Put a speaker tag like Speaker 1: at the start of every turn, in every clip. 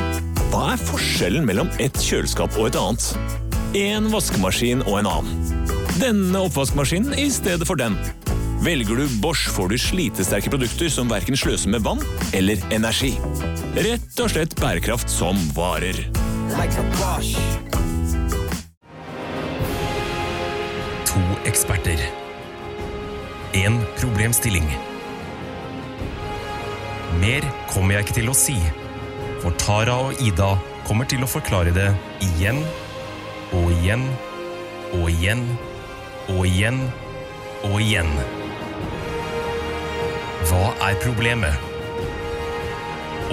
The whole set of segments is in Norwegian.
Speaker 1: Hva er forskjellen mellom et kjøleskap og et annet? En vaskemaskin og en annen. Denne oppvaskmaskinen i stedet for den. Velger du Bosch får du slitesterke produkter som verken sløser med vann eller energi. Rett og slett bærekraft som varer.
Speaker 2: To eksperter. En problemstilling. Mer kommer jeg ikke til å si, for Tara og Ida kommer til å forklare det igjen og igjen og igjen og igjen og igjen. Hva er problemet?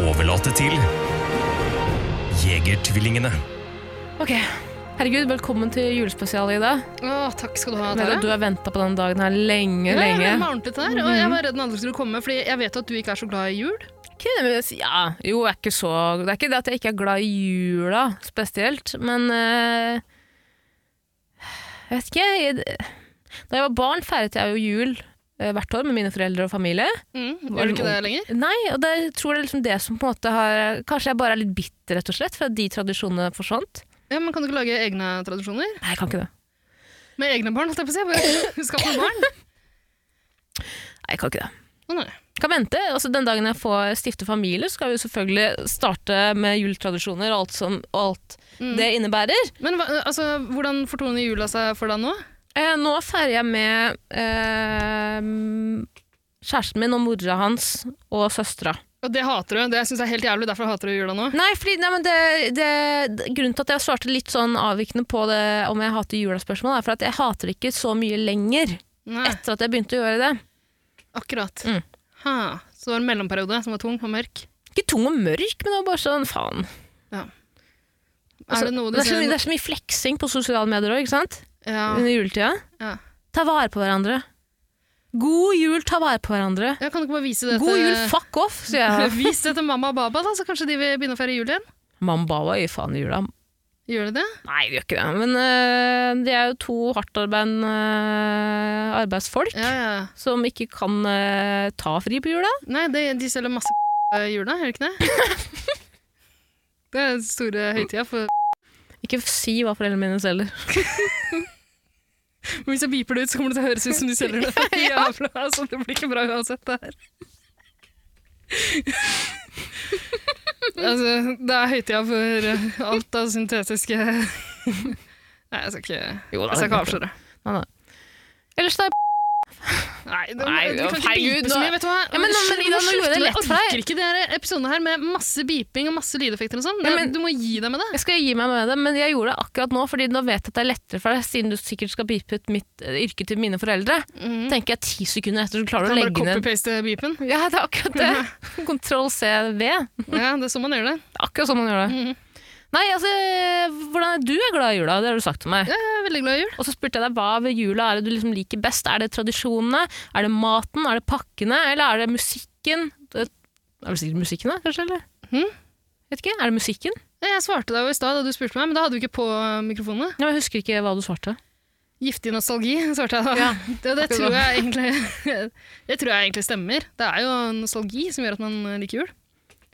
Speaker 2: Overlate til Jegertvillingene.
Speaker 3: Ok, herregud, velkommen til julespesial, Ida.
Speaker 4: Åh, takk skal du ha,
Speaker 3: Vet
Speaker 4: Tara.
Speaker 3: at du har venta på denne dagen her lenge,
Speaker 4: Ja, jeg
Speaker 3: lenge. Mm-hmm.
Speaker 4: gleder meg ordentlig til det her, og jeg var redd den andre skulle komme, fordi jeg vet at du ikke er så glad i jul.
Speaker 3: Ikke det, men jeg sier- Ja, jo, jeg er ikke så Det er ikke det at jeg ikke er glad i jula spesielt, men eh, Jeg vet ikke. Jeg, da jeg var barn, feiret jeg jo jul eh, hvert år med mine foreldre og familie. Var
Speaker 4: Mm, gjør
Speaker 3: det
Speaker 4: du ikke det
Speaker 3: noe-
Speaker 4: lenger?
Speaker 3: Nei, og det, jeg tror det er liksom det som på en måte har Kanskje jeg bare er litt bitter, rett og slett, for at de tradisjonene forsvant.
Speaker 4: Ja, men Kan du ikke lage egne tradisjoner?
Speaker 3: Nei, jeg kan ikke det.
Speaker 4: Med egne barn, holdt jeg på å si. Bare Skaff noen barn.
Speaker 3: Nei, jeg kan ikke det.
Speaker 4: Å, nei.
Speaker 3: kan vente. Altså, den dagen jeg får stifte familie, så skal vi jo selvfølgelig starte med juletradisjoner og alt, som, og alt
Speaker 4: Mm.
Speaker 3: det innebærer.
Speaker 4: Men hva, altså, hvordan fortoner jula seg for deg nå?
Speaker 3: Eh, nå feirer jeg med eh, kjæresten min og mora hans og søstera.
Speaker 4: Og det hater du. Det syns jeg er helt jævlig. Derfor hater du jula nå.
Speaker 3: Nei, fordi, nei, men det, det, det- grunnen til at jeg svarte litt sånn avvikende på det om jeg hater julaspørsmål, er for at jeg hater det ikke så mye lenger
Speaker 4: Nei,
Speaker 3: etter at jeg begynte å gjøre det.
Speaker 4: akkurat.
Speaker 3: Mm.
Speaker 4: Ha. Så det var en mellomperiode som var tung og mørk.
Speaker 3: Ikke tung og mørk, men det var bare sånn faen. Altså,
Speaker 4: er det noe du
Speaker 3: det, er så
Speaker 4: ser
Speaker 3: mye, det er så mye fleksing på sosiale medier òg, ikke sant?
Speaker 4: ja.
Speaker 3: Under juletida.
Speaker 4: Ja.
Speaker 3: Ta vare på hverandre. God jul, ta vare på hverandre.
Speaker 4: Jeg kan du ikke bare vise det
Speaker 3: God
Speaker 4: til
Speaker 3: jul, fuck off, sier jeg.
Speaker 4: Vis det til mamma og baba, da, så kanskje de vil begynne å feire jul igjen.
Speaker 3: Mambawa gir faen i jula.
Speaker 4: Gjør de det?
Speaker 3: Nei, det gjør ikke det. Men øh, de er jo to hardtarbeidende øh, arbeidsfolk
Speaker 4: Ja, ja.
Speaker 3: som ikke kan øh, ta fri på jula.
Speaker 4: Nei, de, de selger masse i jula, gjør de ikke det? Det er den store høytida. For...
Speaker 3: Ikke si hva foreldrene mine selger.
Speaker 4: Men Hvis jeg beeper det ut, så kommer det til å høres ut som de selger det. Jævla, altså, det blir ikke bra uansett, det her. altså, det er høytida for eh, alt av syntetiske Nei, jeg skal ikke,
Speaker 3: Jo,
Speaker 4: jeg skal ikke avsløre.
Speaker 3: Ellers da,
Speaker 4: Nei, det,
Speaker 3: Nei,
Speaker 4: du kan ikke
Speaker 3: herregud,
Speaker 4: beepe så
Speaker 3: nå-
Speaker 4: mye, vet du hva.
Speaker 3: Ja, men- men Ida, nå gjorde jeg det lett for deg.
Speaker 4: Jeg orker ikke de her episodene her med masse beeping og masse lydeffekter og sånn.
Speaker 3: Ja, men-
Speaker 4: Du må gi deg med det.
Speaker 3: jeg skal gi meg med det, men jeg gjorde det akkurat nå, fordi nå vet jeg at det er lettere for deg, siden du sikkert skal bipe ut mitt øh, yrke til mine foreldre.
Speaker 4: Mm.
Speaker 3: tenker jeg ti sekunder etter, så klarer du
Speaker 4: Kan
Speaker 3: å
Speaker 4: bare
Speaker 3: legge ned.
Speaker 4: copy-paste beepen.
Speaker 3: Ja, det er akkurat det. Kontroll CV. Det er
Speaker 4: Ja, det er sånn man gjør det.
Speaker 3: akkurat sånn man gjør det.
Speaker 4: Mhm.
Speaker 3: Nei, altså, hvordan er du er glad i jula? Det har du sagt til meg.
Speaker 4: Jeg er veldig glad i jul.
Speaker 3: Og så spurte jeg deg hva ved jula er det du liksom liker best? Er det tradisjonene? Er det maten? Er det pakkene? Eller er det musikken? Det er vel sikkert musikken, da, kanskje? eller?
Speaker 4: Mhm.
Speaker 3: Vet ikke. Er det musikken?
Speaker 4: Ja, Jeg svarte deg jo i stad da du spurte meg, men da hadde du ikke på mikrofonene.
Speaker 3: Ja, men jeg husker ikke hva du svarte.
Speaker 4: Giftig nostalgi, svarte jeg da.
Speaker 3: Ja,
Speaker 4: det, det,
Speaker 3: akkurat
Speaker 4: tror
Speaker 3: da.
Speaker 4: jeg egentlig, det tror jeg egentlig stemmer. Det er jo nostalgi som gjør at man liker jul. Tror du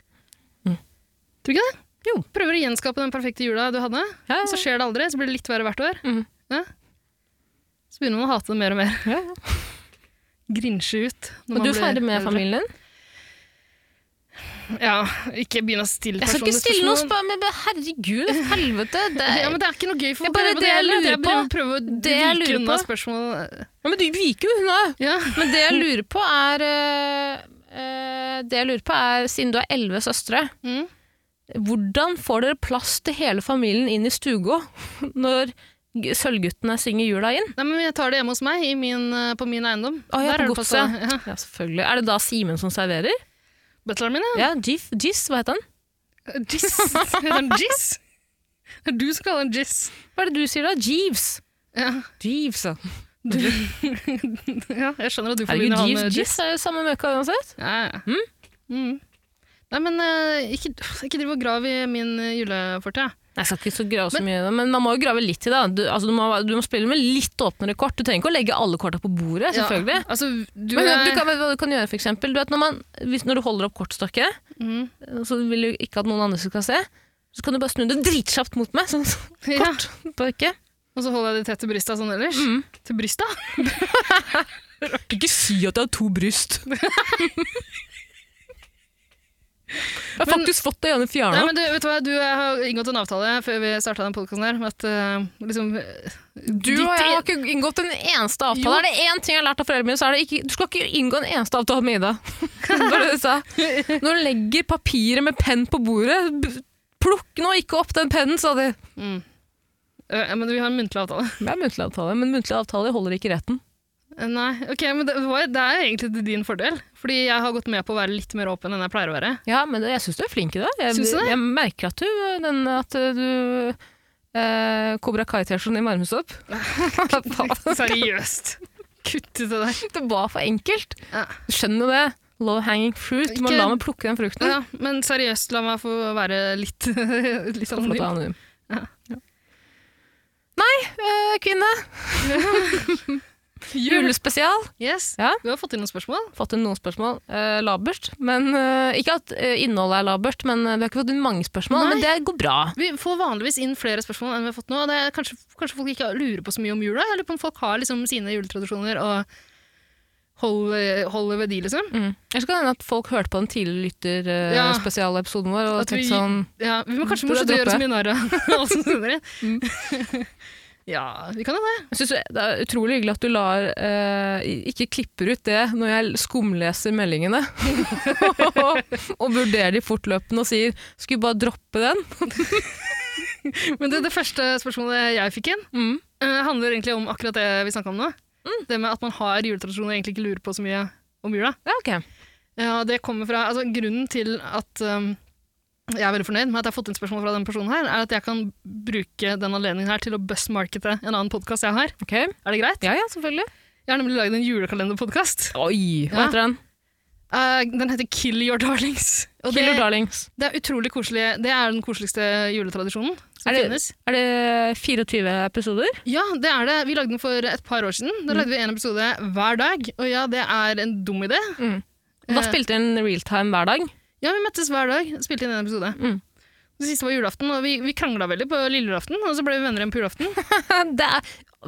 Speaker 4: ikke det?
Speaker 3: Mm. Jo.
Speaker 4: Prøver å gjenskape den perfekte jula du hadde,
Speaker 3: Ja,
Speaker 4: og så skjer det aldri, så blir det litt verre hvert år.
Speaker 3: Mhm.
Speaker 4: Ja. Så begynner man å hate det mer og mer.
Speaker 3: ja, ja.
Speaker 4: Grinsje ut.
Speaker 3: Og
Speaker 4: når man
Speaker 3: du
Speaker 4: blir
Speaker 3: feirer med
Speaker 4: eldre.
Speaker 3: familien din?
Speaker 4: Ja, ikke begynne å stille
Speaker 3: Jeg skal ikke
Speaker 4: personlige
Speaker 3: stille noe
Speaker 4: spørsmål.
Speaker 3: spørsmål, men herregud, helvete. Det er...
Speaker 4: sånn Ja, men det er ikke noe gøy for
Speaker 3: Det er bare
Speaker 4: meg, men
Speaker 3: det jeg
Speaker 4: heller at
Speaker 3: lurer på.
Speaker 4: Jeg prøver, prøver å
Speaker 3: Det jeg
Speaker 4: vike
Speaker 3: lurer
Speaker 4: unna
Speaker 3: på.
Speaker 4: spørsmål.
Speaker 3: ja, men du viker jo unna.
Speaker 4: Ja.
Speaker 3: Men det jeg lurer på er eh, eh, Det jeg lurer på er, siden du har elleve søstre,
Speaker 4: Mm.
Speaker 3: hvordan får dere plass til hele familien inn i stugå når g- Sølvguttene synger jula inn?
Speaker 4: Nei, men jeg tar det hjemme hos meg, i min, eh, på min eiendom.
Speaker 3: Å, ja, på
Speaker 4: Der er det
Speaker 3: godset.
Speaker 4: plass til- Ja.
Speaker 3: Ja, selvfølgelig. Er det da Simen som serverer?
Speaker 4: Butleren min,
Speaker 3: Ja, Jif, Jis, hva heter han?
Speaker 4: ja. Jizz. Heter han Jizz? Det er du som kaller han Jizz.
Speaker 3: Hva er det du sier da? Jeeves.
Speaker 4: Ja.
Speaker 3: Jeeves, ja.
Speaker 4: ja, jeg skjønner at
Speaker 3: Herregud,
Speaker 4: du forbinder han
Speaker 3: Jeeves,
Speaker 4: med Jizz.
Speaker 3: Jis er jo samme møkka uansett.
Speaker 4: Ja, ja.
Speaker 3: Hm?
Speaker 4: Mm. Nei, men eh, ikke, ikke driv og grav i min eh, julefortid.
Speaker 3: Nei, Jeg skal ikke så grave så mye, men man må jo grave litt i det. da. Du, altså, du, må, du må spille med litt åpnere kort. Du trenger ikke å legge alle korta på bordet,
Speaker 4: Ja,
Speaker 3: selvfølgelig.
Speaker 4: Altså, du
Speaker 3: Men
Speaker 4: er...
Speaker 3: du kan, vet du hva du kan gjøre, for eksempel? Du vet, når, man, hvis, når du holder opp kortstokket,
Speaker 4: Mm.
Speaker 3: så vil du ikke at noen andre skal se. Så kan du bare snu det dritkjapt mot meg. Sånn, sånn
Speaker 4: Ja.
Speaker 3: kort på øyet.
Speaker 4: Og så holder jeg det tett til brysta sånn ellers.
Speaker 3: Mm.
Speaker 4: Til brysta?
Speaker 3: Ikke si at jeg har to bryst. jeg har
Speaker 4: Men-
Speaker 3: faktisk fått det ene
Speaker 4: Nei,
Speaker 3: fjerna.
Speaker 4: men du, vet du hva, du jeg har inngått en avtale før vi starta den podkasten her, med at eh, liksom eh,
Speaker 3: Du og jeg har ikke inngått en eneste avtale.
Speaker 4: Jo.
Speaker 3: Er det én ting jeg har lært av foreldrene mine, så er det ikke Du skal ikke inngå en eneste avtale med Ida. Det var det de sa. Når du legger papiret med penn på bordet, b- plukk nå ikke opp den pennen, sa de.
Speaker 4: mm. Eh, Men vi har en muntlig avtale.
Speaker 3: Det er muntlig avtale, men muntlig avtale holder ikke i retten.
Speaker 4: Eh, Nei, ok, men det, var- det er egentlig til din fordel. Fordi jeg har gått med på å være litt mer åpen enn jeg pleier å være.
Speaker 3: Ja, men jeg syns du er flink i det. Jeg,
Speaker 4: Syns du det?
Speaker 3: jeg merker at du, den, at du eh, Kobra Kai-T-skjorten i marmesopp.
Speaker 4: Seriøst. Kutt ut det der.
Speaker 3: det var for enkelt.
Speaker 4: Ja.
Speaker 3: Du skjønner det. Low hanging fruit. Du må
Speaker 4: Ikke-
Speaker 3: la meg plukke den frukten.
Speaker 4: Ja, men seriøst, la meg få være litt, litt
Speaker 3: Skal få lov til å være
Speaker 4: anonym.
Speaker 3: anonym.
Speaker 4: Ja.
Speaker 3: Ja. Nei, eh, kvinne. Julespesial.
Speaker 4: Yes.
Speaker 3: Ja.
Speaker 4: Du har fått inn noen spørsmål.
Speaker 3: Fått inn noen spørsmål. Eh, labert. Men, eh, ikke at eh, innholdet er labert, men eh, vi har ikke fått inn mange spørsmål.
Speaker 4: Nei.
Speaker 3: Men det går bra.
Speaker 4: Vi får vanligvis inn flere spørsmål enn vi har fått nå. og Det er kanskje, kanskje folk ikke lurer på så mye om jula. Jeg lurer på om folk har liksom sine juletradisjoner og holder, holder ved de, liksom.
Speaker 3: Mm. Ellers kan det hende at folk hørte på den tidligere
Speaker 4: Ja.
Speaker 3: lytter-spesialepisoden vår og
Speaker 4: At vi-
Speaker 3: tenkte sånn
Speaker 4: Ja, vi må kanskje
Speaker 3: Burde
Speaker 4: fortsette å gjøre
Speaker 3: droppe. Mm.
Speaker 4: så mye narr av alt som sender inn. Ja, vi kan jo det.
Speaker 3: Jeg synes det er utrolig hyggelig at du lar eh, ikke klipper ut det når jeg skumleser meldingene. og vurderer de fortløpende og sier 'skulle vi bare droppe den'?
Speaker 4: Men det, det første spørsmålet jeg fikk inn,
Speaker 3: Mm.
Speaker 4: eh, handler egentlig om akkurat det vi snakka om nå. Det med at man har juletradisjoner og egentlig ikke lurer på så mye om jula.
Speaker 3: Ja, ok.
Speaker 4: Ja, det kommer fra, altså Grunnen til at um, jeg er veldig fornøyd med at jeg har fått inn spørsmål fra denne personen, her, er at jeg kan bruke den anledningen her til å buzzmarkete en annen podkast jeg har.
Speaker 3: Ok.
Speaker 4: Er det greit?
Speaker 3: Ja, ja, selvfølgelig.
Speaker 4: Jeg har nemlig laget en julekalenderpodkast.
Speaker 3: Oi, hva
Speaker 4: Ja.
Speaker 3: heter den?
Speaker 4: Eh, den heter Kill Your Darlings. Og
Speaker 3: Killer
Speaker 4: det,
Speaker 3: Darlings.
Speaker 4: det er utrolig koselig. Det er den koseligste juletradisjonen som
Speaker 3: Er det-
Speaker 4: finnes.
Speaker 3: Er det 24 episoder?
Speaker 4: Ja, det er det. Vi lagde den for et par år siden.
Speaker 3: Mm.
Speaker 4: Da lagde vi en episode hver dag. Og ja, det er en dum idé.
Speaker 3: Da
Speaker 4: Eh.
Speaker 3: spilte den realtime hver dag.
Speaker 4: Ja, vi møttes hver dag og spilte inn en episode.
Speaker 3: Mm.
Speaker 4: Det siste var julaften, og vi, vi krangla veldig på lille julaften, og så ble vi venner igjen på julaften.
Speaker 3: det er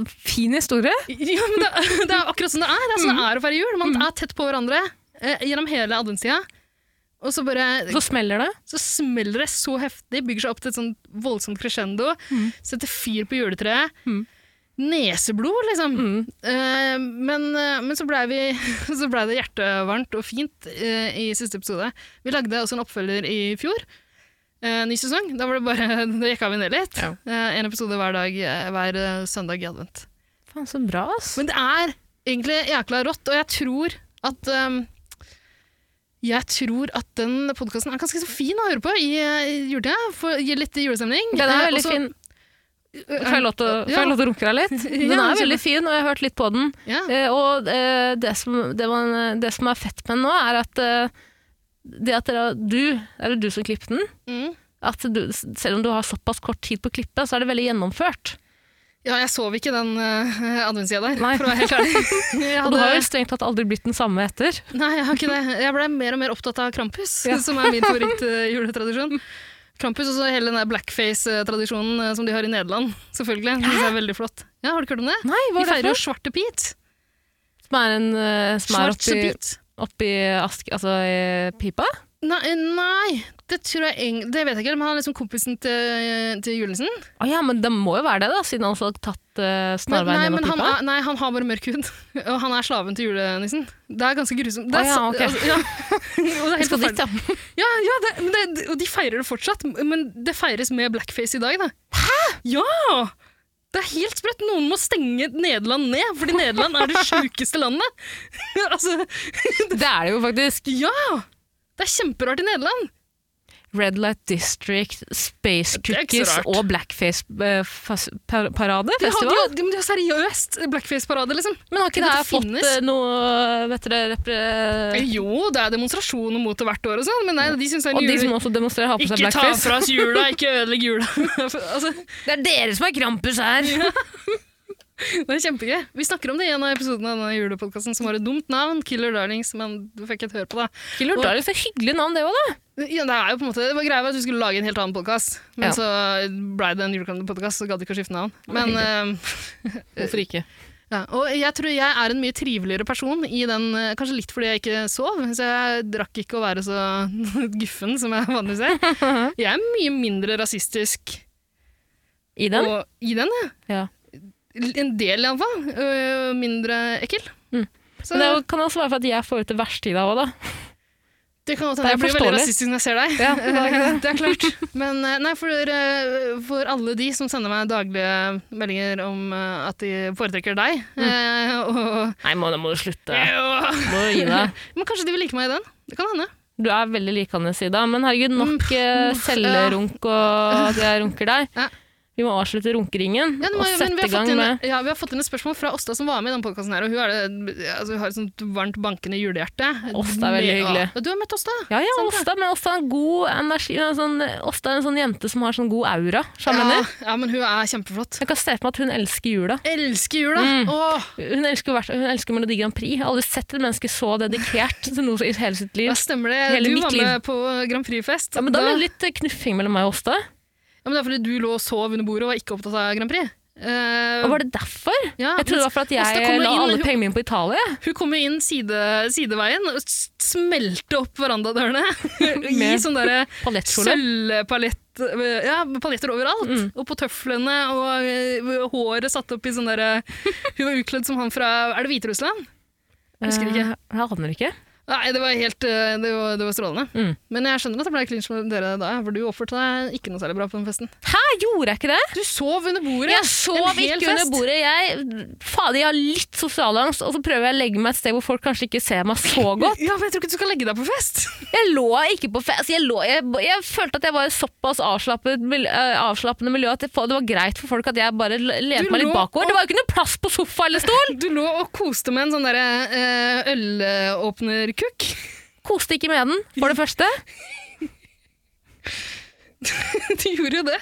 Speaker 3: fin historie.
Speaker 4: ja, men det, er- det er akkurat sånn det er. Det er sånn det er å feire jul. Man er tett på hverandre eh, gjennom hele adventstida. Og så bare
Speaker 3: Så smeller det.
Speaker 4: så smeller det så heftig, bygger seg opp til et sånn voldsomt crescendo. Setter fyr på juletreet.
Speaker 3: Mm.
Speaker 4: Neseblod, liksom.
Speaker 3: Mm.
Speaker 4: Eh, men, eh, men så blei ble det hjertevarmt og fint eh, i siste episode. Vi lagde også en oppfølger i fjor. Eh, ny sesong. Da var det bare, da jekka vi ned litt.
Speaker 3: Ja.
Speaker 4: Eh, en episode hver dag eh, hver eh, søndag i advent.
Speaker 3: Faen, så bra, ass.
Speaker 4: Men det er egentlig jækla rått, og jeg tror at ehm, jeg tror at den podkasten er ganske så fin å høre på i, eh, i juletida. for- Gir litt julestemning.
Speaker 3: Den er
Speaker 4: Eh,
Speaker 3: veldig
Speaker 4: også-
Speaker 3: fin. Får jeg lov til å- får
Speaker 4: Ja.
Speaker 3: jeg lov til å runke deg litt? Den
Speaker 4: Ja,
Speaker 3: er veldig fin, og jeg har hørt litt på den.
Speaker 4: Ja.
Speaker 3: Eh, og eh, det, som, det, man, det som er fett med den nå, er at eh, det at dere, du, er det du som klippet den,
Speaker 4: Mm.
Speaker 3: at du, selv om du har såpass kort tid på å klippe, så er det veldig gjennomført.
Speaker 4: ja, jeg sov ikke den uh, adventstida der,
Speaker 3: Nei.
Speaker 4: for å være helt ærlig. Jeg
Speaker 3: Og du har vel
Speaker 4: hadde,
Speaker 3: strengt tatt aldri blitt den samme etter.
Speaker 4: nei, jeg har ikke det. Jeg ble mer og mer opptatt av Krampus,
Speaker 3: Ja.
Speaker 4: som er min favoritt-juletradisjon. Krampus og så hele den der blackface-tradisjonen eh, som de har i Nederland, selvfølgelig. Det er veldig flott. Ja, Har du ikke hørt om det?
Speaker 3: Nei,
Speaker 4: Vi
Speaker 3: hva er
Speaker 4: feirer
Speaker 3: det for?
Speaker 4: jo Svarte Pete.
Speaker 3: Som er, en, eh, som er
Speaker 4: Svarte
Speaker 3: oppi,
Speaker 4: Pete.
Speaker 3: oppi ask, altså, i pipa?
Speaker 4: Nei, eh, nei det, tror jeg eng det vet jeg ikke, men han er liksom kompisen til, til Julesen.
Speaker 3: Å ja, men det må jo være det, da, siden han også har tatt eh,
Speaker 4: Men, nei,
Speaker 3: snarveien
Speaker 4: men
Speaker 3: gjennom
Speaker 4: han,
Speaker 3: pipa.
Speaker 4: er, nei, han har bare mørk hud, og han er slaven til julenissen. Det er ganske grusomt.
Speaker 3: Å
Speaker 4: Det er,
Speaker 3: ja,
Speaker 4: så-
Speaker 3: ok.
Speaker 4: altså, ja. Og det er
Speaker 3: Vi
Speaker 4: helt
Speaker 3: skal dit,
Speaker 4: forferdelig.
Speaker 3: ja.
Speaker 4: Ja, ja det, men det, og de feirer det fortsatt, men det feires med blackface i dag, da. Hæ?! Ja! Det er helt sprøtt. Noen må stenge Nederland ned, fordi Nederland er det sjukeste landet. altså,
Speaker 3: Det er det jo faktisk.
Speaker 4: ja! Det er kjemperart i Nederland.
Speaker 3: Red Light District, Space
Speaker 4: Det er ikke så
Speaker 3: Cookies
Speaker 4: rart.
Speaker 3: og eh, Blackface-parade?
Speaker 4: De har, de
Speaker 3: Festival?
Speaker 4: har, de har seriøst blackface-parade, liksom.
Speaker 3: Men har ikke
Speaker 4: Tenk
Speaker 3: det
Speaker 4: at
Speaker 3: her
Speaker 4: det
Speaker 3: fått
Speaker 4: finnes.
Speaker 3: eh, noe vet dere, repre...
Speaker 4: Jo, det er demonstrasjoner mot det hvert år og sånn, men nei, de syns det er
Speaker 3: Og
Speaker 4: en
Speaker 3: de som
Speaker 4: jule...
Speaker 3: også demonstrerer, har på seg
Speaker 4: Ikke ta
Speaker 3: blackface?
Speaker 4: fra oss jula, ikke ødelegg jula. altså,
Speaker 3: Det er dere som er Krampus her!
Speaker 4: det er kjempegøy. Vi snakker om det i en av episodene av denne julepodkasten som har et dumt navn, Killer Darlings, men du fikk ikke høre på det.
Speaker 3: Killer Darling, så hyggelig navn det òg, da.
Speaker 4: Det Ja, det er jo på en måte Det var greia med at vi skulle lage en helt annen podkast, men
Speaker 3: Ja.
Speaker 4: så ble det en julekalender-podkast, så gadd vi ikke å skifte navn. Men, eh,
Speaker 3: Hvorfor ikke?
Speaker 4: ja. Og jeg tror jeg er en mye triveligere person i den eh, Kanskje litt fordi jeg ikke sov, så jeg drakk ikke å være så guffen som jeg vanligvis er. Jeg er mye mindre rasistisk
Speaker 3: I den?
Speaker 4: og, i den, ja.
Speaker 3: Ja.
Speaker 4: En del, iallfall. Øh, mindre ekkel.
Speaker 3: Mm. Men det
Speaker 4: Så det,
Speaker 3: er jo- kan også være for at jeg får ut det verste i deg òg, da.
Speaker 4: kan godt
Speaker 3: det er
Speaker 4: hende jeg blir veldig
Speaker 3: forståelig.
Speaker 4: rasistisk når jeg ser deg.
Speaker 3: Ja, det er
Speaker 4: det er klart. Men eh, nei, for, eh, for alle de som sender meg daglige meldinger om eh, at de foretrekker deg,
Speaker 3: Mm.
Speaker 4: eh, og,
Speaker 3: Nei, må, nå må du slutte.
Speaker 4: og
Speaker 3: Må du gi deg.
Speaker 4: Men kanskje de vil like meg i den? Det kan hende.
Speaker 3: Du er veldig likende i dag, men herregud, nok eh, cellerunk og at jeg runker deg.
Speaker 4: Mm. Ja.
Speaker 3: Vi må avslutte runkeringen
Speaker 4: Ja, det må,
Speaker 3: og
Speaker 4: men
Speaker 3: sette i
Speaker 4: vi har, fått
Speaker 3: gang
Speaker 4: inn,
Speaker 3: med
Speaker 4: ja, vi har fått inn et spørsmål fra Åsta som var med i den podkasten her. Og hun er det, altså, hun har et sånt varmt bankende julehjerte.
Speaker 3: Åsta er veldig
Speaker 4: Ja.
Speaker 3: hyggelig.
Speaker 4: Du har møtt Åsta?
Speaker 3: ja, ja,
Speaker 4: Sant det.
Speaker 3: Åsta, men Åsta er en god energi hun er en sånn, Åsta er en sånn jente som har sånn god aura. skjønner du?
Speaker 4: Ja, ja, men hun er kjempeflott.
Speaker 3: Jeg kan se for meg at hun elsker jula.
Speaker 4: Elsker jula!
Speaker 3: Mm.
Speaker 4: Åh,
Speaker 3: Hun elsker, hvert- hun elsker Melodi Grand Prix. Jeg har aldri sett et menneske så dedikert til noe i hele sitt
Speaker 4: ja,
Speaker 3: liv.
Speaker 4: stemmer det.
Speaker 3: Hele
Speaker 4: du
Speaker 3: mitt
Speaker 4: var
Speaker 3: liv.
Speaker 4: med på Grand Prix-fest.
Speaker 3: Ja, men da ble
Speaker 4: Da-
Speaker 3: det litt eh, knuffing mellom meg og Åsta.
Speaker 4: ja, men det er fordi du lå og sov under bordet og var ikke opptatt av Grand Prix. Eh,
Speaker 3: Og var det derfor?
Speaker 4: ja,
Speaker 3: Jeg trodde det var for at
Speaker 4: Åsta
Speaker 3: jeg
Speaker 4: kommer
Speaker 3: la
Speaker 4: inn,
Speaker 3: alle
Speaker 4: hun-
Speaker 3: pengene mine på Italia.
Speaker 4: Hun kom jo inn side, sideveien og s- smelte opp verandadørene sånn i
Speaker 3: Med-
Speaker 4: sånne der
Speaker 3: Palettkjole.
Speaker 4: sølvpalett... eh, Ja, paljetter overalt.
Speaker 3: Mm.
Speaker 4: Og på tøflene, og eh, håret satt opp i sånn derre Hun var utkledd som han fra Er det Hviterussland? Husker ikke.
Speaker 3: Eh, Jeg aner ikke.
Speaker 4: Nei, det var helt eh, Det var, det var strålende.
Speaker 3: Mm.
Speaker 4: Men jeg skjønner at det ble klinsj med dere da, for du oppførte deg ikke noe særlig bra på den festen.
Speaker 3: Hæ, gjorde jeg ikke det?
Speaker 4: Du sov under bordet!
Speaker 3: Jeg sov ikke under bordet. Jeg, fader, jeg har litt sosialangst, og så prøver jeg å legge meg et sted hvor folk kanskje ikke ser meg så godt.
Speaker 4: Ja, men jeg tror ikke du skal legge deg på fest!
Speaker 3: Jeg lå ikke på fest. Jeg, lå, jeg, jeg følte at jeg var i såpass avslappet, mil- eh, avslappende miljø at det, det var greit for folk at jeg bare l- lente meg
Speaker 4: lå
Speaker 3: litt bakover.
Speaker 4: og-
Speaker 3: Det var jo ikke noe plass på sofa eller stol!
Speaker 4: Du lå og koste med en sånn derre eh, ølåpnerkukk.
Speaker 3: Koste ikke med den, for det første.
Speaker 4: Du gjorde jo det.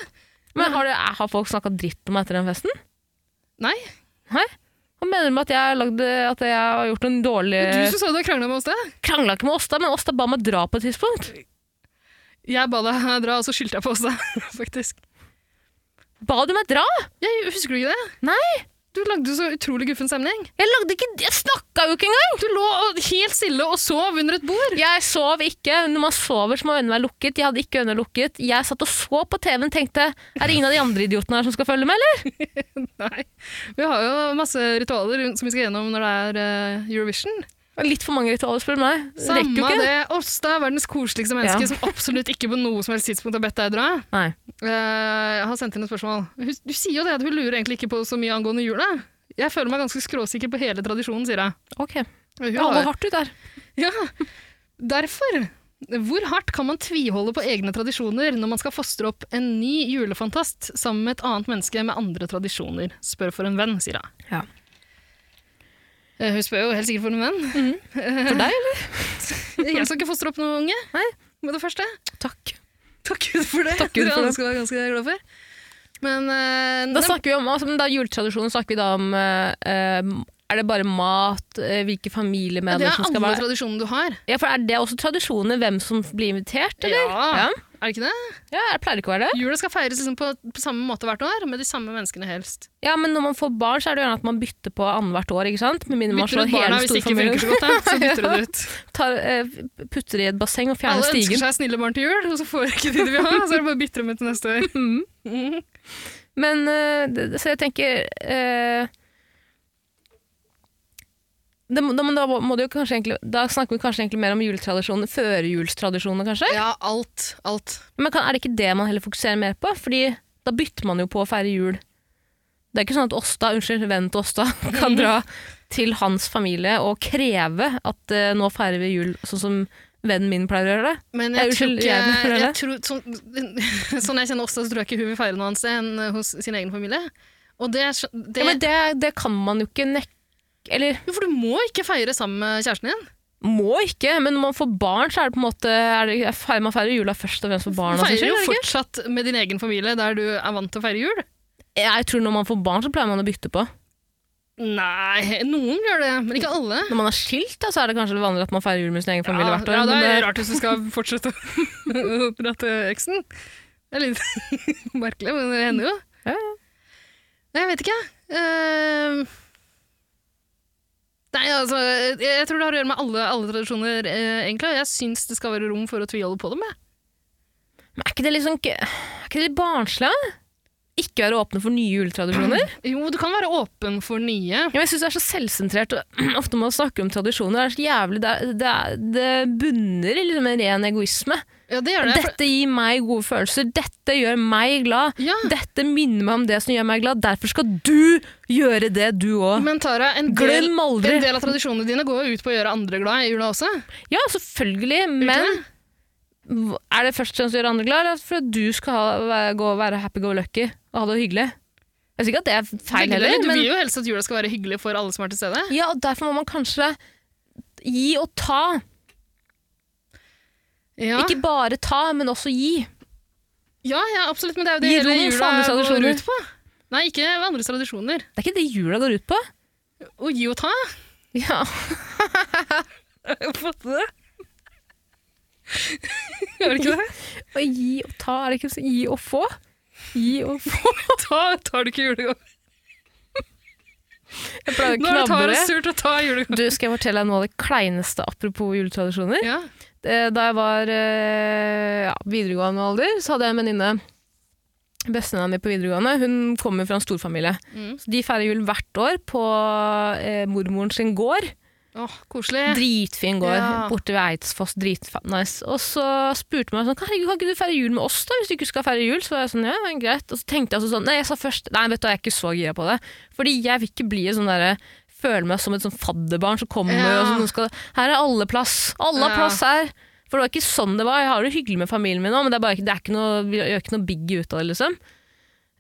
Speaker 3: Men har, det, har folk snakka dritt om meg etter den festen?
Speaker 4: Nei.
Speaker 3: Hva mener du med at jeg, har lagd, at jeg har gjort en dårlig
Speaker 4: Det er du som sa du har krangla med oss, det.
Speaker 3: Krangla ikke med Åsta, men Åsta ba meg dra på et tidspunkt.
Speaker 4: Jeg ba deg dra, og så skyldte jeg på oss, da, faktisk.
Speaker 3: Ba du meg dra?
Speaker 4: Jeg, husker du ikke det?
Speaker 3: Nei!
Speaker 4: Du lagde jo så utrolig guffen stemning.
Speaker 3: Jeg lagde ikke Jeg snakka jo ikke engang!
Speaker 4: Du lå og- helt stille og sov under et bord.
Speaker 3: Jeg sov ikke. Når man sover, så må øynene være lukket. Jeg hadde ikke øynene lukket. Jeg satt og så på TV-en og tenkte Er det ingen av de andre idiotene her som skal følge med, eller?
Speaker 4: Nei. Vi har jo masse ritualer rundt- som vi skal gjennom når det er eh, Eurovision.
Speaker 3: Litt for mange ritualer, spør du meg. Det
Speaker 4: Samme
Speaker 3: rekker jo ikke.
Speaker 4: det. Åsta er verdens koseligste menneske
Speaker 3: Ja.
Speaker 4: som absolutt ikke på noe som helst tidspunkt har bedt deg dra.
Speaker 3: Nei.
Speaker 4: Eh, Jeg har sendt inn et spørsmål. Hun, du sier jo det at hun lurer egentlig ikke på så mye angående jula. Jeg føler meg ganske skråsikker på hele tradisjonen, sier jeg.
Speaker 3: Ok.
Speaker 4: Hun
Speaker 3: Det holder
Speaker 4: har-
Speaker 3: hardt ut der.
Speaker 4: Ja. Derfor. Hvor hardt kan man tviholde på egne tradisjoner når man skal fostre opp en ny julefantast sammen med et annet menneske med andre tradisjoner? Spør for en venn, sier hun.
Speaker 3: Ja.
Speaker 4: Eh, Hun spør jo helt sikkert for en venn.
Speaker 3: For deg, eller?
Speaker 4: Jeg skal ikke fostre opp noen unge med det første.
Speaker 3: Takk.
Speaker 4: Takk Gud for det.
Speaker 3: Takk Gud
Speaker 4: det
Speaker 3: for det.
Speaker 4: er jeg ganske, ganske glad for. Men eh,
Speaker 3: Da
Speaker 4: nei,
Speaker 3: snakker vi om altså, men da juletradisjonen snakker vi da om eh, eh, Er det bare mat? eh, Hvilke
Speaker 4: det
Speaker 3: familiemedlemmer
Speaker 4: er
Speaker 3: som
Speaker 4: alle
Speaker 3: skal være
Speaker 4: tradisjonene du har.
Speaker 3: ja, for Er det også tradisjoner hvem som blir invitert, eller?
Speaker 4: Ja.
Speaker 3: Ja.
Speaker 4: Er det ikke det?
Speaker 3: Ja, det pleier ikke å være det.
Speaker 4: Jula skal feires liksom på, på samme måte hvert år, med de samme menneskene helst.
Speaker 3: Ja, Men når man får barn, så er det gjerne at man bytter på annethvert år. ikke sant? Med mindre man
Speaker 4: Bytter
Speaker 3: slår
Speaker 4: ut
Speaker 3: hele
Speaker 4: barna hvis det ikke
Speaker 3: storfamilien.
Speaker 4: funker så godt, da, så bytter du det ut.
Speaker 3: Tar, eh, putter i et basseng og fjerner
Speaker 4: Alle ønsker
Speaker 3: stigen.
Speaker 4: seg snille barn til jul, og så får ikke de de vil ha, og så er det bare å bytte dem ut til neste år. Mhm.
Speaker 3: Men eh, det- Så jeg tenker eh, det, må- da, men da, må det jo kanskje egentlig, da snakker vi kanskje egentlig mer om juletradisjoner, førjulstradisjoner, kanskje?
Speaker 4: Ja, alt. Alt.
Speaker 3: Men kan, er det ikke det man heller fokuserer mer på? Fordi da bytter man jo på å feire jul. Det er ikke sånn at Åsta, unnskyld, vennen til Åsta kan dra til hans familie og kreve at eh, nå feirer vi jul sånn som vennen min pleier å gjøre det.
Speaker 4: Men
Speaker 3: Ja,
Speaker 4: jeg tror
Speaker 3: unnskyld,
Speaker 4: ikke
Speaker 3: jeg mener
Speaker 4: jeg
Speaker 3: det.
Speaker 4: tror, sånn, sånn jeg kjenner Åsta, så tror jeg ikke hun vil feire noe annet sted enn eh, hos sin egen familie. Og det, er skjø- det,
Speaker 3: Ja, men det, det kan man jo ikke nekke Eller
Speaker 4: Jo, for du må ikke feire sammen med kjæresten din.
Speaker 3: må ikke, men når man får barn, så er det på en måte er det, er feir- Man feirer jula først og fremst for
Speaker 4: Du
Speaker 3: barna sin
Speaker 4: feirer
Speaker 3: skyld.
Speaker 4: jo
Speaker 3: er det ikke?
Speaker 4: fortsatt med din egen familie, der du er vant til å feire jul.
Speaker 3: Jeg tror når man får barn, så pleier man å bytte på.
Speaker 4: Nei, noen gjør det, men ikke alle.
Speaker 3: Når man er skilt, da, så er det kanskje vanlig at man feirer jul med sin egen familie
Speaker 4: ja,
Speaker 3: hvert år.
Speaker 4: ja, det
Speaker 3: men eh,
Speaker 4: er rart hvis du skal fortsette å prate eksen. Det er litt merkelig, men det hender jo.
Speaker 3: Ja,
Speaker 4: Nei, jeg vet ikke. Eh, nei, altså, jeg- jeg tror det har å gjøre med alle, alle tradisjoner, eh, egentlig. og Jeg syns det skal være rom for å tviholde på dem. Jeg.
Speaker 3: Men er ikke det litt sånn Er ikke det litt barnslig? da? Ikke være åpne for nye juletradisjoner?
Speaker 4: Jo, du kan være åpen for nye.
Speaker 3: Ja, men jeg synes det er så selvsentrert. og Ofte når man snakker om tradisjoner, er det så jævlig Det, er- det, er- det bunner i liksom en ren egoisme.
Speaker 4: Ja, det gjør det. for-
Speaker 3: Dette gir meg gode følelser. Dette gjør meg glad.
Speaker 4: Ja.
Speaker 3: Dette minner meg om det som gjør meg glad. Derfor skal du gjøre det, du òg.
Speaker 4: Men Tara, en del,
Speaker 3: Glem aldri
Speaker 4: en del av tradisjonene dine går jo ut på å gjøre andre glad i jula også.
Speaker 3: Ja, selvfølgelig,
Speaker 4: Gjør
Speaker 3: men
Speaker 4: ikke
Speaker 3: hva- er det først og fremst å gjøre andre glad, eller for at du skal ha, være- gå, være happy-go-lucky og ha det hyggelig? Jeg sier ikke at det er feil
Speaker 4: Begge
Speaker 3: heller,
Speaker 4: deler. Du
Speaker 3: men
Speaker 4: vil jo helst at jula skal være hyggelig for alle som er til stede.
Speaker 3: Ja, og derfor må man kanskje gi og ta.
Speaker 4: Ja,
Speaker 3: Ikke bare ta, men også gi.
Speaker 4: ja, ja absolutt, men det er jo det
Speaker 3: Gi rom
Speaker 4: hele
Speaker 3: for andre
Speaker 4: jula går
Speaker 3: tradisjoner.
Speaker 4: ut på. Nei, ikke andres tradisjoner.
Speaker 3: Det er ikke det jula går ut på.
Speaker 4: Å gi og ta.
Speaker 3: Ja,
Speaker 4: Fatte det? Gjør det ikke det?
Speaker 3: og Gi og ta, er det ikke så gi og få? Gi og få.
Speaker 4: Ta, tar du ikke julegave?
Speaker 3: Jeg pleier å
Speaker 4: Nå er det tar
Speaker 3: knabbe
Speaker 4: og
Speaker 3: det.
Speaker 4: surt å ta julegave.
Speaker 3: Du, skal jeg fortelle deg noe av det kleineste apropos juletradisjoner?
Speaker 4: Ja.
Speaker 3: Eh, Da jeg var eh, ja, videregående alder, så hadde jeg en venninne. Bestevenninna mi på videregående hun kommer fra en storfamilie.
Speaker 4: Mm.
Speaker 3: Så de feirer jul hvert år på eh, mormoren sin gård.
Speaker 4: Åh, koselig.
Speaker 3: Dritfin gård
Speaker 4: Ja.
Speaker 3: borte ved Eidsfoss. Dritnice. Og så spurte hun meg sånn Herregud, kan ikke du feire jul med oss, da, hvis du ikke skal feire jul? Så var jeg sånn, ja, men greit. Og så tenkte jeg altså sånn Nei, jeg sa først Nei, vet du, hva, jeg er ikke så gira på det. Fordi jeg vil ikke bli et sånn derre Føle meg som et sånn fadderbarn som kommer
Speaker 4: Ja.
Speaker 3: og sånn, noen skal Her er alle plass. Alle har
Speaker 4: Ja.
Speaker 3: plass her. For det var ikke sånn det var. Jeg har det hyggelig med familien min nå, men det er bare ikke, det er ikke noe, vi gjør ikke noe big ut av det, liksom.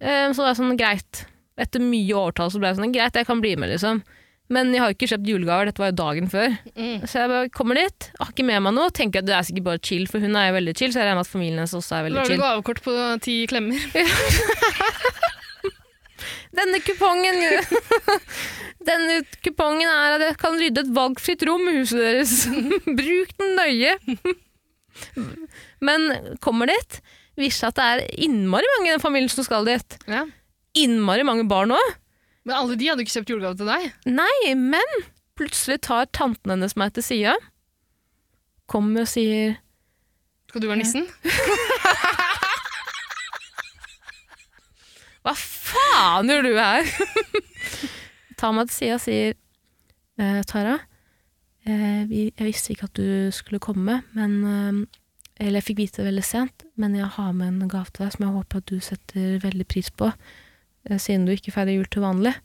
Speaker 3: Eh, Så det er sånn, greit. Etter mye årtall så ble jeg sånn, greit, jeg kan bli med, liksom. Men jeg har jo ikke kjøpt julegaver, dette var jo dagen før.
Speaker 4: Mm.
Speaker 3: Så jeg bare kommer dit, har ikke med meg noe, tenker at det er sikkert bare chill, for hun er jo veldig chill, så jeg regner med at familien hennes også er veldig
Speaker 4: Lar du
Speaker 3: chill.
Speaker 4: gavekort på ti klemmer?
Speaker 3: Denne kupongen, denne kupongen er at jeg kan rydde et valgfritt rom i huset deres. Bruk den nøye. Men kommer dit, viser seg at det er innmari mange i den familien som skal dit.
Speaker 4: Ja.
Speaker 3: Innmari mange barn òg.
Speaker 4: Men alle de hadde ikke kjøpt julegave til deg.
Speaker 3: Nei, men plutselig tar tanten hennes meg til sida, kommer og sier
Speaker 4: Skal du være nissen?
Speaker 3: Hva faen gjør du her? Ta meg til sida og sier eh, Tara, eh, vi, jeg visste ikke at du skulle komme, men eh, Eller jeg fikk vite det veldig sent, men jeg har med en gave til deg som jeg håper at du setter veldig pris på, eh, siden du ikke feirer jul til vanlig.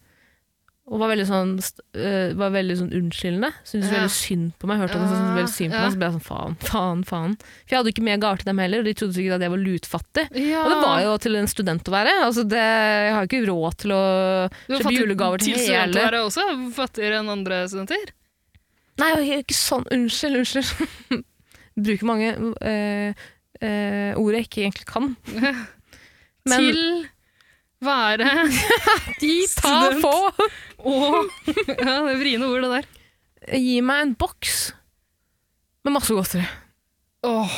Speaker 3: Og var veldig sånn, st- eh, var veldig sånn unnskyldende. Syntes
Speaker 4: Ja.
Speaker 3: veldig synd på meg. Hørte at hun syntes veldig synd på
Speaker 4: Ja.
Speaker 3: meg, så ble jeg sånn faen, faen, faen. For jeg hadde jo ikke med gaver til dem heller, og de trodde sikkert at jeg var lutfattig.
Speaker 4: Ja.
Speaker 3: Og det var jo til en student å være. Altså det, jeg har jo ikke råd til å
Speaker 4: Du
Speaker 3: kjøpe julegaver til hele
Speaker 4: studentåret også, fattigere enn andre studenter.
Speaker 3: Nei, jeg er ikke sånn. Unnskyld, unnskyld. Bruker mange eh, eh, ord jeg ikke egentlig kan. Men
Speaker 4: til være
Speaker 3: de ta
Speaker 4: student.
Speaker 3: få!
Speaker 4: og Ja, det er vriene ord, det der.
Speaker 3: Gi meg en boks med masse godteri.
Speaker 4: Åh,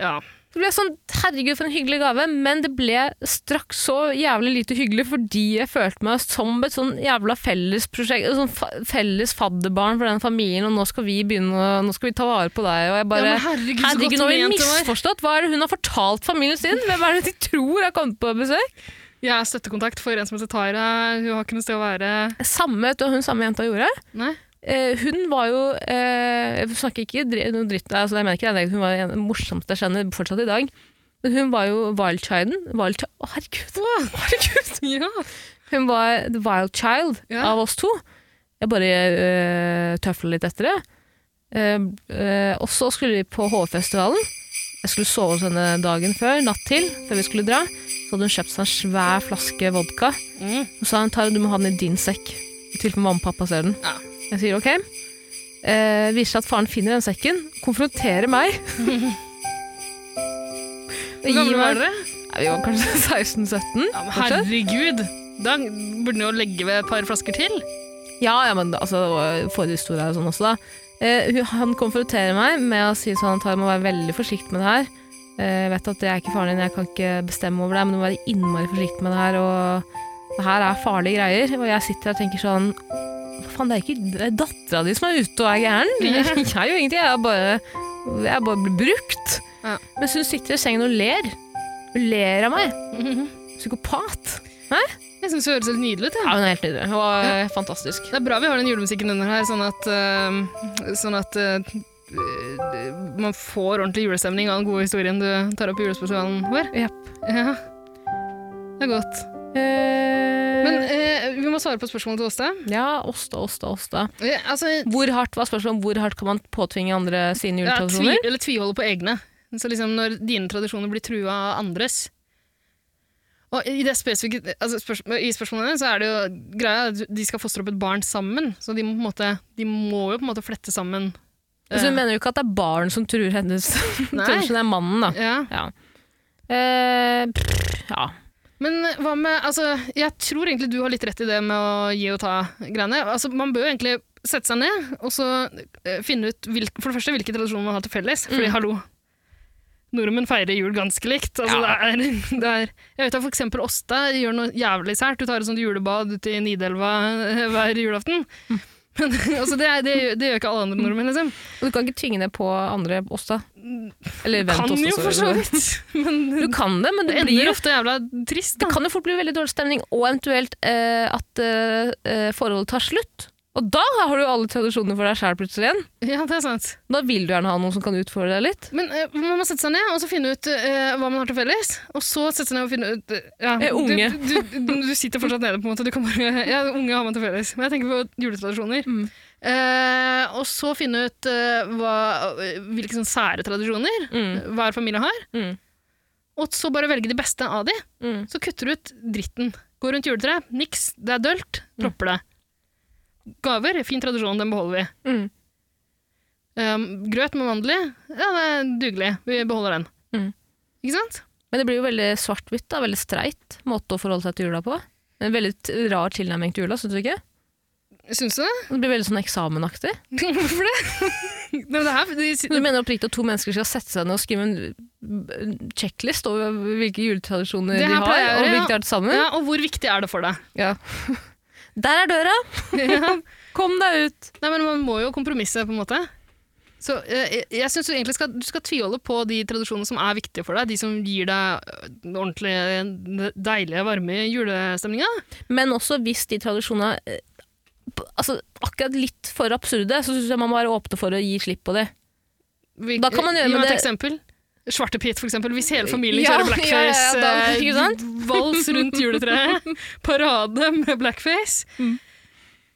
Speaker 4: ja.
Speaker 3: Det ble sånn, Herregud, for en hyggelig gave, men det ble straks så jævlig lite hyggelig fordi jeg følte meg som et sånn jævla fellesprosjekt, et sånn fa felles fadderbarn for den familien, og nå skal vi begynne å nå skal vi ta vare på deg. Og jeg bare
Speaker 4: ja men herregud, så
Speaker 3: Herregud,
Speaker 4: godt
Speaker 3: nå har vi
Speaker 4: ment det var.
Speaker 3: misforstått. Hva er det hun har fortalt familien sin? Hvem er det de tror har kommet på besøk?
Speaker 4: Jeg er støttekontakt for en som heter Tara. Hun har ikke noe sted å være.
Speaker 3: Samme, vet du, hva hun samme jenta gjorde.
Speaker 4: Nei.
Speaker 3: Eh, hun var jo eh, Jeg snakker ikke dri- noe dritt altså, jeg mener ikke det, Hun var en av de morsomste jeg kjenner fortsatt i dag. Men hun var jo wild childen. Wild chi- Å, herregud.
Speaker 4: Herregud, ja.
Speaker 3: Hun var the wild child
Speaker 4: Ja.
Speaker 3: av oss to. Jeg bare uh, tøfla litt etter det. Eh, eh, og så skulle vi på HV-festivalen. Jeg skulle sove hos henne dagen før, natt til, før vi skulle dra. Så hadde hun kjøpt seg en svær flaske vodka.
Speaker 4: Mm.
Speaker 3: Og så sa hun, Tara, du må ha den i din sekk. I tilfelle mamma og pappa ser den.
Speaker 4: Ja.
Speaker 3: Jeg sier ok. Eh, viser seg at faren finner den sekken, konfronterer meg.
Speaker 4: Hvor gamle var dere?
Speaker 3: Nei, vi var kanskje 16-17.
Speaker 4: Ja, men
Speaker 3: fortsatt.
Speaker 4: herregud. Da burde dere jo legge ved et par flasker til.
Speaker 3: Ja, ja, men altså, det var jo forhistorie og sånn også, da. Eh, hun- han konfronterer meg med å si sånn at jeg må være veldig forsiktig med det her. Eh, jeg vet at det er ikke faren din, jeg kan ikke bestemme over det, men du må være innmari forsiktig med det her, og det her er farlige greier. Og jeg sitter her og tenker sånn Hva faen, det er ikke det er dattera di som er ute og er gæren. Jeg, jeg gjør ingenting, jeg er bare, jeg er bare blitt brukt.
Speaker 4: Ja.
Speaker 3: Mens hun sitter i sengen og ler. Hun ler av meg.
Speaker 4: Mhm.
Speaker 3: Psykopat.
Speaker 4: Jeg syns det høres helt nydelig ut.
Speaker 3: Ja,
Speaker 4: Ja.
Speaker 3: hun er helt nydelig. Hun var eh, fantastisk.
Speaker 4: Det er bra vi har den julemusikken under her, sånn at, eh, sånn at eh, eh, man får ordentlig julestemning av den gode historien du tar opp i julespesialen vår.
Speaker 3: Japp.
Speaker 4: Ja. Det er godt. Men
Speaker 3: Men
Speaker 4: eh, vi må svare på spørsmålet til Åste.
Speaker 3: ja, Åsta, Åsta, Åsta.
Speaker 4: Eh, altså,
Speaker 3: Hvor hardt var spørsmålet om hvor hardt kan man påtvinge andre sine
Speaker 4: ja, tvi,
Speaker 3: juletradisjoner?
Speaker 4: eller tviholde på egne. Så liksom når dine tradisjoner blir trua av andres og I det spesifikke altså spørs, i spørsmålene så er det jo greia at de skal fostre opp et barn sammen, så de må, på en måte, de må jo på en måte flette sammen
Speaker 3: Så hun mener jo ikke at det er barn som truer hennes
Speaker 4: Nei.
Speaker 3: Kanskje det er mannen, da.
Speaker 4: ja.
Speaker 3: Ja. Eh, pff, ja.
Speaker 4: Men hva med altså, Jeg tror egentlig du har litt rett i det med å gi og ta-greiene. Altså, man bør jo egentlig sette seg ned og så eh, finne ut hvil, for det første hvilke tradisjoner man har til felles.
Speaker 3: Mm.
Speaker 4: Fordi hallo, nordmenn feirer jul ganske likt. Altså, det er, det er, jeg vet at for eksempel Åsta gjør noe jævlig sært. Du tar et sånt julebad ute i Nidelva eh, hver julaften.
Speaker 3: Mm.
Speaker 4: Men altså, det, er, det, det gjør ikke alle andre nordmenn, liksom.
Speaker 3: Og du kan ikke tvinge det på andre Åsta. Eller vent
Speaker 4: kan
Speaker 3: Åsta,
Speaker 4: jo
Speaker 3: sorry.
Speaker 4: for så vidt, men
Speaker 3: Du kan det, men
Speaker 4: det
Speaker 3: det
Speaker 4: ender
Speaker 3: blir jo
Speaker 4: ofte jævla trist.
Speaker 3: Det
Speaker 4: Da.
Speaker 3: kan jo fort bli veldig dårlig stemning, og eventuelt eh, at eh, eh, forholdet tar slutt. Og da har du jo alle tradisjonene for deg sjæl plutselig igjen.
Speaker 4: Ja, det er sant.
Speaker 3: Da vil du gjerne ha noen som kan utfordre deg litt.
Speaker 4: Men eh, man må sette seg ned og så finne ut eh, hva man har til felles. Og så sette seg ned og finne ut eh, ja,
Speaker 3: Eh, unge.
Speaker 4: Du, du, du, du sitter fortsatt nede, på en måte. Du kan bare, ja, unge har man til felles. Men jeg tenker på juletradisjoner.
Speaker 3: Mm.
Speaker 4: Eh, og så finne ut eh, hva, hvilke sånne sære tradisjoner
Speaker 3: Mm.
Speaker 4: hver familie har.
Speaker 3: Mm.
Speaker 4: Og så bare velge de beste av de.
Speaker 3: Mm.
Speaker 4: Så kutter du ut dritten. Gå rundt juletreet. Niks. Det er dølt. Dropper det. Gaver. Fin tradisjon. Den beholder vi.
Speaker 3: Mm.
Speaker 4: Um, grøt med mandel i? Ja, det er dugelig. Vi beholder den.
Speaker 3: Mm.
Speaker 4: Ikke sant?
Speaker 3: Men det blir jo veldig svart-hvitt, da. Veldig streit måte å forholde seg til jula på. En veldig t- rar tilnærming til jula, syns du ikke?
Speaker 4: Syns du det?
Speaker 3: Det blir veldig sånn eksamenaktig.
Speaker 4: Hvorfor det? Nei, men det her, de,
Speaker 3: Du mener oppriktig at to mennesker skal sette seg ned og skrive en en checklist over hvilke juletradisjoner
Speaker 4: Det
Speaker 3: de
Speaker 4: her
Speaker 3: har,
Speaker 4: pleier jeg
Speaker 3: og
Speaker 4: å gjøre,
Speaker 3: hvilke de har til sammen?
Speaker 4: ja, og hvor viktig er det for deg?
Speaker 3: Ja. Der er døra!
Speaker 4: ja.
Speaker 3: Kom deg ut!
Speaker 4: Nei, men Man må jo kompromisse, på en måte. Så eh, jeg, jeg syns du egentlig skal, du skal tviholde på de tradisjonene som er viktige for deg. De som gir deg eh, den ordentlig deilige, varme julestemninga.
Speaker 3: Men også hvis de tradisjonene eh, p- altså, akkurat litt for absurde, så syns jeg man må være åpne for å gi slipp på det.
Speaker 4: Vi-
Speaker 3: Da kan man gjøre
Speaker 4: Gi meg
Speaker 3: med
Speaker 4: et
Speaker 3: det-
Speaker 4: eksempel. Svartepit, for eksempel. Hvis hele familien
Speaker 3: Ja,
Speaker 4: kjører blackface,
Speaker 3: ja, ja, da-
Speaker 4: eh,
Speaker 3: ikke sant?
Speaker 4: vals rundt juletreet, parade med blackface,
Speaker 3: Mm.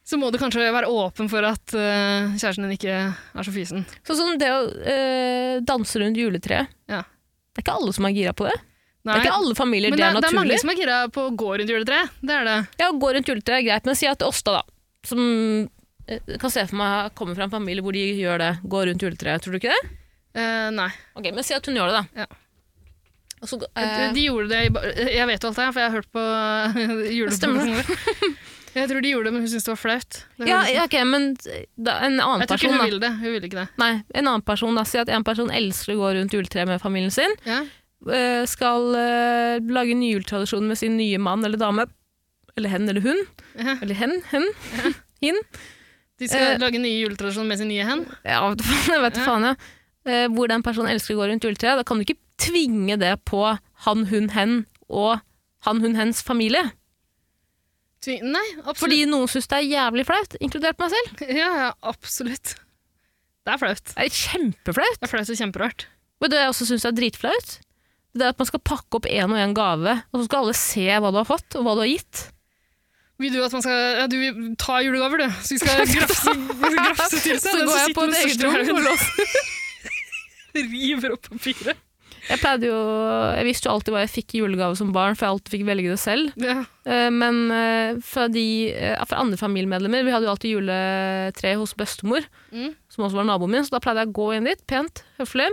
Speaker 4: så må du kanskje være åpen for at eh, kjæresten din ikke er så fysen.
Speaker 3: Sånn som det å eh, danse rundt juletreet.
Speaker 4: Ja.
Speaker 3: Det er ikke alle som er gira på det.
Speaker 4: Nei,
Speaker 3: Det er ikke alle familier det,
Speaker 4: men
Speaker 3: er
Speaker 4: det er
Speaker 3: naturlig.
Speaker 4: mange som er gira på å gå rundt juletreet. Det er det.
Speaker 3: Ja, å gå rundt juletreet er greit, men si at Åsta, da, som eh, kan se for meg kommer fra en familie hvor de gjør det, går rundt juletreet, tror du ikke det?
Speaker 4: Eh, nei.
Speaker 3: Ok, Men si at hun gjør det, da.
Speaker 4: Ja.
Speaker 3: Og så,
Speaker 4: De-
Speaker 3: eh,
Speaker 4: De gjorde det i ba- Jeg vet jo alt det her, for jeg har hørt på
Speaker 3: Stemmer
Speaker 4: juleprogrammet. Jeg tror de gjorde det, men hun syntes det var flaut. Det
Speaker 3: ja,
Speaker 4: høres-
Speaker 3: ja, ok, men eh, da, en annen
Speaker 4: jeg tror ikke
Speaker 3: person,
Speaker 4: hun
Speaker 3: da.
Speaker 4: ville det. Hun ville ikke det.
Speaker 3: Nei, en annen person, da. Si at en person elsker å gå rundt juletreet med familien sin.
Speaker 4: Ja.
Speaker 3: eh, Skal eh, lage nye juletradisjoner med sin nye mann eller dame. Eller hen eller hun.
Speaker 4: Ja.
Speaker 3: Eller hen. Hen. Hin.
Speaker 4: De skal
Speaker 3: Eh,
Speaker 4: lage nye juletradisjoner med sin nye hen.
Speaker 3: Ja, vet du faen, jeg vet
Speaker 4: Ja.
Speaker 3: du faen, ja. Eh, Hvor den personen elsker å gå rundt juletreet. Da kan du ikke tvinge det på han, hun, hen og han, hun, hens familie.
Speaker 4: Tvi- Nei, absolutt.
Speaker 3: Fordi noen syns det er jævlig flaut, inkludert meg selv.
Speaker 4: Ja, ja, absolutt. Det er flaut.
Speaker 3: Det er kjempeflaut.
Speaker 4: Det er flaut og kjemperart.
Speaker 3: Og det jeg også syns er dritflaut, det er at man skal pakke opp én og én gave, og så skal alle se hva du har fått, og hva du har gitt.
Speaker 4: Vil du at man skal ja, Du vil ta julegaver, du. Så vi skal grafse, grafse til seg.
Speaker 3: Så
Speaker 4: Den som
Speaker 3: går jeg
Speaker 4: sitter
Speaker 3: på
Speaker 4: med
Speaker 3: et
Speaker 4: den
Speaker 3: eget
Speaker 4: største
Speaker 3: rom og
Speaker 4: haugen,
Speaker 3: låser.
Speaker 4: River opp papiret.
Speaker 3: Jeg pleide jo Jeg visste jo alltid hva jeg fikk i julegave som barn, for jeg alltid fikk velge det selv.
Speaker 4: Ja.
Speaker 3: Eh, Men eh, fra, de, eh, fra andre familiemedlemmer Vi hadde jo alltid juletre hos bestemor,
Speaker 4: Mm.
Speaker 3: som også var naboen min, så da pleide jeg å gå inn dit, pent, høflig.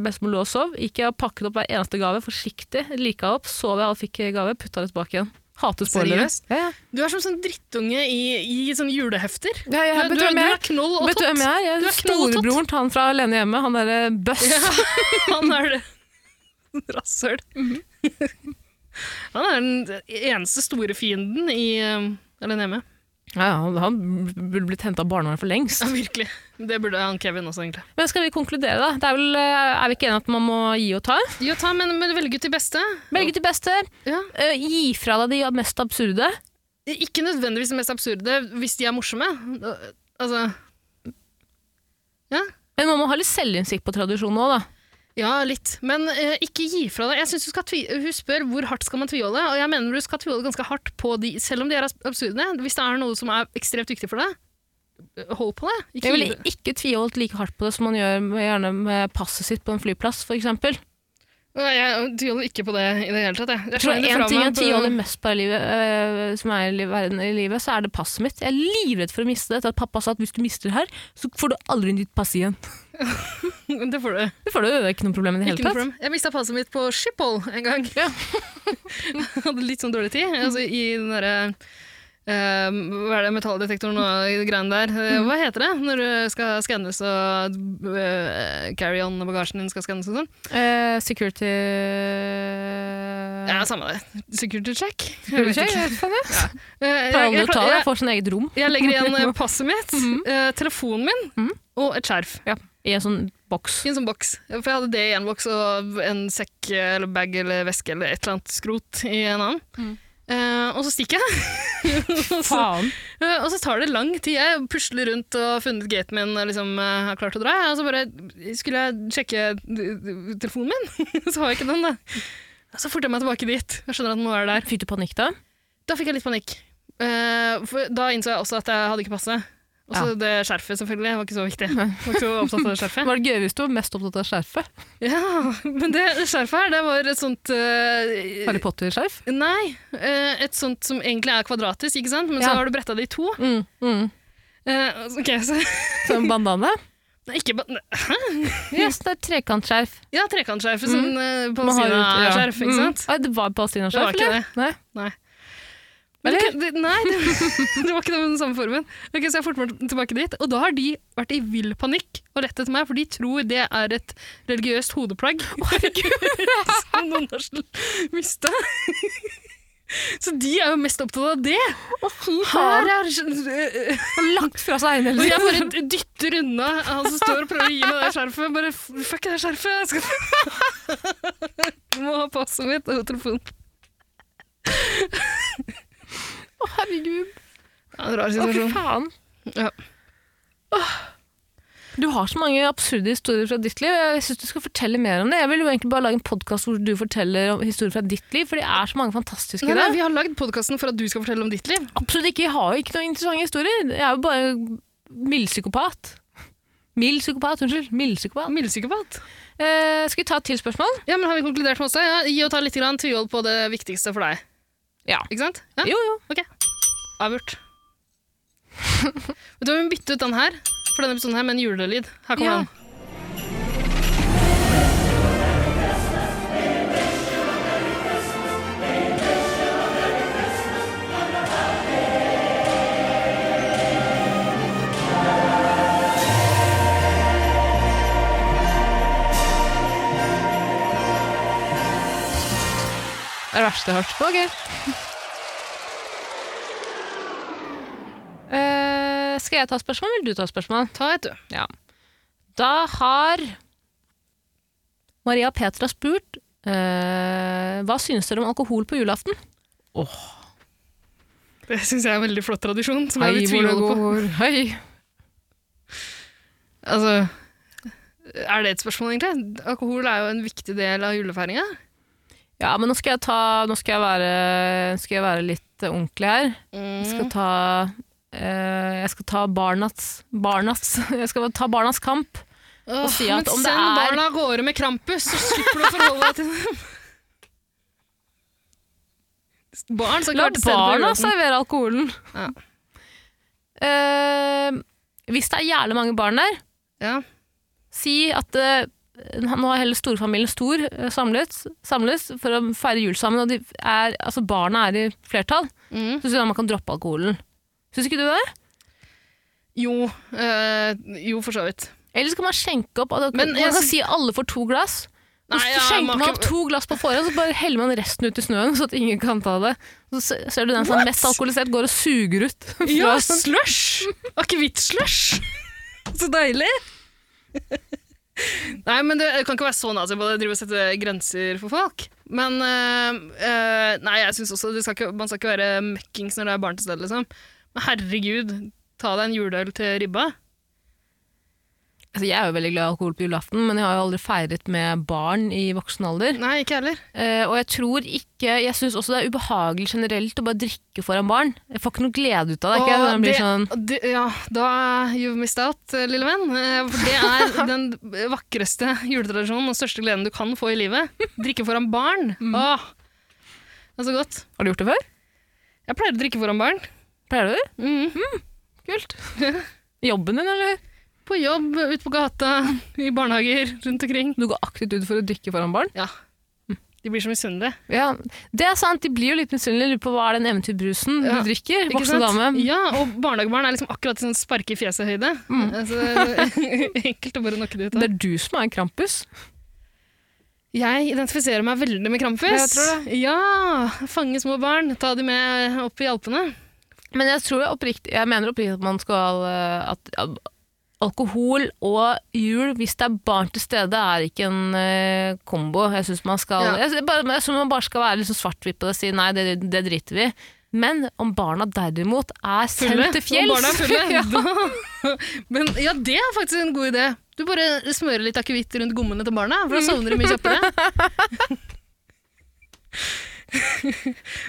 Speaker 3: Bestemor lå og sov. Gikk jeg og pakket opp hver eneste gave forsiktig, lika opp, sov jeg og fikk gave, putta det tilbake igjen. Hater spoilere.
Speaker 4: Seriøst?
Speaker 3: Ja, ja.
Speaker 4: Du er som sånn drittunge i, i sånn julehefter.
Speaker 3: Ja, jeg,
Speaker 4: du,
Speaker 3: vet
Speaker 4: du,
Speaker 3: du hvem
Speaker 4: du
Speaker 3: jeg
Speaker 4: er
Speaker 3: er?
Speaker 4: knoll og
Speaker 3: Vet du
Speaker 4: tott.
Speaker 3: hvem jeg er?
Speaker 4: Du
Speaker 3: Jeg
Speaker 4: er
Speaker 3: er
Speaker 4: knoll og tott.
Speaker 3: Storebroren til han fra Alene hjemme, han derre Bøss.
Speaker 4: Han er det. Rasshøl. Han er den eneste store fienden i eh, Alene hjemme.
Speaker 3: Ja, han, han burde blitt henta av barnevernet for lengst.
Speaker 4: Ja, virkelig. Det burde han Kevin også, egentlig.
Speaker 3: Men skal vi konkludere, da? Det er, vel, eh, er vi ikke enige at man må gi og ta?
Speaker 4: Jo, ta, men, men velg ut de beste.
Speaker 3: Velge til beste.
Speaker 4: Ja.
Speaker 3: eh, gi fra deg de mest absurde.
Speaker 4: Ikke nødvendigvis det mest absurde, hvis de er morsomme. Eh, Altså,
Speaker 3: Men man må ha litt selvinnsikt på tradisjonen òg, da.
Speaker 4: ja, litt. Men eh, ikke gi fra deg. Jeg synes du skal tvi Hun spør hvor hardt skal man tviholde, og jeg mener du skal tviholde ganske hardt på de, selv om de er abs- absurde. Hvis det er noe som er ekstremt viktig for deg, eh, hold på det.
Speaker 3: Jeg
Speaker 4: Ikke gi
Speaker 3: ville
Speaker 4: det.
Speaker 3: ikke tviholdt like hardt på det som man gjør med, gjerne med passet sitt på en flyplass, f.eks. Jeg
Speaker 4: Nei, Jeg tviholder ikke på det i det hele tatt. Jeg, jeg
Speaker 3: tror
Speaker 4: slenger det
Speaker 3: en
Speaker 4: fra
Speaker 3: ting
Speaker 4: meg eh,
Speaker 3: jeg
Speaker 4: på-
Speaker 3: tviholder mest på i livet, eh, som er i li- verden i livet, så er det passet mitt. Jeg er livredd for å miste det. Etter at pappa sa at hvis du mister det her, så får du aldri ditt pass igjen.
Speaker 4: Det får du.
Speaker 3: Det får du, det er ikke noe problem i det
Speaker 4: Ikke noe
Speaker 3: hele tatt.
Speaker 4: problem. Jeg mista passet mitt på Schiphol en gang. Hadde litt sånn dårlig tid. Altså, I den derre eh, Hva er det, metalldetektoren og greiene der. Eh, Hva heter det når du skal skannes og eh, carry-on-bagasjen din skal skannes og sånn?
Speaker 3: Eh, security
Speaker 4: Ja, samme det. Security check.
Speaker 3: Skal vi
Speaker 4: vet
Speaker 3: se,
Speaker 4: ikke.
Speaker 3: jeg vet faen, jeg.
Speaker 4: Eh, jeg-
Speaker 3: Pleier aldri
Speaker 4: jeg-
Speaker 3: å ta det.
Speaker 4: jeg-
Speaker 3: Jeg får sånn eget rom
Speaker 4: Jeg legger igjen eh, passet mitt, eh, telefonen min
Speaker 3: Mhm.
Speaker 4: og et skjerf.
Speaker 3: i en sånn boks.
Speaker 4: I en sånn boks. For jeg hadde det i en boks, og en sekk eller bag eller veske eller et eller annet skrot i en annen. Eh, og så stikker jeg. og, så,
Speaker 3: Mm. Faen.
Speaker 4: eh, og så tar det lang tid. Jeg pusler rundt og har funnet gaten min og liksom, eh, har klart å dra. Og så bare skulle jeg sjekke d- d- telefonen min, så har jeg ikke den, da. Og så forter jeg meg tilbake dit. Jeg skjønner at den må være der.
Speaker 3: Fikk du panikk da?
Speaker 4: Da fikk jeg litt panikk. Eh, for da innså jeg også at jeg hadde ikke passet. Og så
Speaker 3: Ja.
Speaker 4: det skjerfet, selvfølgelig. var ikke så viktig. Jeg var ikke så opptatt av det skjerfet.
Speaker 3: Var det gøy hvis du var mest opptatt av skjerfet?
Speaker 4: Ja, men det skjerfet her, det var et sånt eh,
Speaker 3: Harry Potter-skjerf?
Speaker 4: Nei, eh, et sånt som egentlig er kvadratisk, ikke sant? Men
Speaker 3: Ja.
Speaker 4: så har du bretta det i to.
Speaker 3: Mm, mm.
Speaker 4: Eh, ok, så
Speaker 3: Som bandane?
Speaker 4: Nei, ikke ba... Nei.
Speaker 3: Yes, det er trekantskjerf.
Speaker 4: Ja, trekantskjerfet som mm.
Speaker 3: Man har jo- ja.
Speaker 4: palestinaskjerf, ikke
Speaker 3: Mm.
Speaker 4: sant?
Speaker 3: Nei, det var palestinaskjerf,
Speaker 4: Det var ikke
Speaker 3: eller? Nei.
Speaker 4: Men det,
Speaker 3: Eller?
Speaker 4: det, nei, det, det var ikke det med den samme formen. Ok, Så jeg forter meg tilbake dit. Og da har de vært i vill panikk og lett etter meg, for de tror det er et religiøst hodeplagg som noen har sl- mista. Så de er jo mest opptatt av det.
Speaker 3: Å, fy
Speaker 4: Her er øh, øh,
Speaker 3: Og lagt fra seg
Speaker 4: Og jeg
Speaker 3: eiendelsen.
Speaker 4: bare dytter unna han som står og prøver å gi meg det skjerfet. Bare f- fuck det skjerfet! Jeg skal... Du må ha passet mitt og telefonen.
Speaker 3: Å, herregud.
Speaker 4: Ja, en rar
Speaker 3: Å, fy
Speaker 4: situasjon.
Speaker 3: faen.
Speaker 4: Ja.
Speaker 3: Åh. Du har så mange absurde historier fra ditt liv. Jeg synes du skal fortelle mer om det. Jeg vil jo egentlig bare lage en podcast hvor du forteller om historier fra ditt liv, for det er så mange fantastiske
Speaker 4: Nei, nei,
Speaker 3: der.
Speaker 4: vi har lagd podkasten for at du skal fortelle om ditt liv.
Speaker 3: Absolutt ikke. Jeg har jo ikke noen interessante historier. Jeg er jo bare mild psykopat. Mild psykopat, unnskyld. Mild psykopat.
Speaker 4: Mildpsykopat.
Speaker 3: Eh, skal vi ta et til spørsmål?
Speaker 4: Ja, men har vi konkludert med oss da? Ja, gi og ta litt grann tvihold på det viktigste for deg.
Speaker 3: Ja.
Speaker 4: Ikke sant? Ja,
Speaker 3: Jo, jo.
Speaker 4: avgjort. Vet du, vi må bytte ut den her, for denne episoden her med en julelyd. Her
Speaker 3: Ja.
Speaker 4: kommer den.
Speaker 3: Det er det verste jeg har hørt. Ok. Eh, skal jeg ta et spørsmål, eller vil du ta et spørsmål?
Speaker 4: Ta et, du.
Speaker 3: Ja. Da har Maria Petra spurt eh, hva synes dere om alkohol på julaften?
Speaker 4: Det syns jeg er en veldig flott tradisjon, som jeg vil tviholde på.
Speaker 3: Hei.
Speaker 4: Altså, er det et spørsmål, egentlig? Alkohol er jo en viktig del av julefeiringa.
Speaker 3: Ja, men nå skal jeg, ta, nå skal jeg, være, skal jeg være litt eh, ordentlig her. Jeg skal
Speaker 4: Mm.
Speaker 3: ta, eh, jeg skal ta barnas, barnas Jeg skal ta barnas kamp.
Speaker 4: Åh,
Speaker 3: si at
Speaker 4: men
Speaker 3: om
Speaker 4: send
Speaker 3: det er-
Speaker 4: barna av gårde med Krampus, så slipper du å forholde deg til dem. Barn, så
Speaker 3: La
Speaker 4: klart. selv på
Speaker 3: barna
Speaker 4: julaften.
Speaker 3: servere alkoholen.
Speaker 4: Ja.
Speaker 3: Eh, hvis det er jævlig mange barn der,
Speaker 4: Ja.
Speaker 3: si at eh, nå er hele storfamilien stor eh, samlet, samles for å feire jul sammen, og de er, altså barna er i flertall.
Speaker 4: Mm.
Speaker 3: Så syns jeg man kan droppe alkoholen. Syns ikke du det?
Speaker 4: Jo, eh, jo, for så vidt.
Speaker 3: Eller skal man skjenke opp? og da-
Speaker 4: Men jeg
Speaker 3: man kan
Speaker 4: syns-
Speaker 3: si alle får to glass.
Speaker 4: Nei,
Speaker 3: Så
Speaker 4: ja,
Speaker 3: skjenker
Speaker 4: man
Speaker 3: man
Speaker 4: kan-
Speaker 3: opp to glass på forhånd, så bare heller man resten ut i snøen, så at ingen kan ta det. Så se- ser du den som er mest alkoholisert, går og suger ut. fra
Speaker 4: Ja,
Speaker 3: sånn-
Speaker 4: slush! Akevitt-slush! Så deilig! Nei, men det jeg kan ikke være så nazi på det, drive og sette grenser for folk. Men eh, eh, Nei, jeg syns også det skal ikke, man skal ikke være møkkings når det er barn til stede, liksom. Men herregud, ta deg en juleøl til ribba.
Speaker 3: altså, jeg er jo veldig glad i alkohol på julaften, men jeg har jo aldri feiret med barn i voksen alder.
Speaker 4: Nei, ikke jeg heller.
Speaker 3: Eh, og jeg tror ikke Jeg syns også det er ubehagelig generelt å bare drikke foran barn. Jeg får ikke noe glede ut av det. Ikke?
Speaker 4: Og
Speaker 3: Det blir sånn
Speaker 4: det, ja, da you've missed out, eh, lille venn. Eh, For det er den vakreste juletradisjonen og største gleden du kan få i livet. Drikke foran barn.
Speaker 3: Mm.
Speaker 4: Åh, det er så godt.
Speaker 3: Har du gjort det før?
Speaker 4: Jeg pleier å drikke foran barn. Mm.
Speaker 3: Pleier du det? Kult. Jobben din, eller?
Speaker 4: På jobb, ute på gata, i barnehager, rundt omkring.
Speaker 3: Du går aktivt ut for å drikke foran barn?
Speaker 4: Ja.
Speaker 3: Mm.
Speaker 4: De blir så misunnelige.
Speaker 3: Ja, Det er sant, de blir jo litt misunnelige. Lurer på hva er den eventyrbrusen
Speaker 4: Ja,
Speaker 3: du drikker?
Speaker 4: Ikke
Speaker 3: Voksen
Speaker 4: sant?
Speaker 3: dame.
Speaker 4: Ja, og barnehagebarn er liksom akkurat i sånn sparke i fjeset-høyde.
Speaker 3: Mm.
Speaker 4: Altså, enkelt å bare knokke det ut
Speaker 3: Det
Speaker 4: av.
Speaker 3: er du som er Krampus.
Speaker 4: Jeg identifiserer meg veldig med Krampus.
Speaker 3: Jeg tror
Speaker 4: det. Ja! Fange små barn, ta de med opp i Alpene.
Speaker 3: Men jeg tror jeg oppriktig Jeg mener oppriktig at man skal eh, At ja, alkohol og jul, hvis det er barn til stede, er ikke en eh, kombo. Jeg syns man skal
Speaker 4: Ja.
Speaker 3: jeg, bare, jeg synes man bare skal være liksom svart-hvitt på det og si nei, det, det driter vi i. Men om barna derimot er
Speaker 4: Fulle.
Speaker 3: sendt til
Speaker 4: Og barna er
Speaker 3: fjells
Speaker 4: fulle.
Speaker 3: ja.
Speaker 4: Da- Men ja, det er faktisk en god idé. Du bare smører litt akevitt rundt gommene til barna, for da sovner de
Speaker 3: Mm.
Speaker 4: mye kjappere.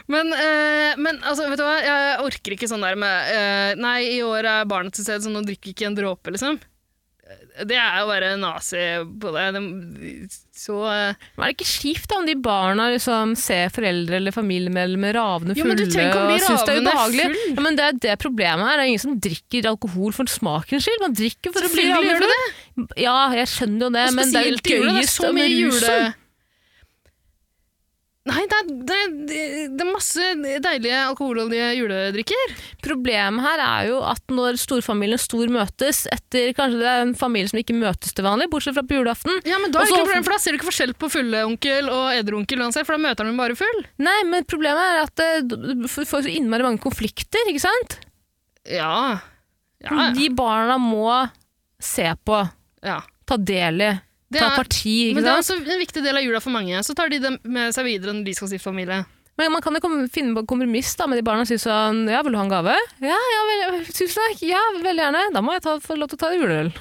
Speaker 4: men, eh, men altså, vet du hva, jeg orker ikke sånn der med eh, Nei, i år er barna til stede, så nå drikker ikke en dråpe, liksom. Eh, Det er jo bare nazi på det. De- Så eh,
Speaker 3: Men er det ikke skift da om de barna liksom ser foreldre eller familiemedlemmer ravende
Speaker 4: Jo,
Speaker 3: fulle
Speaker 4: men du trenger ikke å bli
Speaker 3: og synes det er
Speaker 4: ravende
Speaker 3: ubehagelig?
Speaker 4: full.
Speaker 3: Ja, men det er det problemet her. Det er ingen som drikker alkohol for smakens skyld. Man drikker for å bli
Speaker 4: Selvfølgelig gjør du
Speaker 3: ravende full. Ja, jeg skjønner jo det,
Speaker 4: Og
Speaker 3: men det er jo
Speaker 4: spesielt i jula, Eh, det er
Speaker 3: gøyest
Speaker 4: så mye
Speaker 3: med rusen.
Speaker 4: jule... Nei, det er, det, er, det er masse deilige alkoholholdige juledrikker.
Speaker 3: Problemet her er jo at når storfamilien stor møtes etter Kanskje det er en familie som ikke møtes til vanlig, bortsett fra på julaften.
Speaker 4: Ja, men Da er det
Speaker 3: Også-
Speaker 4: ikke noe problem, for da ser du ikke forskjell på fulle onkel og edru onkel uansett, for da møter han dem bare full.
Speaker 3: Nei, men problemet er at eh, du f- får så innmari mange konflikter, ikke sant?
Speaker 4: Ja. Ja, ja.
Speaker 3: De barna må se på,
Speaker 4: ja.
Speaker 3: ta del i,
Speaker 4: Det
Speaker 3: ta
Speaker 4: er-
Speaker 3: parti, ikke
Speaker 4: Men det er
Speaker 3: sant?
Speaker 4: også en viktig del av jula for mange. Så tar de dem med seg videre når de skal stifte familie.
Speaker 3: Men man kan jo kom- finne på kompromiss da, med de barna og si sånn Ja, vil du ha en gave? Ja, ja, vel, tusen takk. Ja, veldig gjerne. Da må jeg ta, få lov til å ta juleøl.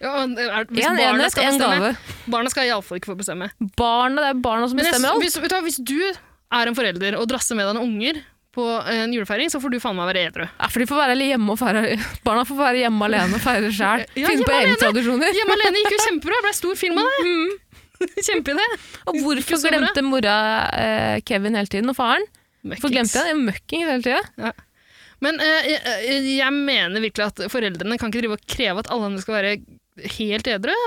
Speaker 4: Ja, og eh, er, hvis
Speaker 3: Én
Speaker 4: barna
Speaker 3: enhet,
Speaker 4: skal
Speaker 3: én
Speaker 4: bestemme,
Speaker 3: gave.
Speaker 4: Barna skal iallfall ikke få bestemme.
Speaker 3: Barna, det er barna som
Speaker 4: Men jeg,
Speaker 3: bestemmer alt.
Speaker 4: hvis, vet du, hva, hvis du er en forelder og drasser med deg noen unger på en julefeiring, så får du faen meg være edru.
Speaker 3: Ja, for de får være hjemme og feire Barna får være hjemme alene og feire sjæl.
Speaker 4: Ja,
Speaker 3: Finne på
Speaker 4: hjemme
Speaker 3: egne
Speaker 4: alene.
Speaker 3: tradisjoner.
Speaker 4: Hjemme alene gikk jo kjempebra. Det ble stor film av det. Kjempeidé.
Speaker 3: Og hvorfor
Speaker 4: så bra.
Speaker 3: glemte mora eh, Kevin hele tiden, og faren? Hvorfor glemte jeg det? Møkking hele tida.
Speaker 4: Men eh, jeg, jeg mener virkelig at foreldrene kan ikke drive og kreve at alle andre skal være helt edru.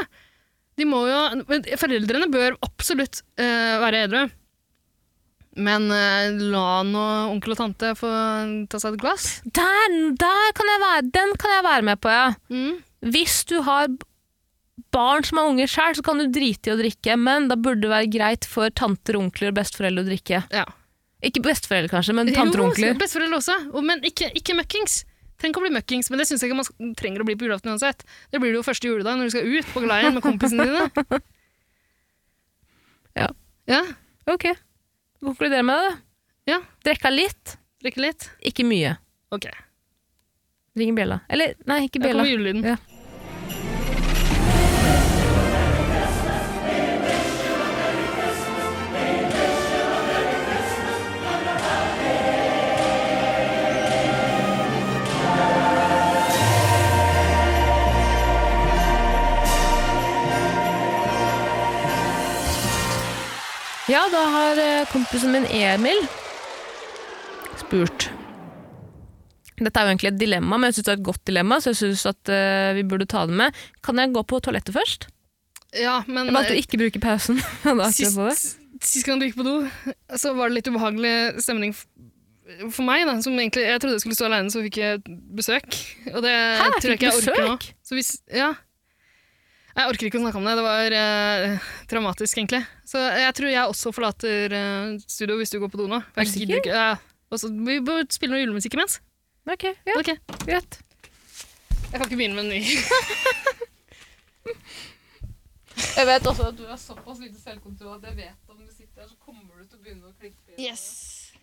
Speaker 4: De må jo, men foreldrene bør absolutt eh, være edru. Men eh, la nå onkel og tante få ta seg et glass.
Speaker 3: Der, der kan jeg være, den kan jeg være med på, ja.
Speaker 4: Mm.
Speaker 3: Hvis du har b- barn som er unge sjøl, så kan du drite i å drikke, men da burde det være greit for tanter, onkler og besteforeldre å drikke.
Speaker 4: Ja.
Speaker 3: Ikke besteforeldre, kanskje, men tanter og
Speaker 4: Jo,
Speaker 3: onkler.
Speaker 4: besteforeldre også. Og, men ikke, ikke møkkings. Trenger ikke å bli møkkings, men det syns jeg ikke man sk- trenger å bli på julaften uansett. Det blir det jo første juledag når du skal ut på galeien med kompisene dine.
Speaker 3: Ja.
Speaker 4: ja.
Speaker 3: Ok. Konkluderer med det.
Speaker 4: Ja.
Speaker 3: Drekka litt,
Speaker 4: Drikke litt.
Speaker 3: ikke mye.
Speaker 4: Ok.
Speaker 3: Ring bjella. Eller, nei, ikke
Speaker 4: Der
Speaker 3: bjella.
Speaker 4: kommer julelyden.
Speaker 3: Ja. Ja, da har eh, kompisen min Emil spurt. Dette er jo egentlig et dilemma, men jeg synes det er et godt dilemma, så jeg synes at eh, vi burde ta det med. Kan jeg gå på toalettet først?
Speaker 4: Ja, men
Speaker 3: Jeg valgte å ikke bruke pausen. da akkurat
Speaker 4: Sist,
Speaker 3: på det.
Speaker 4: sist gang du gikk på do, så var det litt ubehagelig stemning f- for meg. da, som egentlig, Jeg trodde jeg skulle stå alene, så fikk jeg besøk. Og det
Speaker 3: Hæ,
Speaker 4: tror
Speaker 3: fikk
Speaker 4: jeg ikke jeg orker nå.
Speaker 3: besøk?
Speaker 4: Så hvis, ja. Jeg orker ikke å snakke om det. Det var eh, traumatisk, egentlig. Så jeg tror jeg også forlater eh, studio hvis du går på do nå. for
Speaker 3: Er du
Speaker 4: Jeg gidder ikke. Ja. Og så- vi bør spille noe julemusikk imens.
Speaker 3: Ok, ja,
Speaker 4: Ok,
Speaker 3: greit.
Speaker 4: Jeg kan ikke begynne med en ny.
Speaker 3: Jeg vet også at du
Speaker 5: har såpass lite selvkontroll at jeg vet om du sitter her, så kommer du til å begynne å klikke.
Speaker 4: Yes.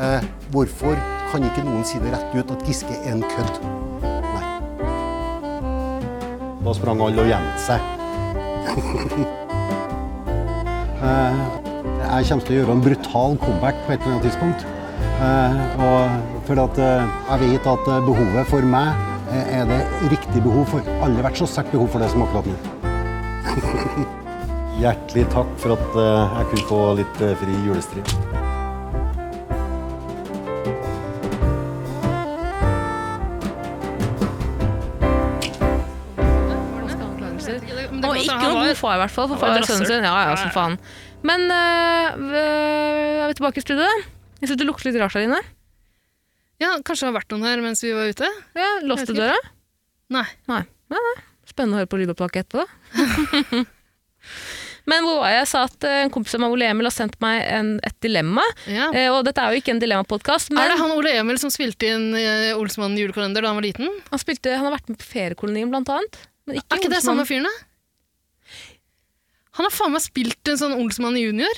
Speaker 6: Eh, hvorfor kan ikke noen si det rett ut at Giske er en kødd? Nei. Da sprang alle og gjemte seg. eh, jeg kommer til å gjøre en brutal comeback på et eller annet tidspunkt. Eh, og for at eh, jeg vet at eh, behovet for meg eh, er det riktig behov for. Alle har vært så sterkt behov for det som akkurat nå.
Speaker 7: Hjertelig takk for at eh, jeg kunne få litt eh, fri julestrid.
Speaker 4: Men det
Speaker 3: Og
Speaker 4: kan godt
Speaker 3: ikke
Speaker 4: hende han
Speaker 3: noen
Speaker 4: var-
Speaker 3: god far, i hvert fall. For
Speaker 4: han var
Speaker 3: far
Speaker 4: et
Speaker 3: er sønnen
Speaker 4: rasshøl.
Speaker 3: sin. Ja, ja, som
Speaker 4: Ja, ja.
Speaker 3: faen. Men øh, øh, er vi tilbake i studio? Jeg syns det lukter litt rart her inne.
Speaker 4: Ja, Kanskje det har vært noen her mens vi var ute?
Speaker 3: Ja, Låste
Speaker 4: Jeg vet ikke.
Speaker 3: døra?
Speaker 4: Nei.
Speaker 3: Nei. Nei, nei. Spennende å høre på lydopptaket etterpå, da. Men hvor var jeg? Jeg sa at øh, en kompis av meg, Ole Emil, har sendt meg en, et dilemma.
Speaker 4: Ja.
Speaker 3: Eh, og dette er jo ikke en dilemmapodkast, men
Speaker 4: Er det han Ole Emil som spilte inn eh, Olsmann julekalender da han var liten?
Speaker 3: han, spilte, han har vært med på Feriekolonien, blant annet. Men ikke
Speaker 4: Er ikke det
Speaker 3: Olsenmann.
Speaker 4: samme fyren, da? Han har faen meg spilt en sånn Olsmann junior.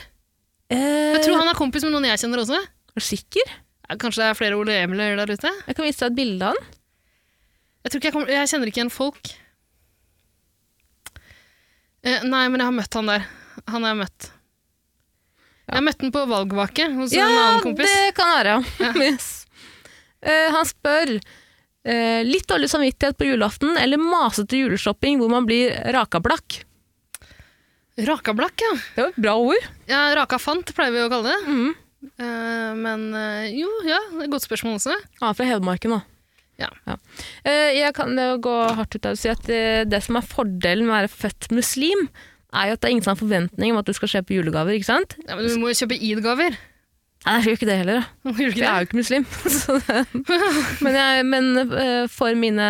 Speaker 3: Eh,
Speaker 4: Jeg tror han er kompis med noen jeg kjenner også.
Speaker 3: Er du sikker?
Speaker 4: Ja, Kanskje det er flere Ole Emiler der ute?
Speaker 3: Jeg kan vise deg et bilde av han.
Speaker 4: Jeg, tror ikke jeg, kommer, jeg kjenner ikke igjen folk. Eh, nei, men jeg har møtt han der. Han har jeg møtt.
Speaker 3: Ja.
Speaker 4: Jeg møtte han på valgvake hos en annen kompis.
Speaker 3: det kan være. Ja. yes. Eh, han spør eh, litt dårlig samvittighet på julaften eller masete juleshopping hvor man blir raka blakk.
Speaker 4: Raka blakk, ja.
Speaker 3: Det var et bra ord.
Speaker 4: ja. Raka fant pleier vi å kalle det.
Speaker 3: Mhm.
Speaker 4: Eh, men eh, jo, ja. det er et Godt spørsmål også.
Speaker 3: Han er fra Hedmarken, da.
Speaker 4: Ja.
Speaker 3: Eh, jeg kan jo gå hardt ut her og si at eh, det som er fordelen med å være født muslim, er jo at det er ingen sånn forventning om at du skal kjøpe julegaver, ikke sant?
Speaker 4: Ja, men du må jo kjøpe id-gaver.
Speaker 3: Nei, jeg gjør ikke det heller, da. For jeg
Speaker 4: Gjør du ikke
Speaker 3: er
Speaker 4: det?
Speaker 3: jo ikke muslim. Så det, men jeg, men eh, for mine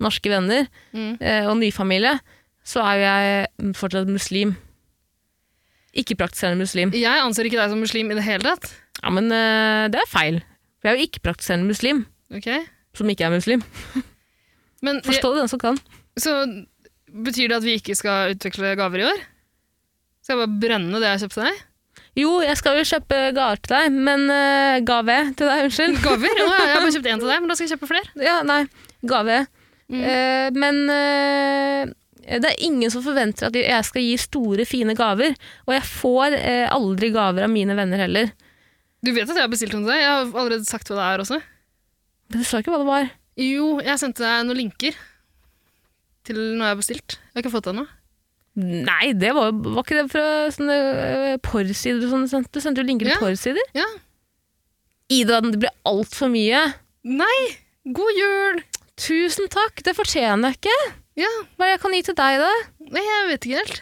Speaker 3: norske venner
Speaker 4: Mm.
Speaker 3: eh, og nyfamilie, så er jo jeg fortsatt muslim. Ikke-praktiserende muslim.
Speaker 4: Jeg anser ikke deg som muslim i det hele tatt.
Speaker 3: Ja, men eh, det er feil. For jeg er jo ikke-praktiserende muslim
Speaker 4: Ok?
Speaker 3: som ikke er muslim.
Speaker 4: Men,
Speaker 3: Forstå det den som kan.
Speaker 4: Så betyr det at vi ikke skal utvikle gaver i år? Skal jeg bare brenne det jeg kjøpte til deg?
Speaker 3: Jo, jeg skal jo kjøpe gaver til deg, men eh, Gave til deg, unnskyld.
Speaker 4: Gaver? Å, ja, jeg har bare kjøpt én til deg, men da skal jeg kjøpe flere.
Speaker 3: Ja, nei, gave.
Speaker 4: Mm.
Speaker 3: Eh, men eh, det er ingen som forventer at jeg skal gi store, fine gaver. Og jeg får eh, aldri gaver av mine venner heller.
Speaker 4: Du vet at jeg har bestilt noe til deg? Jeg har allerede sagt hva det er også.
Speaker 3: Men du sa ikke hva det var.
Speaker 4: Jo, jeg sendte deg noen linker til noe jeg har bestilt. Jeg har ikke fått det ennå.
Speaker 3: Nei, det var, jo- var ikke det fra sånne eh, porrsider og sånn. du sendte- Du sendte jo linker til
Speaker 4: Ja.
Speaker 3: porrsider.
Speaker 4: Ja.
Speaker 3: Ida, det ble altfor mye.
Speaker 4: Nei! God jul!
Speaker 3: Tusen takk, det fortjener jeg ikke.
Speaker 4: Ja,
Speaker 3: Hva er det jeg kan gi til deg, da?
Speaker 4: nei, jeg vet ikke helt.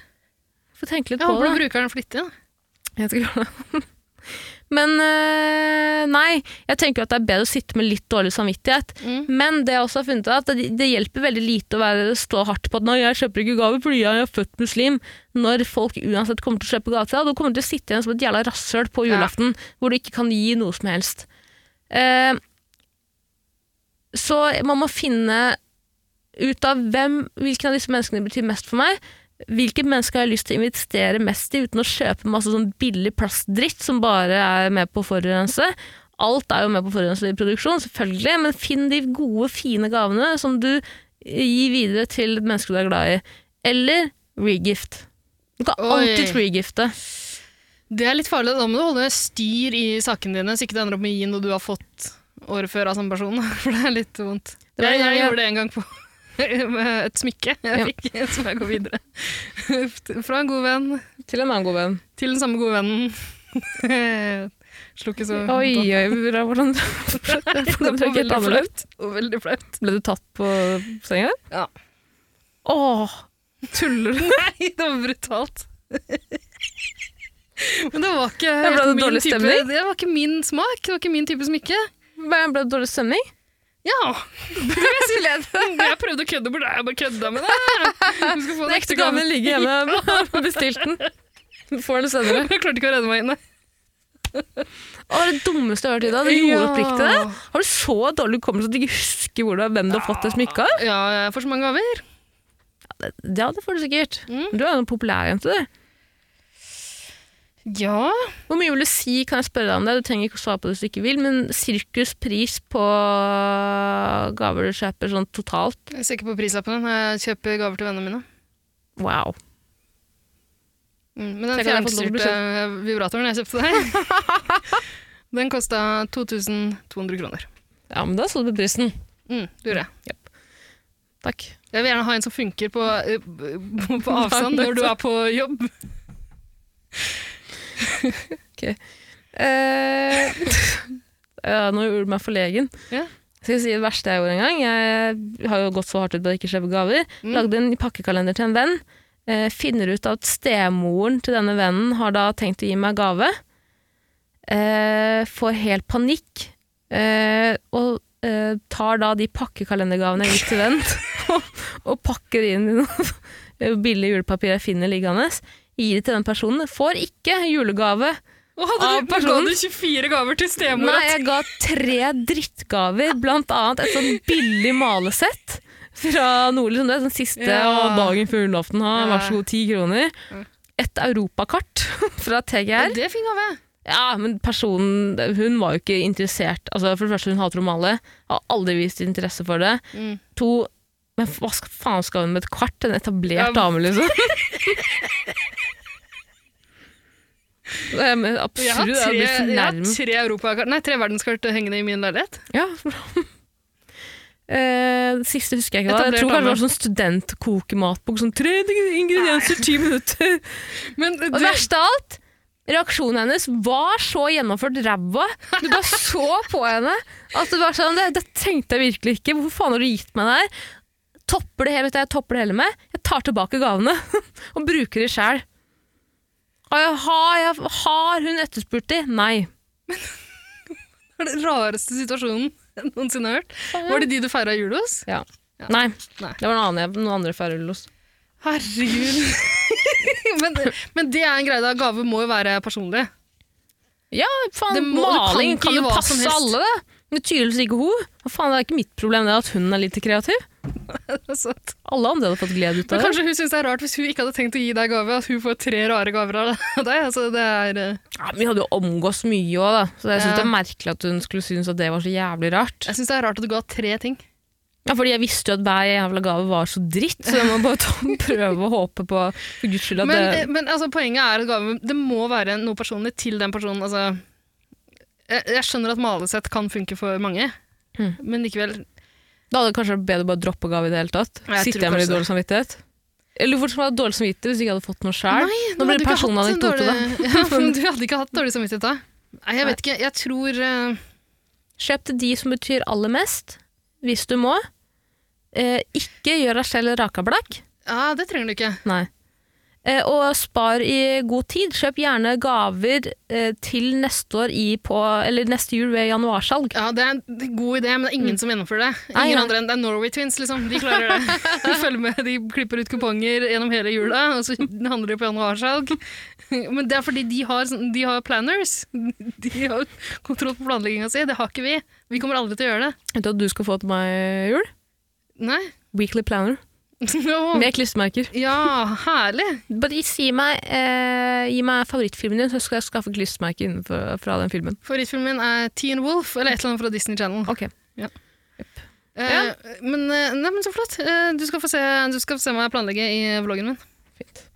Speaker 3: Få tenke litt
Speaker 4: Jeg
Speaker 3: på
Speaker 4: håper
Speaker 3: det.
Speaker 4: du bruker den flittig. da.
Speaker 3: Jeg skal gjøre det. Men øh, nei, jeg tenker jo at det er bedre å sitte med litt dårlig samvittighet.
Speaker 4: Mm.
Speaker 3: Men det jeg også har funnet ut er at det, det hjelper veldig lite å være, stå hardt på at «Nei, jeg kjøper ikke gaver fordi jeg er født muslim, når folk uansett kommer til å kjøpe gaver til deg. og Du kommer til å sitte igjen som et jævla rasshøl på
Speaker 4: Ja.
Speaker 3: julaften hvor du ikke kan gi noe som helst. Eh, så man må finne ut av hvem, hvilken av disse menneskene betyr mest for meg. Hvilke mennesker har jeg lyst til å investere mest i uten å kjøpe masse sånn billig plastdritt som bare er med på å forurense? Alt er jo med på å forurense i produksjon, selvfølgelig, men finn de gode, fine gavene som du eh, gir videre til mennesker du er glad i. Eller regift. Du kan
Speaker 4: Oi.
Speaker 3: alltids regifte.
Speaker 4: Det er litt farlig. Da må du holde styr i sakene dine, så ikke det ender opp med å gi noe du har fått året før av samme person. For det er litt vondt.
Speaker 3: Det var
Speaker 4: jeg,
Speaker 3: en gang
Speaker 4: jeg
Speaker 3: jeg-
Speaker 4: gjorde det en gang på Et smykke jeg fikk, som jeg går videre. Fra en god venn
Speaker 3: Til en annen god venn.
Speaker 4: til den samme gode vennen. Slo ikke så
Speaker 3: Oi,
Speaker 4: på.
Speaker 3: oi, bra, hvordan hvordan
Speaker 4: Det var
Speaker 3: ble det
Speaker 4: veldig
Speaker 3: annerledes?
Speaker 4: flaut. Og veldig flaut.
Speaker 3: Ble du tatt på senga?
Speaker 4: Ja.
Speaker 3: Åh, tuller du?
Speaker 4: Nei, det var brutalt. Men det var ikke
Speaker 3: ble
Speaker 4: helt
Speaker 3: det
Speaker 4: min
Speaker 3: dårlig
Speaker 4: type-
Speaker 3: stemning?
Speaker 4: Det var ikke min smak, det var ikke min type smykke.
Speaker 3: Ble ble det dårlig stemning?
Speaker 4: Ja, jeg prøvde å kødde bort deg, jeg bare kødda med deg. Du skal
Speaker 3: Den
Speaker 4: få en
Speaker 3: ekte gaven ligger hjemme, bestilt den. Du får den senere.
Speaker 4: Jeg klarte ikke å redde meg inn.
Speaker 3: Å, det er det dummeste jeg har hørt i dag. Du gjorde
Speaker 4: Ja.
Speaker 3: oppriktig det. Har du så dårlig hukommelse at du ikke husker hvor du har, hvem du har fått det smykket av?
Speaker 4: Ja, jeg får så mange gaver.
Speaker 3: Ja, det får du sikkert.
Speaker 4: Mm.
Speaker 3: Du er jo en populær jente, du.
Speaker 4: Ja,
Speaker 3: Hvor mye vil du si, kan jeg spørre deg om det? Du trenger ikke å svare på det hvis du ikke vil, men sirkuspris på gaver du kjøper sånn totalt?
Speaker 4: jeg ser ikke på prislappen når jeg kjøper gaver til vennene mine.
Speaker 3: Wow.
Speaker 4: Mm, Men den
Speaker 3: Tenk at jeg har fått lov til å bli
Speaker 4: fjernstyrte vibratoren jeg kjøpte deg, den kosta 2200 kroner.
Speaker 3: Ja, men da så du på prisen.
Speaker 4: Mm, du gjorde det.
Speaker 3: Takk.
Speaker 4: Jeg vil gjerne ha en som funker på, eh, b- på avstand når du er på jobb.
Speaker 3: Eh, ja, nå gjorde du meg forlegen.
Speaker 4: Ja.
Speaker 3: Skal jeg si det verste jeg gjorde en gang? Jeg har jo gått så hardt ut på å ikke kjøpe gaver. Lagde en pakkekalender til en venn. Eh, finner ut at stemoren til denne vennen har da tenkt å gi meg gave. Eh, får helt panikk. Eh, og eh, tar da de pakkekalendergavene jeg gikk til venn, og, og pakker inn i noe billig julepapir jeg finner liggende. Gir det til den personen. Får ikke julegave.
Speaker 4: Og hadde
Speaker 3: Av
Speaker 4: du, ga
Speaker 3: personen?
Speaker 4: du 24 gaver til stemora?
Speaker 3: Nei, jeg ga tre drittgaver, blant annet et sånn billig malesett fra Nordli, som det er sånn siste
Speaker 4: Ja.
Speaker 3: og dagen før julaften, ha, vær så god, ti kroner. Et europakart fra
Speaker 4: Ja,
Speaker 3: TGR.
Speaker 4: det fikk gave.
Speaker 3: Ja, men personen, hun var jo ikke interessert. Altså, for det første, hun hater å male, har aldri vist interesse for det.
Speaker 4: Mm.
Speaker 3: To, men hva skal- faen skal hun med et kart? En etablert
Speaker 4: Ja.
Speaker 3: dame, liksom. Det er men
Speaker 4: Jeg har
Speaker 3: absurd. Jeg,
Speaker 4: tre,
Speaker 3: blir
Speaker 4: jeg har
Speaker 3: fornærmet.
Speaker 4: tre, europakart- nei, tre verdenskart hengende i min leilighet.
Speaker 3: Ja, bra. Eh, det siste husker jeg ikke. hva. Jeg
Speaker 4: Etablert
Speaker 3: tror kanskje det
Speaker 4: dame.
Speaker 3: var sånn studentkokematbok. Sånn tre ingredienser, ti minutter.
Speaker 4: Men
Speaker 3: Og
Speaker 4: det,
Speaker 3: det verste av alt, reaksjonen hennes var så gjennomført ræva. Du bare så på henne at det var sånn Det, det tenkte jeg virkelig ikke. Hvorfor faen har du gitt meg det her? Topper det hele, vet du, hva jeg topper det hele med. Jeg tar tilbake gavene og bruker de sjæl. Har, jeg- har, jeg- har hun etterspurt de? Nei.
Speaker 4: var den rareste situasjonen jeg noensinne har hørt. Var det de du feira jul hos?
Speaker 3: Ja. Nei.
Speaker 4: Nei.
Speaker 3: Det var noen andre, noen andre fra Rullos.
Speaker 4: Herregud. men, men det er en greie. da. Gave må jo være personlig.
Speaker 3: Ja, faen,
Speaker 4: Det må-
Speaker 3: maling
Speaker 4: du kan
Speaker 3: kan,
Speaker 4: ikke
Speaker 3: jo
Speaker 4: hva
Speaker 3: passe
Speaker 4: som helst.
Speaker 3: alle, det. Men tydeligvis ikke hun. Hva faen, det er ikke mitt problem det at hun er lite kreativ.
Speaker 4: Så at-
Speaker 3: Alle andre hadde fått glede ut
Speaker 4: Men
Speaker 3: av det.
Speaker 4: kanskje hun syns det er rart hvis hun ikke hadde tenkt å gi deg gave, at hun får tre rare gaver av deg. Altså, det er... eh,
Speaker 3: Ja, men vi hadde jo omgås mye òg, da. Så jeg synes
Speaker 4: Ja.
Speaker 3: det er merkelig at hun skulle synes at det var så jævlig rart.
Speaker 4: Jeg syns det er rart at du ga tre ting.
Speaker 3: Ja, fordi jeg visste jo at hver jævla gave var så dritt, så jeg må bare ta, prøve å håpe på for guds skyld at
Speaker 4: Men,
Speaker 3: det
Speaker 4: eh, men altså, poenget er at gave, det må være noe personlig til den personen. Altså, jeg, jeg skjønner at malesett kan funke for mange,
Speaker 3: Mm.
Speaker 4: men likevel
Speaker 3: Da hadde det kanskje vært bedre å bare droppe gave i det hele tatt.
Speaker 4: Ja, jeg
Speaker 3: Sitter
Speaker 4: tror
Speaker 3: jeg med litt
Speaker 4: kanskje
Speaker 3: dårlig samvittighet? Eller hvorfor skulle jeg ha dårlig samvittighet hvis jeg ikke hadde fått noe sjæl? Nå blir det personanekdote, da.
Speaker 4: Ja, men du hadde ikke hatt dårlig samvittighet da. Nei, jeg
Speaker 3: Nei.
Speaker 4: vet ikke. Jeg tror eh,
Speaker 3: Kjøp til de som betyr aller mest, hvis du må. Eh, ikke gjør deg selv rakablakk.
Speaker 4: Ja, det trenger du ikke.
Speaker 3: Nei. Eh, og spar i god tid. Kjøp gjerne gaver eh, til neste år i på, eller neste jul ved januarsalg.
Speaker 4: Ja, Det er en god idé, men det er ingen som gjennomfører det. Ingen
Speaker 3: Mm. Nei, nei.
Speaker 4: andre enn Det er Norway Twins, liksom. De klarer det. De følger med, de klipper ut kuponger gjennom hele jula, og så handler de på januarsalg. Men det er fordi de har, sånn- de har planners. De har kontroll på planlegginga si. Det har ikke vi. Vi kommer aldri til å gjøre det.
Speaker 3: Vet du at du skal få til meg jul?
Speaker 4: Nei.
Speaker 3: Weekly planner.
Speaker 4: Nå.
Speaker 3: Med klistremerker.
Speaker 4: Ja, herlig.
Speaker 3: Mm. Bare si meg, eh, gi meg favorittfilmen din, så skal jeg skaffe klistremerker innenfor- fra den filmen.
Speaker 4: Favorittfilmen min er Teen Wolf, eller et eller annet fra Disney Channel.
Speaker 3: Ok.
Speaker 4: Eh,
Speaker 3: Ja.
Speaker 4: men, eh, nei, men så flott. Eh, du, skal få se, du skal få se meg planlegge i vloggen min.
Speaker 3: Fint.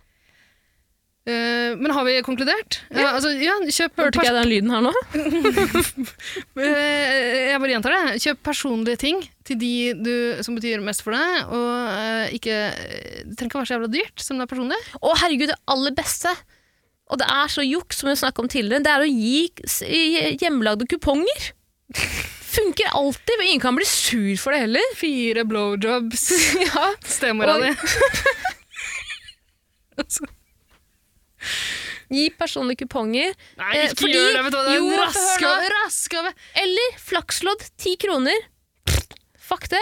Speaker 4: Eh, men har vi konkludert? Ja. altså, ja, kjøp
Speaker 3: Hørte ikke jeg den lyden her nå?
Speaker 4: pers- eh, jeg bare gjentar det. Kjøp personlige ting til de du, som betyr mest for deg, og eh, ikke Det trenger ikke å være så jævla dyrt, selv om det er personlig.
Speaker 3: Å, herregud, det aller beste! Og det er så juks, som vi snakket om tidligere, det er å gi s- i- hjemmelagde kuponger. Funker alltid, men ingen kan bli sur for det heller.
Speaker 4: Fire blowjobs.
Speaker 3: Ja.
Speaker 4: Stemora
Speaker 3: Og-
Speaker 4: di.
Speaker 3: Gi personlige kuponger.
Speaker 4: Nei,
Speaker 3: Eh,
Speaker 4: ikke
Speaker 3: fordi-
Speaker 4: gjør det! vet du hva, Det
Speaker 3: Jo, hør
Speaker 4: er en
Speaker 3: nå.
Speaker 4: raskave! raskave.
Speaker 3: Eller flakslodd, ti kroner. Fuck det.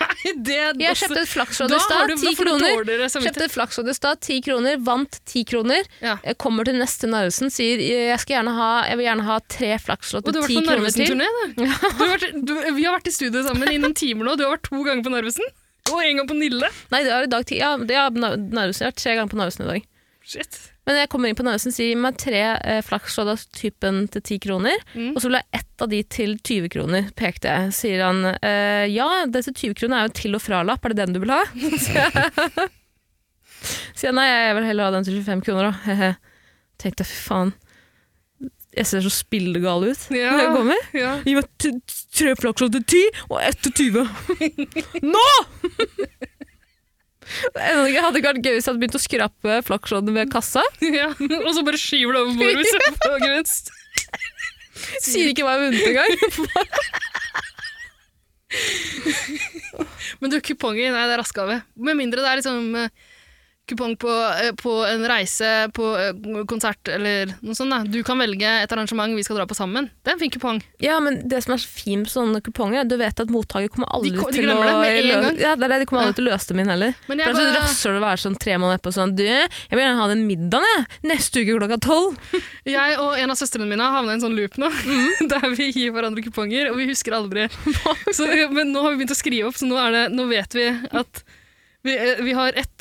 Speaker 4: Nei, det er
Speaker 3: Jeg
Speaker 4: også-
Speaker 3: kjøpte et flakslodd
Speaker 4: Altså, Da
Speaker 3: i stad,
Speaker 4: har du- da
Speaker 3: ti
Speaker 4: får du
Speaker 3: kroner.
Speaker 4: dårligere samvittighet.
Speaker 3: Kjøpte et flakslodd i stad, ti kroner. Vant ti kroner.
Speaker 4: Ja.
Speaker 3: Jeg kommer til neste Narvesen, sier jeg, skal gjerne ha, jeg vil gjerne ha tre flakslodd
Speaker 4: Og du
Speaker 3: til
Speaker 4: har
Speaker 3: ti
Speaker 4: vært på
Speaker 3: kroner til.
Speaker 4: Narvesen-turné, da. Du har vært, du, vi har vært i studio sammen i noen timer nå. Du har vært to ganger på Narvesen. Og en gang på Nille.
Speaker 3: Nei, det er i dag ti. Ja, det er Nar- Narvesen. Jeg har vært tre ganger på Narvesen i dag.
Speaker 4: Shit.
Speaker 3: Men jeg kommer inn på Narvesen, sier gi meg tre eh, flakslodd av typen til 10 kroner, og så vil jeg ha ett av de til 20 kroner, pekte jeg. Sier han, eh, ja, det til 20 kroner er jo til og fra-lapp, er det den du vil ha? Sier jeg, nei, jeg vil heller ha den til 25 kroner da. Hehe. Tenkte, fy faen, jeg ser så spillegal ut
Speaker 4: Ja.
Speaker 3: når jeg kommer.
Speaker 4: Ja.
Speaker 3: Gi meg t- tre flakslodd til 10, og ett til 20. Nå! Det hadde ikke vært gøy hvis jeg hadde begynt å skrape flaksloddene ved kassa.
Speaker 4: ja. Og så bare skyver du over bordet hvis du får gevinst.
Speaker 3: Sier ikke hva jeg har vunnet engang.
Speaker 4: Men du, kuponger, nei, det er raskgave. Med mindre det er liksom eh, kupong på, eh, på en reise, på eh, konsert eller noe sånt. Da. Du kan velge et arrangement vi skal dra på sammen. Det er en fin kupong.
Speaker 3: Ja, men det som er så fint med sånne kuponger, er at du vet at mottaker kommer aldri
Speaker 4: De ko- de
Speaker 3: til å
Speaker 4: glemmer det med en
Speaker 3: lø-
Speaker 4: gang.
Speaker 3: Ja, det er det, de kommer aldri til å løse det min heller.
Speaker 4: Men
Speaker 3: Det
Speaker 4: jeg
Speaker 3: er så
Speaker 4: bare-
Speaker 3: rasshøl å være sånn tre måneder etterpå sånn Du, jeg vil gjerne ha den middagen, jeg. Neste uke klokka tolv.
Speaker 4: Jeg og en av søstrene mine har havna i en sånn loop nå, der vi gir hverandre kuponger, og vi husker aldri. Så, eh, men nå har vi begynt å skrive opp, så nå, er det, nå vet vi at vi, eh, vi har et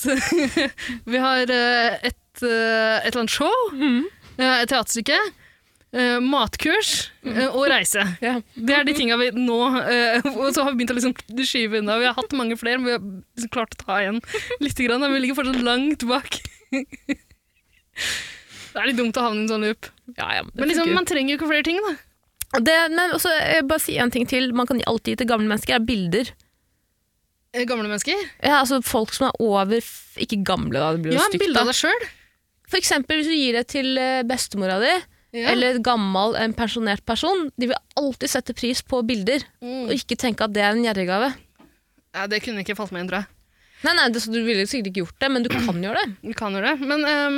Speaker 4: Vi har eh, et, eh, et eller annet show, eh, et teaterstykke, eh, matkurs eh, og reise.
Speaker 3: Ja.
Speaker 4: Det er de tinga vi nå eh, Og så har vi begynt å liksom skyve unna. Vi har hatt mange flere, men vi har liksom klart å ta igjen litt. Grann, da. men vi ligger fortsatt langt bak. Det er litt dumt å havne i en sånn loop.
Speaker 3: Ja, ja, det
Speaker 4: Men liksom,
Speaker 3: funker jo.
Speaker 4: man trenger jo ikke flere ting, da.
Speaker 3: Og det, men også, jeg bare si en ting til. Man kan alltid gi til gamle mennesker, er bilder.
Speaker 4: Eh, Gamle mennesker.
Speaker 3: Ja, altså folk som er over f- Ikke gamle, da. Det blir jo
Speaker 4: Ja,
Speaker 3: stygt.
Speaker 4: bilde av
Speaker 3: Da.
Speaker 4: deg sjøl.
Speaker 3: For eksempel hvis du gir det til eh, bestemora di,
Speaker 4: Eller
Speaker 3: eller en gammel, en pensjonert person, de vil alltid sette pris på bilder,
Speaker 4: Mm.
Speaker 3: og ikke tenke at det er en gjerrigave.
Speaker 4: ja, Det kunne ikke falt meg inn, tror jeg.
Speaker 3: Nei, nei, det, så du ville sikkert ikke gjort det, men du kan gjøre det.
Speaker 4: Vi kan jo det. Men ehm,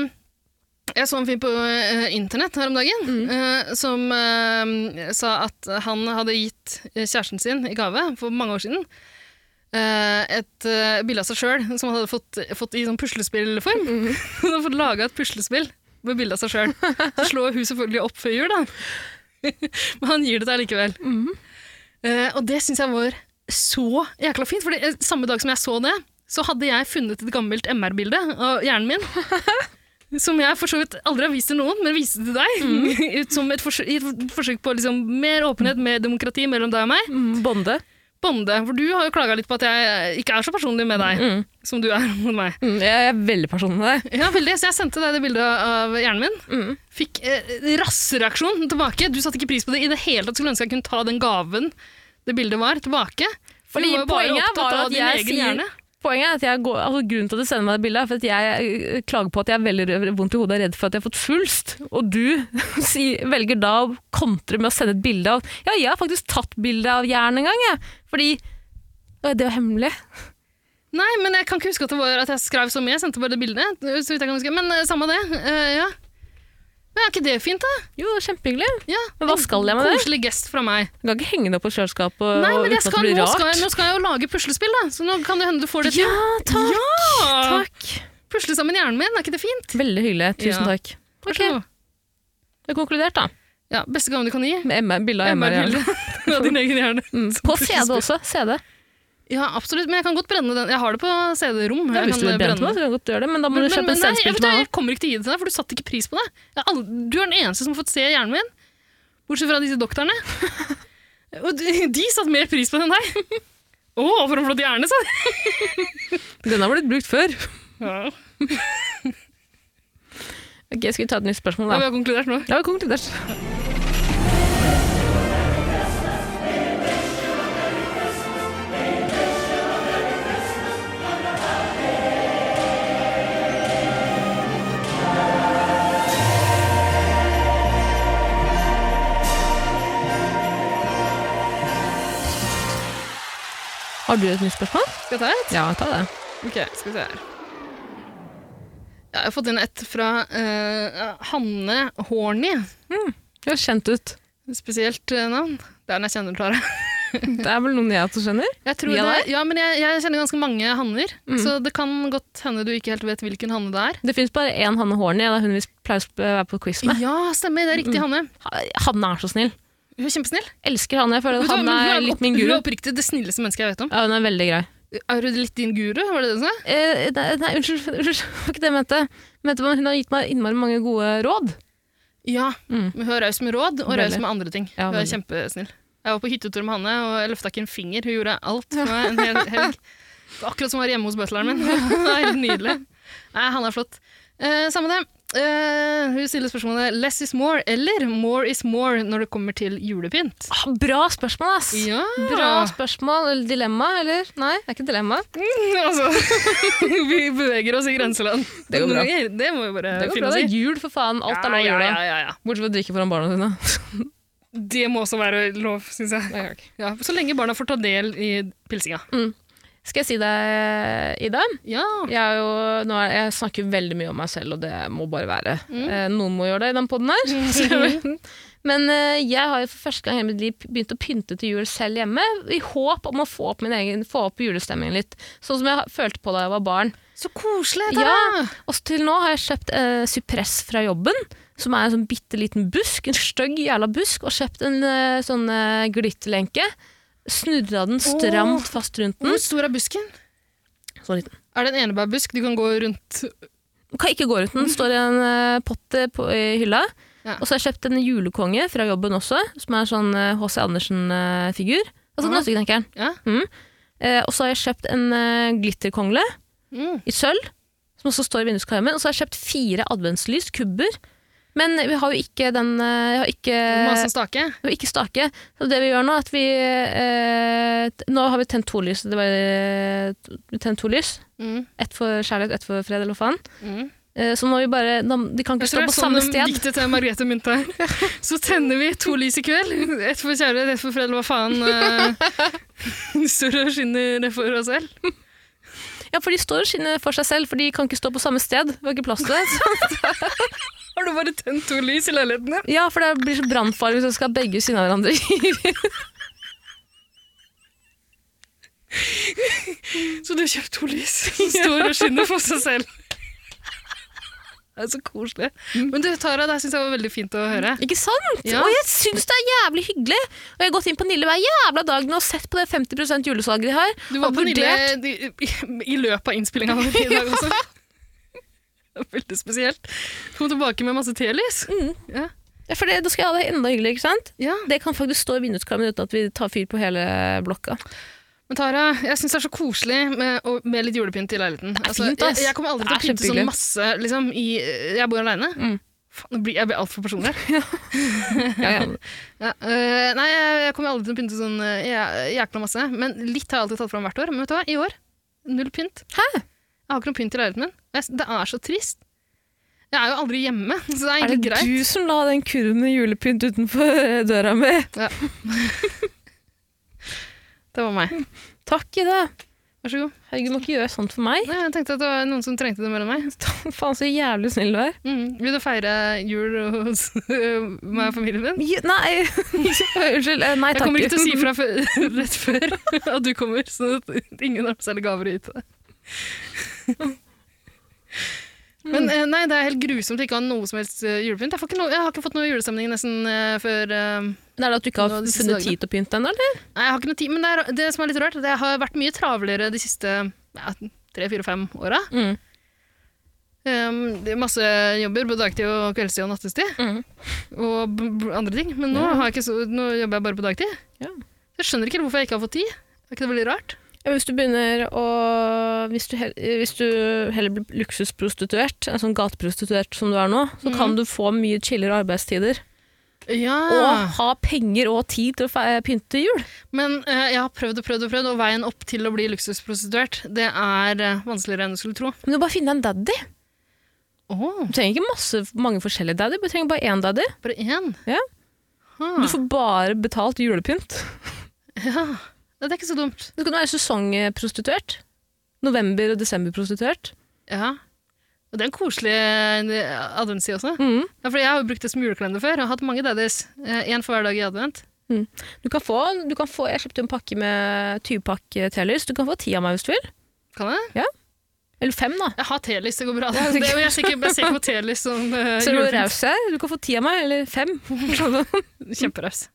Speaker 4: jeg så en film på eh, internett her om dagen eh, som ehm, sa at han hadde gitt eh, kjæresten sin i gave for mange år siden eh, et eh, bilde av seg sjøl som han hadde fått, fått i sånn puslespillform. han hadde fått laga et puslespill med bilde av seg sjøl. Så slår hun selvfølgelig opp før jul, da. Men han gir det deg likevel. Eh, og det syns jeg var så jækla fint, for samme dag som jeg så det, så hadde jeg funnet et gammelt MR-bilde av hjernen min. Som jeg for så vidt aldri har vist til noen, men viste til deg. ut som et forsøk, i et forsøk på liksom mer åpenhet, mer demokrati mellom deg og meg.
Speaker 3: Mm. Bonde.
Speaker 4: Mm, Bonde, for du har jo klaga litt på at jeg ikke er så personlig med deg som du er mot meg.
Speaker 3: Mm, jeg er veldig personlig med deg.
Speaker 4: Ja, veldig, Så jeg sendte deg det bildet av hjernen min.
Speaker 3: Mm.
Speaker 4: Fikk eh, rassreaksjon tilbake. Du satte ikke pris på det i det hele tatt. Skulle ønske jeg kunne ta den gaven det bildet var, tilbake. For
Speaker 3: Fordi
Speaker 4: du var jo bare
Speaker 3: poenget
Speaker 4: opptatt
Speaker 3: var at
Speaker 4: av din
Speaker 3: jeg
Speaker 4: egen
Speaker 3: sier-
Speaker 4: hjerne.
Speaker 3: Poenget er at jeg går, altså, Grunnen til at du sender meg det bildet, er for at jeg eh, klager på at jeg er veldig rød- vondt i hodet og er redd for at jeg har fått svulst. Og du sier- velger da å kontre med å sende et bilde av Ja, jeg har faktisk tatt bilde av hjernen en gang, jeg. Fordi Å, det var hemmelig.
Speaker 4: Nei, men jeg kan ikke huske at det var at jeg skrev så mye. Jeg sendte bare det bildet. så vidt jeg kan huske. Men eh, samme det. eh, ja. Men Er ikke det fint, da?
Speaker 3: Jo, det var kjempehyggelig.
Speaker 4: Ja.
Speaker 3: Men hva skal jeg med det?
Speaker 4: En Koselig gest fra meg.
Speaker 3: Du kan ikke henge det opp på kjøleskapet og,
Speaker 4: Nei, men
Speaker 3: uten
Speaker 4: jeg
Speaker 3: at
Speaker 4: skal,
Speaker 3: det blir
Speaker 4: nå,
Speaker 3: rart.
Speaker 4: skal jeg, nå skal jeg jo lage puslespill, da. Så nå kan det hende du får det til.
Speaker 3: Ja, takk!
Speaker 4: Ja!
Speaker 3: Takk.
Speaker 4: Pusle sammen hjernen min, er ikke det fint?
Speaker 3: Veldig hyggelig. Tusen
Speaker 4: Ja.
Speaker 3: takk.
Speaker 4: Vær
Speaker 3: Ok,
Speaker 4: så god.
Speaker 3: det er konkludert, da.
Speaker 4: Ja, Beste gaven du kan gi?
Speaker 3: Med MR, bilde av MR.
Speaker 4: MR-bilde av din egen hjerne.
Speaker 3: Mm.
Speaker 4: Som
Speaker 3: På
Speaker 4: puslespill.
Speaker 3: CD også. CD.
Speaker 4: Ja, absolutt. Men jeg kan godt brenne den. Jeg har det på CD-rom.
Speaker 3: Ja,
Speaker 4: Jeg
Speaker 3: hvis
Speaker 4: kan
Speaker 3: du vil brenne
Speaker 4: brenne
Speaker 3: på, så kan du godt gjøre det, men da må
Speaker 4: Men,
Speaker 3: du
Speaker 4: men,
Speaker 3: kjøpe
Speaker 4: men
Speaker 3: en
Speaker 4: nei, jeg,
Speaker 3: CD-spill
Speaker 4: vet
Speaker 3: til
Speaker 4: du,
Speaker 3: meg.
Speaker 4: jeg kommer ikke til å gi det til deg, for du satte ikke pris på det. Jeg, har aldri- du er den eneste som har fått se hjernen min, bortsett fra disse doktorene. Og de, de satte mer pris på den enn deg. Å, for en flott hjerne, sa de.
Speaker 3: Den har blitt brukt før.
Speaker 4: Ja.
Speaker 3: Ok, Skal vi ta et nytt spørsmål,
Speaker 4: Vi
Speaker 3: da?
Speaker 4: har konkludert nå.
Speaker 3: Ja, vi har konkludert. Har du et nytt spørsmål?
Speaker 4: Skal jeg ta et?
Speaker 3: Ja, ta det.
Speaker 4: Ok, skal vi se her. Jeg har fått inn et fra eh, Hanne Horny.
Speaker 3: Du har kjent ut.
Speaker 4: Spesielt eh, navn. Det er den jeg kjenner, Klara.
Speaker 3: Det er vel noen jeg også kjenner?
Speaker 4: Jeg tror
Speaker 3: Via
Speaker 4: det, ja, men jeg, jeg kjenner ganske mange hanner,
Speaker 3: Mm.
Speaker 4: så det kan godt hende du ikke helt vet hvilken hanne det er.
Speaker 3: Det fins bare én Hanne Horny, og det er hun vi pleier å sp- være på quiz med.
Speaker 4: Ja, stemmer. Det er
Speaker 3: Mm.
Speaker 4: riktig, Hanne.
Speaker 3: Ha- Hanne er så snill.
Speaker 4: Hun er kjempesnill.
Speaker 3: Elsker Hanne. Jeg føler
Speaker 4: Vet
Speaker 3: at
Speaker 4: du hva,
Speaker 3: Hanne
Speaker 4: hun
Speaker 3: er litt min
Speaker 4: Hun
Speaker 3: guru.
Speaker 4: er oppriktig det snilleste mennesket jeg vet om.
Speaker 3: Ja, hun er veldig grei.
Speaker 4: Er hun litt din guru, var det det du sa?
Speaker 3: Eh, nei, nei, unnskyld, unnskyld, det var ikke det jeg mente. Jeg mente bare hun har gitt meg innmari mange gode råd.
Speaker 4: Ja.
Speaker 3: Mm.
Speaker 4: Men Hun er raus med råd, og raus
Speaker 3: Veldig.
Speaker 4: med andre ting.
Speaker 3: Ja,
Speaker 4: hun er
Speaker 3: veldig.
Speaker 4: kjempesnill. Jeg var på hyttetur med Hanne, og jeg løfta ikke en finger. Hun gjorde alt for meg en hel helg. Det var akkurat som å være hjemme hos butleren min. det er helt nydelig. Nei, Hanne er flott. Eh, samme det. Eh, hun stiller spørsmålet 'less is more' eller 'more is more' når det kommer til julepynt.
Speaker 3: Ah, Bra spørsmål, ass!
Speaker 4: Ja,
Speaker 3: Bra spørsmål, eller dilemma, eller? Nei, det er ikke dilemma.
Speaker 4: altså, vi beveger oss i grenseland.
Speaker 3: Det går bra.
Speaker 4: Men Det må vi bare
Speaker 3: Det går
Speaker 4: finne
Speaker 3: bra,
Speaker 4: oss
Speaker 3: det
Speaker 4: i.
Speaker 3: er jul, for faen. Alt er lov i
Speaker 4: ja,
Speaker 3: jula.
Speaker 4: ja, ja, ja.
Speaker 3: Bortsett fra å drikke foran barna dine.
Speaker 4: Det må også være lov, syns jeg.
Speaker 3: Nei, ok. Mm.
Speaker 4: Ja, så lenge barna får ta del i pilsinga.
Speaker 3: Skal jeg si deg, Ida?
Speaker 4: Ja.
Speaker 3: Jeg, er jo, nå er, jeg snakker veldig mye om meg selv, og det må bare være. Eh, noen må gjøre det i den poden her. Så- Men eh, jeg har jo for første gang i hele mitt liv begynt å pynte til jul selv hjemme, i håp om å få opp, min egen, få opp julestemningen litt. Sånn som jeg følte på da jeg var barn.
Speaker 4: Så koselig!
Speaker 3: Ja, og til nå har jeg kjøpt eh, sypress fra jobben, som er en sånn bitte liten busk, en stygg jævla busk, og kjøpt en eh, sånn eh, glitterlenke. Snurra den stramt fast rundt den.
Speaker 4: Hvor stor er busken?
Speaker 3: Så liten.
Speaker 4: Er det en enebærbusk du kan gå rundt
Speaker 3: Kan ikke gå uten. Den står i en eh, pott eh, på, i hylla.
Speaker 4: Ja.
Speaker 3: Og så har jeg kjøpt en julekonge fra jobben også, som er sånn eh, H.C. Andersen-figur. altså
Speaker 4: Ah.
Speaker 3: Nøtteknekkeren.
Speaker 4: Ja.
Speaker 3: Mm. Eh, og så har jeg kjøpt en eh, glitterkongle
Speaker 4: Mm.
Speaker 3: i sølv, som også står i vinduskarmen. Og så har jeg kjøpt fire adventslys, kubber. Men vi har jo ikke den eh, Jeg har ikke
Speaker 4: Masen Stake?
Speaker 3: og ikke stake. Så det vi gjør nå, er at vi eh, t- Nå har vi tent to lys. Det var, eh, tent to lys.
Speaker 4: Mm.
Speaker 3: Ett for kjærlighet, ett for fred, eller hva faen.
Speaker 4: Mm.
Speaker 3: Eh, så nå må vi bare De, de kan ikke
Speaker 4: Jeg
Speaker 3: stå
Speaker 4: tror det
Speaker 3: på
Speaker 4: er sånn
Speaker 3: samme
Speaker 4: de
Speaker 3: sted.
Speaker 4: diktet til Margrethe Munthe er. Så tenner vi to lys i kveld. Ett for kjærlighet, ett for fred, eller hva faen. Uh, står og skinner det for oss selv.
Speaker 3: Ja, for de står og skinner for seg selv, for de kan ikke stå på samme sted. Det var ikke plass til det. Så,
Speaker 4: Har du bare tent to lys i leiligheten din?
Speaker 3: ja, for det blir så brannfarlig hvis de skal ha begge ved siden av hverandre.
Speaker 4: Så du har kjøpt to lys som står og skinner for seg selv. Det er så koselig.
Speaker 3: Mm.
Speaker 4: Men du, Tara, det syns jeg var veldig fint å høre.
Speaker 3: ikke sant?
Speaker 4: Ja.
Speaker 3: Og jeg syns det er jævlig hyggelig. Og jeg har gått inn på Nille hver jævla dag nå og sett på det 50 julesalget de har.
Speaker 4: Du var
Speaker 3: og
Speaker 4: på Nille
Speaker 3: vurdert-
Speaker 4: i, i løpet av innspillinga vår i dag også. Det er Veldig spesielt. Du kom tilbake med masse telys.
Speaker 3: Mm.
Speaker 4: Ja.
Speaker 3: Ja, for det, da skal jeg ha det enda hyggeligere, ikke sant?
Speaker 4: ja.
Speaker 3: Det kan faktisk stå i vinduskarmen uten at vi tar fyr på hele blokka.
Speaker 4: Men Tara, jeg syns det er så koselig med, og, med litt julepynt i leiligheten. Altså,
Speaker 3: fint, ass.
Speaker 4: jeg, jeg kommer aldri
Speaker 3: Det
Speaker 4: til å
Speaker 3: er
Speaker 4: pynte sånn
Speaker 3: kjempehyggelig.
Speaker 4: masse liksom, i Jeg bor aleine.
Speaker 3: Mm.
Speaker 4: Faen, nå blir- Jeg blir altfor personlig.
Speaker 3: Ja, ja.
Speaker 4: Ja, øh, nei, jeg, jeg kommer aldri til å pynte sånn øh, jæ- jækla masse. Men litt har jeg alltid tatt fram hvert år. Men vet du hva, i år null pynt.
Speaker 3: Hæ?
Speaker 4: Jeg har ikke noe pynt i leiligheten min. Og jeg- Det er så trist. Jeg er jo aldri hjemme, så det er
Speaker 3: Er
Speaker 4: egentlig
Speaker 3: det
Speaker 4: greit.
Speaker 3: du som la den kurven med julepynt utenfor døra mi?
Speaker 4: Det var meg.
Speaker 3: Takk, Ida.
Speaker 4: Vær så god.
Speaker 3: Herregud, du må ikke gjøre sånt for meg.
Speaker 4: Nei, jeg tenkte at det var noen som trengte det mer enn meg.
Speaker 3: Faen, så jævlig snill du er.
Speaker 4: Mm. Vil du feire jul hos meg og familien min?
Speaker 3: Ja, Nei, unnskyld. eh, Nei,
Speaker 4: Jeg
Speaker 3: takk.
Speaker 4: kommer ikke til å si fra før, rett før at du kommer, sånn at ingen har særlig gaver å gi til deg. Men eh, nei, det er helt grusomt å ikke ha noe som helst eh, julepynt. Jeg, får ikke noe, jeg har ikke fått noe julestemning nesten eh, før eh,
Speaker 3: Men Er det at du ikke
Speaker 4: Nå
Speaker 3: har
Speaker 4: de siste
Speaker 3: funnet
Speaker 4: dagene.
Speaker 3: tid til å pynte ennå, eller?
Speaker 4: Nei, jeg har ikke noe tid. Men det, er, det som er litt rart, er at jeg har vært mye travlere de siste ja, tre, fire, fem åra.
Speaker 3: Mm.
Speaker 4: Um, det er masse jobber, både dagtid og kveldstid og nattestid.
Speaker 3: Mhm.
Speaker 4: Og b b andre ting. Men nå, har jeg ikke så, nå jobber jeg bare på dagtid.
Speaker 3: Ja.
Speaker 4: Jeg skjønner ikke hvorfor jeg ikke har fått tid. Er ikke det veldig rart?
Speaker 3: Ja, Hvis du begynner å Hvis du, hel- eh, hvis du heller blir luksusprostituert, en sånn gateprostituert som du er nå, så kan du få mye chillere arbeidstider.
Speaker 4: Ja.
Speaker 3: Og ha penger og tid til å fe- eh, pynte til jul.
Speaker 4: Men eh, jeg har prøvd og prøvd, og prøvd, og veien opp til å bli luksusprostituert, det er eh, vanskeligere enn du skulle tro.
Speaker 3: Men du må bare finne deg en daddy.
Speaker 4: Åh,
Speaker 3: Du trenger ikke masse, mange forskjellige daddy, du trenger bare én daddy.
Speaker 4: bare én?
Speaker 3: Ja.
Speaker 4: Ha.
Speaker 3: Du får bare betalt julepynt.
Speaker 4: Ja. Det er ikke så dumt.
Speaker 3: Du kan være sesongprostituert. November- og desemberprostituert.
Speaker 4: Ja. Og det er en koselig eh, adventstid også.
Speaker 3: Mhm.
Speaker 4: Ja, for jeg har jo brukt det som julekalender før. Jeg har hatt mange daddies. Én for hver dag i advent.
Speaker 3: Du kan få, du kan få Jeg kjøpte en pakke med 20 pakke telys. Du kan få ti av meg hvis du vil.
Speaker 4: Kan jeg?
Speaker 3: Eller fem, da.
Speaker 4: Jeg har telys, det går bra. Det,
Speaker 3: Ja, det-
Speaker 4: er jo- jeg, ser ikke, jeg ser ikke på telys som eh,
Speaker 3: Så er du
Speaker 4: julepynt.
Speaker 3: raus her. Du kan få ti av meg, eller fem. Sånn.
Speaker 4: Kjemperaus.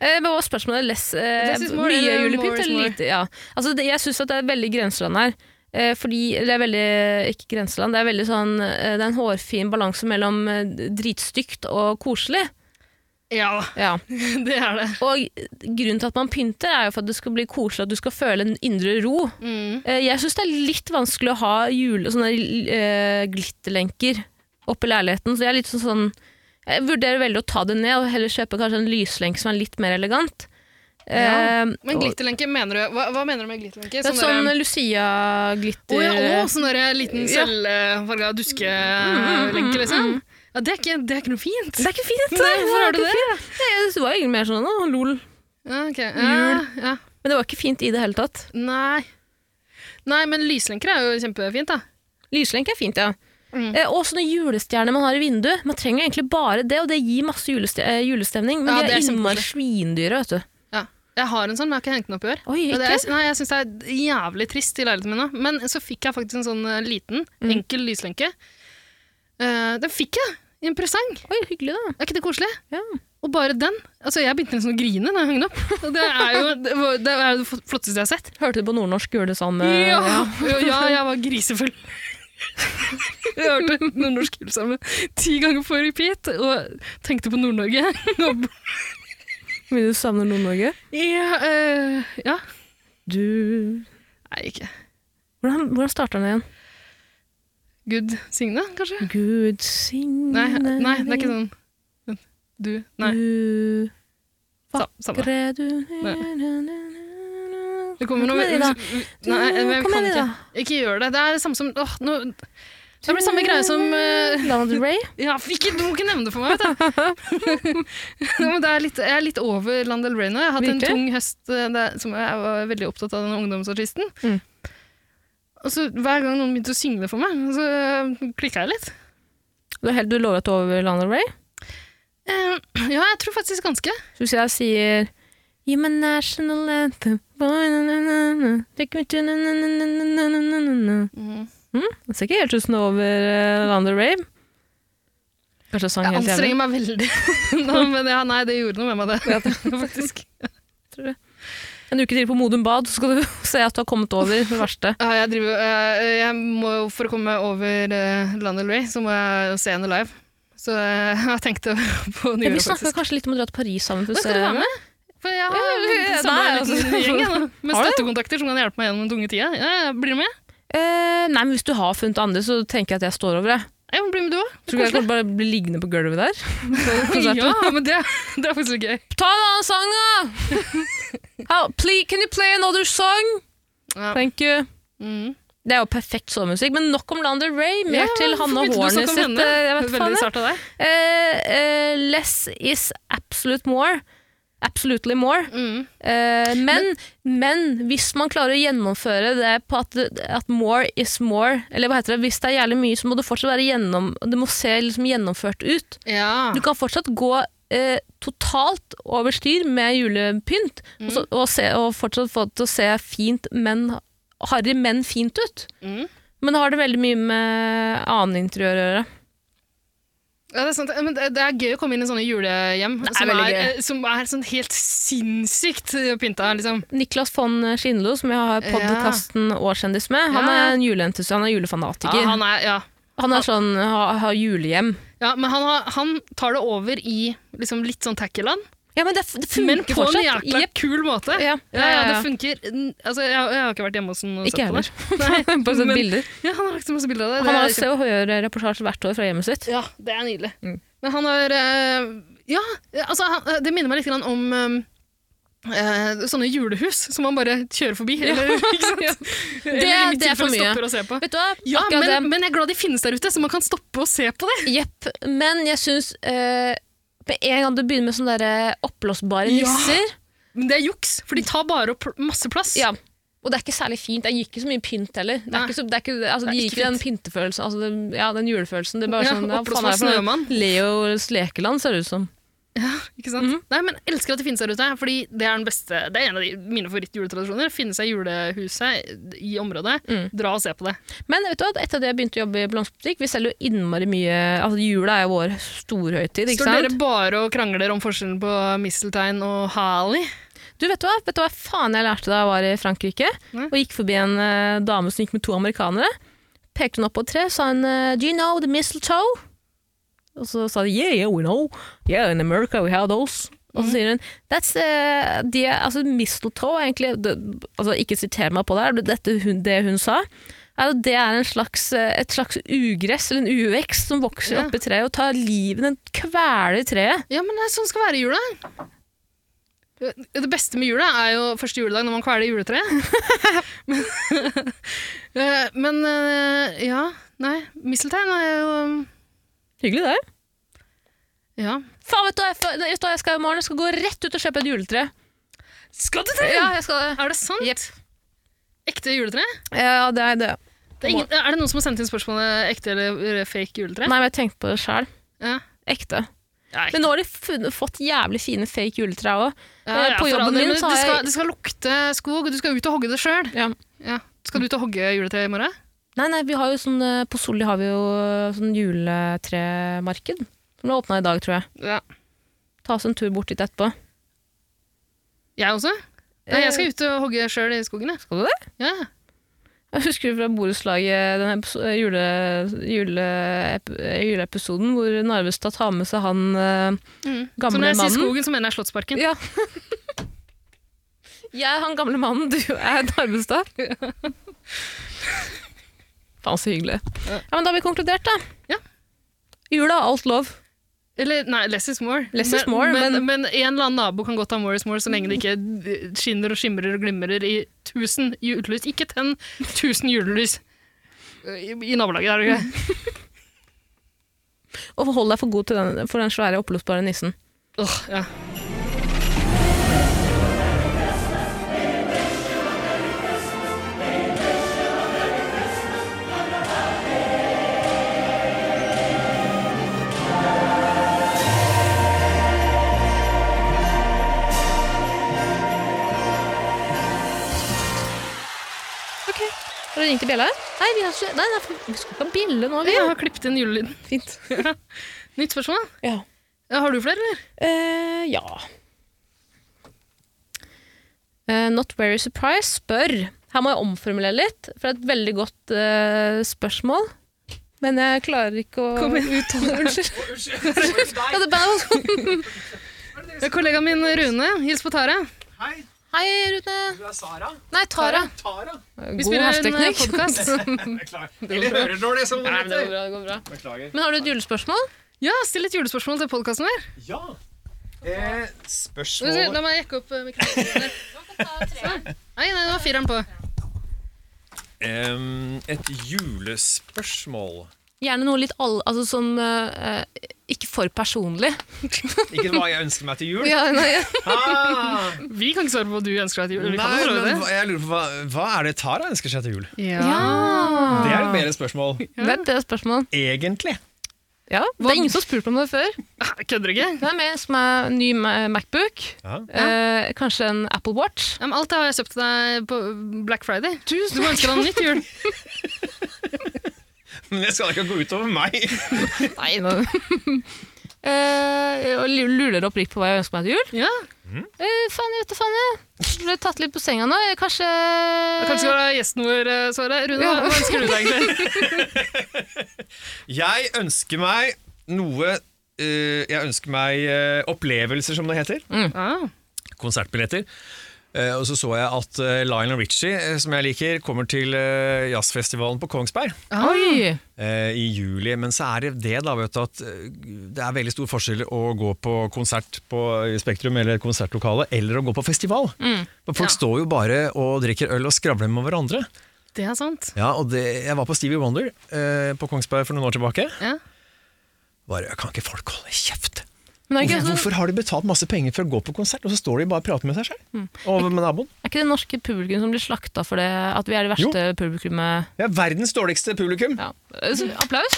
Speaker 3: Eh, Men hva var spørsmålet? Less, eh,
Speaker 4: Less is more,
Speaker 3: mye
Speaker 4: eller more
Speaker 3: julepynt
Speaker 4: is
Speaker 3: eller
Speaker 4: more?
Speaker 3: lite? Ja. Altså, det, jeg syns det er veldig grenseland her. Eh, fordi, eller det er veldig, ikke grenseland, det er, veldig sånn, eh, det er en hårfin balanse mellom eh, dritstygt og koselig.
Speaker 4: Ja,
Speaker 3: Ja.
Speaker 4: det er det.
Speaker 3: Og grunnen til at man pynter, er jo for at det skal bli koselig, at du skal føle en indre ro.
Speaker 4: Mm.
Speaker 3: Eh, Jeg syns det er litt vanskelig å ha jule, sånne eh, glitterlenker oppi leiligheten. Så jeg er litt sånn, sånn Jeg vurderer veldig å ta det ned, og heller kjøpe kanskje en lyslenke som er litt mer elegant. Eh, og-
Speaker 4: Men glitterlenke, mener du, hva, hva mener du med glitterlenke?
Speaker 3: Det er sånn Lucia-glitter
Speaker 4: Å ja, å, sånn der liten
Speaker 3: Ja.
Speaker 4: sølvfarga duskelenke, liksom. Ja, det er ikke, det er ikke noe fint.
Speaker 3: Det er ikke fint!
Speaker 4: Nei, hvorfor har du det?
Speaker 3: Nei, det var egentlig mer sånn «Å, lol.
Speaker 4: Ja, ok.
Speaker 3: Jul.
Speaker 4: Ja, ja.
Speaker 3: Men det var ikke fint i det hele tatt.
Speaker 4: Nei. Nei, men lyslenker er jo kjempefint, da.
Speaker 3: Lyslenke er fint, ja.
Speaker 4: Mm.
Speaker 3: Eh, og sånne julestjerner man har i vinduet. Man trenger egentlig bare det, og det gir masse juleste eh, julestemning. Men
Speaker 4: Ja,
Speaker 3: de
Speaker 4: det
Speaker 3: er
Speaker 4: er
Speaker 3: innmari
Speaker 4: kjempekoselig.
Speaker 3: svindyre, vet du.
Speaker 4: Ja. Jeg har en sånn, men jeg har ikke hengt den opp i år.
Speaker 3: Oi,
Speaker 4: Og
Speaker 3: ikke?
Speaker 4: Det er, nei, jeg syns det er jævlig trist i leiligheten min nå. Men så fikk jeg faktisk en sånn eh, liten, enkel lyslenke. Eh, den fikk jeg i en presang.
Speaker 3: Oi, hyggelig, da.
Speaker 4: Er ikke det koselig?
Speaker 3: Ja.
Speaker 4: Og bare den. Altså, jeg begynte nesten å grine da jeg hang den opp. Og Det er jo det, var, det, er jo det flotteste jeg har sett.
Speaker 3: Hørte du på nordnorsk eh? julesalme?
Speaker 4: Ja, ja. jeg var grisefull. Jeg hørte nordnorsk julesang ti ganger på repeat og tenkte på Nord-Norge. Og-
Speaker 3: Vil du savne Nord-Norge?
Speaker 4: Ja, eh, ja.
Speaker 3: Du
Speaker 4: Nei, ikke
Speaker 3: Hvordan, hvordan starter den igjen?
Speaker 4: Gud signe, kanskje?
Speaker 3: Gud signe
Speaker 4: Nei, nei, det er ikke sånn Du Nei.
Speaker 3: Du
Speaker 4: Sa, samme.
Speaker 3: vakre du
Speaker 4: Nei. Det
Speaker 3: Kom
Speaker 4: kommer noe
Speaker 3: igjen, da.
Speaker 4: Nei, men jeg
Speaker 3: Kom
Speaker 4: kan
Speaker 3: igjen,
Speaker 4: ikke.
Speaker 3: da.
Speaker 4: Ikke gjør det. Det er det samme som åh, nå, Det blir samme greie som eh,
Speaker 3: Lana Del Rey?
Speaker 4: Ja, for ikke, du må ikke nevne det for meg, vet du. Nå, men det er litt, jeg er litt over Landel Ray nå. Jeg har hatt
Speaker 3: Virkelig?
Speaker 4: en tung høst eh, der, som jeg var veldig opptatt av den ungdomsartisten.
Speaker 3: Mm.
Speaker 4: Og så hver gang noen begynte å synge det for meg, så klikka jeg litt.
Speaker 3: Du, er helt, du lover at du er over Lana Del Rey?
Speaker 4: Eh, ja, jeg tror faktisk ganske.
Speaker 3: Så hvis jeg sier Gi meg national anthem boy, na, na, na, na. Take me to na, na, na, na, na, na, na, na, na.
Speaker 4: Mm-hmm.
Speaker 3: Det ser ikke helt ut som det er over eh, Lana Del Rey. Kanskje jeg sang
Speaker 4: Jeg
Speaker 3: helt enig.
Speaker 4: anstrenger meg veldig nå, men ja, nei, det gjorde noe med meg, det. faktisk.
Speaker 3: En uke til på Modum Bad, så skal du se at du har kommet over det verste.
Speaker 4: Ja, jeg driver, eh, jeg må, jo- for å komme meg over uh, Landel Ray, så må jeg se henne live. Så eh, jeg tenkte på
Speaker 3: Ja,
Speaker 4: nyåret,
Speaker 3: vi snakka kanskje litt om å dra til Paris sammen. for å
Speaker 4: Men skal
Speaker 3: se
Speaker 4: du være
Speaker 3: henne.
Speaker 4: med? For jeg
Speaker 3: Ja,
Speaker 4: har
Speaker 3: ja,
Speaker 4: en
Speaker 3: nei,
Speaker 4: samme
Speaker 3: altså.
Speaker 4: liten gjeng jeg, da, med
Speaker 3: Har du?
Speaker 4: støttekontakter som kan hjelpe meg gjennom den tunge tida. Ja, ja, blir du med?
Speaker 3: Eh, nei, men Hvis du har funnet andre, så tenker jeg at jeg står over det.
Speaker 4: Ja, men blir med du òg?
Speaker 3: Tror du jeg kan bare bli liggende på gulvet der?
Speaker 4: Ja, men det, det er faktisk litt gøy.
Speaker 3: Ta en annen sang, da! How, please, can you play another song?
Speaker 4: Ja.
Speaker 3: Thank you.
Speaker 4: Mm.
Speaker 3: Det er jo perfekt sovemusikk, men nok om Lander Ray. Mer
Speaker 4: Ja,
Speaker 3: til
Speaker 4: men hvorfor
Speaker 3: Hanne
Speaker 4: begynte du å
Speaker 3: Hornet sitt eh,
Speaker 4: snakke om henne?
Speaker 3: jeg vet
Speaker 4: Veldig
Speaker 3: faen, jeg.
Speaker 4: sart av deg.
Speaker 3: Eh, eh, Less is absolute more. Absolutely more.
Speaker 4: Mm.
Speaker 3: Eh, men, men hvis man klarer å gjennomføre det på at, at more is more, eller hva heter det, hvis det er jævlig mye, så må det fortsatt være gjennom, det må se liksom gjennomført ut.
Speaker 4: Ja.
Speaker 3: Du kan fortsatt gå eh, totalt over styr med julepynt, og, så, og, se, og fortsatt få det til å se fint, men harry, men fint ut.
Speaker 4: Mm.
Speaker 3: Men da har det veldig mye med annen interiør å gjøre.
Speaker 4: Ja, det, er sant. Men det det er gøy å komme inn i sånne julehjem
Speaker 3: Det er
Speaker 4: som,
Speaker 3: veldig
Speaker 4: er,
Speaker 3: gøy.
Speaker 4: eh, som er sånn helt sinnssykt pynta. Liksom.
Speaker 3: Niklas von Schindlo, som jeg har podkasten Årskjendis med, han
Speaker 4: Ja.
Speaker 3: er en juleentusiast, han er
Speaker 4: Ja,
Speaker 3: julefanatiker.
Speaker 4: han er, ja.
Speaker 3: Han er sånn, har ha julehjem.
Speaker 4: ja, men han, har, han tar det over i liksom, litt sånn tacky-land,
Speaker 3: Ja, men det, f- det
Speaker 4: men
Speaker 3: funker
Speaker 4: på en
Speaker 3: fortsatt.
Speaker 4: jækla
Speaker 3: Jepp.
Speaker 4: kul måte.
Speaker 3: Ja,
Speaker 4: Ja, ja, det funker. N- Altså, jeg, jeg har ikke vært hjemme hos han og
Speaker 3: Ikke jeg heller.
Speaker 4: sett på det. Nei,
Speaker 3: Bare sett
Speaker 4: men-
Speaker 3: bilder.
Speaker 4: Ja, han har lagt så masse bilder av det.
Speaker 3: Han
Speaker 4: Det er
Speaker 3: har
Speaker 4: kjempe-
Speaker 3: Se og Hør-reportasje hvert år fra hjemmet sitt.
Speaker 4: Ja, det er nydelig.
Speaker 3: Mm.
Speaker 4: Men han har eh, Ja, altså, han, det minner meg litt grann om um, eh, sånne julehus som man bare kjører forbi. Eller, ikke sant?
Speaker 3: Det er-
Speaker 4: Eller i mitt
Speaker 3: det er for
Speaker 4: tilfelle
Speaker 3: mye.
Speaker 4: Stopper og ser på.
Speaker 3: Vet du hva?
Speaker 4: Ja,
Speaker 3: Akkurat
Speaker 4: men, men jeg er glad de finnes der ute, så man kan stoppe og se på
Speaker 3: det.
Speaker 4: det.
Speaker 3: Jepp. Men jeg syns eh, Med en gang du begynner med sånne der, eh, oppblåsbare
Speaker 4: Ja.
Speaker 3: nisser
Speaker 4: Men det er juks, for de tar bare opp masse plass.
Speaker 3: Ja. Og det er ikke særlig fint. Det gir ikke så mye pynt heller. Det
Speaker 4: Nei.
Speaker 3: er ikke så, det er ikke, altså, det
Speaker 4: Det er
Speaker 3: gir
Speaker 4: ikke
Speaker 3: ikke den pyntefølelsen, altså, det, ja, den julefølelsen. Det er bare
Speaker 4: Ja,
Speaker 3: sånn, ja,
Speaker 4: oppblåst
Speaker 3: faen er det for
Speaker 4: med
Speaker 3: noe?
Speaker 4: snømann.
Speaker 3: Leos lekeland ser det ut som.
Speaker 4: Ikke sant? Nei, men jeg elsker at det finnes her ute, fordi det er den beste, det er en av de, mine favorittjuletradisjoner. Finne seg i julehuset i området, dra og se på det.
Speaker 3: Men vet du hva, etter det jeg begynte å jobbe i blomsterbutikk, vi selger jo innmari mye altså Jula er jo vår storhøytid, ikke
Speaker 4: Står dere
Speaker 3: sant?
Speaker 4: bare og krangler om forskjellen på misteltein og hali?
Speaker 3: Du, vet du hva Vet du hva faen jeg lærte da jeg var i Frankrike?
Speaker 4: Nei.
Speaker 3: Og gikk forbi en eh, dame som gikk med to amerikanere. Pekte hun opp på et tre, sa hun eh, Do you know the mistletoe? Og så sa de yeah, yeah, we know. Yeah, in America we have those.
Speaker 4: Mhm.
Speaker 3: Og så sier hun That's eh, the, altså, Mistletoe, egentlig det, altså, Ikke siter meg på det, her, men dette, hun, det hun sa. Er at det er en slags, eh, et slags ugress eller en uvekst som vokser
Speaker 4: Ja.
Speaker 3: opp i treet og tar livet Den kveler treet.
Speaker 4: Ja, men det er sånn det skal være i jula. Det beste med jula er jo første juledag når man kveler juletreet. men, eh, men eh, ja, nei, misteltein er jo um,
Speaker 3: Hyggelig, det.
Speaker 4: Ja.
Speaker 3: Faen, vet du, hva jeg, fa- vet du hva jeg skal i morgen? Jeg skal gå rett ut og kjøpe et juletre.
Speaker 4: Skal du
Speaker 3: Ja, jeg skal det.
Speaker 4: Er det sant?
Speaker 3: Jepp.
Speaker 4: Ekte juletre?
Speaker 3: Ja, det er det.
Speaker 4: Det er, ingen, er det noen som har sendt inn spørsmålet ekte eller fake juletre?
Speaker 3: Nei, men jeg tenkte på det sjøl.
Speaker 4: Ja.
Speaker 3: Ekte.
Speaker 4: Nei.
Speaker 3: Men nå har de funnet, fått jævlig fine fake juletrær òg.
Speaker 4: Ja, ja,
Speaker 3: på
Speaker 4: for
Speaker 3: jobben
Speaker 4: all del,
Speaker 3: min
Speaker 4: men
Speaker 3: så
Speaker 4: det
Speaker 3: har
Speaker 4: skal,
Speaker 3: jeg-
Speaker 4: Det skal lukte skog, og du skal ut og hogge det sjøl.
Speaker 3: Ja.
Speaker 4: Ja. Skal du ut og hogge juletre i morgen?
Speaker 3: Nei, nei, vi har jo sånn eh, På Solli har vi jo eh, sånn juletremarked. Som ble åpna i dag, tror jeg.
Speaker 4: Ja.
Speaker 3: Ta oss en tur bort dit etterpå.
Speaker 4: Jeg også? Nei, jeg skal ut og hogge sjøl i skogen. Jeg.
Speaker 3: Eh. Skal du det?
Speaker 4: Ja.
Speaker 3: Jeg husker du fra borettslaget, eh, den epis- jule, jule, ep- juleepisoden hvor Narvestad tar med seg han eh,
Speaker 4: Mm. Så
Speaker 3: gamle
Speaker 4: når jeg
Speaker 3: mannen.
Speaker 4: sier skogen, så mener jeg Slottsparken.
Speaker 3: Ja. Jeg er han gamle mannen, du er Narvestad. Faen, så hyggelig. Ja, men Da har vi konkludert, da.
Speaker 4: Ja.
Speaker 3: Jula er alt lov.
Speaker 4: Eller nei, less is more.
Speaker 3: Less is more,
Speaker 4: men, men en eller annen nabo kan godt ha more is more så lenge det ikke skinner og skimrer og glimrer i tusen julelys. Ikke tenn tusen julelys i, i nabolaget, er det ikke?
Speaker 3: Og hold deg for god til den, for den svære oppblåsbare nissen.
Speaker 4: Åh, ja.
Speaker 3: Ok, Har du ringt i bjella? Nei, vi, har ikke, nei, nei, for- vi skal ikke ha bjelle nå. Vi.
Speaker 4: Jeg har klippet inn julelyden.
Speaker 3: Fint.
Speaker 4: Nytt spørsmål.
Speaker 3: Ja.
Speaker 4: Ja, Har du flere, eller?
Speaker 3: Eh, ja. Eh, not very surprised spør Her må jeg omformulere litt, for det er et veldig godt eh, spørsmål. Men jeg klarer ikke å
Speaker 4: Kom igjen.
Speaker 3: uttale Unnskyld. Ja, det er bare-
Speaker 4: Ja, Kollegaen min Rune, hils på Tara.
Speaker 3: Hei, Rune. Du er Sara? Nei, Tara.
Speaker 4: Vi
Speaker 3: God
Speaker 4: spiller en eh,
Speaker 3: hersteknikk.
Speaker 4: podkast.
Speaker 8: Eller hører dårlig, som det heter.
Speaker 3: bra, det går bra.
Speaker 8: Beklager.
Speaker 3: Men har du et julespørsmål?
Speaker 4: Ja, still et julespørsmål til podkasten vår.
Speaker 8: Ja. Eh,
Speaker 4: La
Speaker 8: spørsmålet
Speaker 4: meg jekke opp eh, mikrofonen. der. Sånn. Nei, nei, det var fireren på.
Speaker 8: Em, Et julespørsmål.
Speaker 3: Gjerne noe litt all... Altså sånn eh, ikke for personlig.
Speaker 8: Ikke hva jeg ønsker meg til jul.
Speaker 3: Ja, nei,
Speaker 8: Ah,
Speaker 4: Vi kan ikke svare på hva du ønsker deg til jul.
Speaker 8: nei,
Speaker 4: Vi kan jo prøve
Speaker 8: men
Speaker 4: det.
Speaker 8: hva- jeg lurer på hva, hva er det Tara ønsker seg til jul?
Speaker 4: Ah.
Speaker 3: ja.
Speaker 8: Det er et bedre spørsmål.
Speaker 3: Det er et bedre spørsmål.
Speaker 8: Egentlig.
Speaker 3: Ja, det er ingen som har spurt om det før.
Speaker 4: Kødder du ikke?
Speaker 3: Det er med som er ny Ma- Macbook.
Speaker 8: Ja.
Speaker 3: Eh, kanskje en Apple Watch.
Speaker 4: Ja, men alt det har jeg kjøpt til deg på Black Friday.
Speaker 3: Tusen
Speaker 4: Du må ønske deg en nytt jul.
Speaker 8: Men det skal ikke gå utover meg.
Speaker 3: Nei, nå. Eh, og lurer oppriktig på hva jeg ønsker meg til jul.
Speaker 4: Ja.
Speaker 3: Eh, faen, jeg vet da faen, jeg. Ble tatt litt på senga nå. Eh, Kanskje
Speaker 4: Kanskje skal du ha gjesten vår, eh, Sara. Rune, hva ønsker du deg egentlig?
Speaker 8: Jeg ønsker meg noe eh, Jeg ønsker meg eh, opplevelser, som det heter.
Speaker 4: Ah.
Speaker 8: konsertbilletter. Eh, og så så jeg at eh, Lionel Richie, eh, som jeg liker, kommer til eh, jazzfestivalen på Kongsberg
Speaker 3: Oi!
Speaker 8: eh, i juli. Men så er det det, da, vet du, at eh, det er veldig stor forskjell å gå på konsert på Spektrum eller et konsertlokale, eller å gå på festival. For folk står jo bare og drikker øl og skravler med hverandre.
Speaker 4: Det er sant.
Speaker 8: Ja, og det, Jeg var på Stevie Wonder eh, på Kongsberg for noen år tilbake.
Speaker 4: Ja.
Speaker 8: Bare, kan ikke folk holde kjeft?
Speaker 3: Men er det,
Speaker 8: Hvor-
Speaker 3: ikke, sånn-
Speaker 8: Hvorfor har de betalt masse penger for å gå på konsert, og så står de bare og prater med seg selv? Og med naboen?
Speaker 3: er ikke det norske publikum som blir slakta for det, at vi er det verste publikummet?
Speaker 8: Ja, verdens dårligste publikum.
Speaker 3: Ja. Eh, Så, applaus!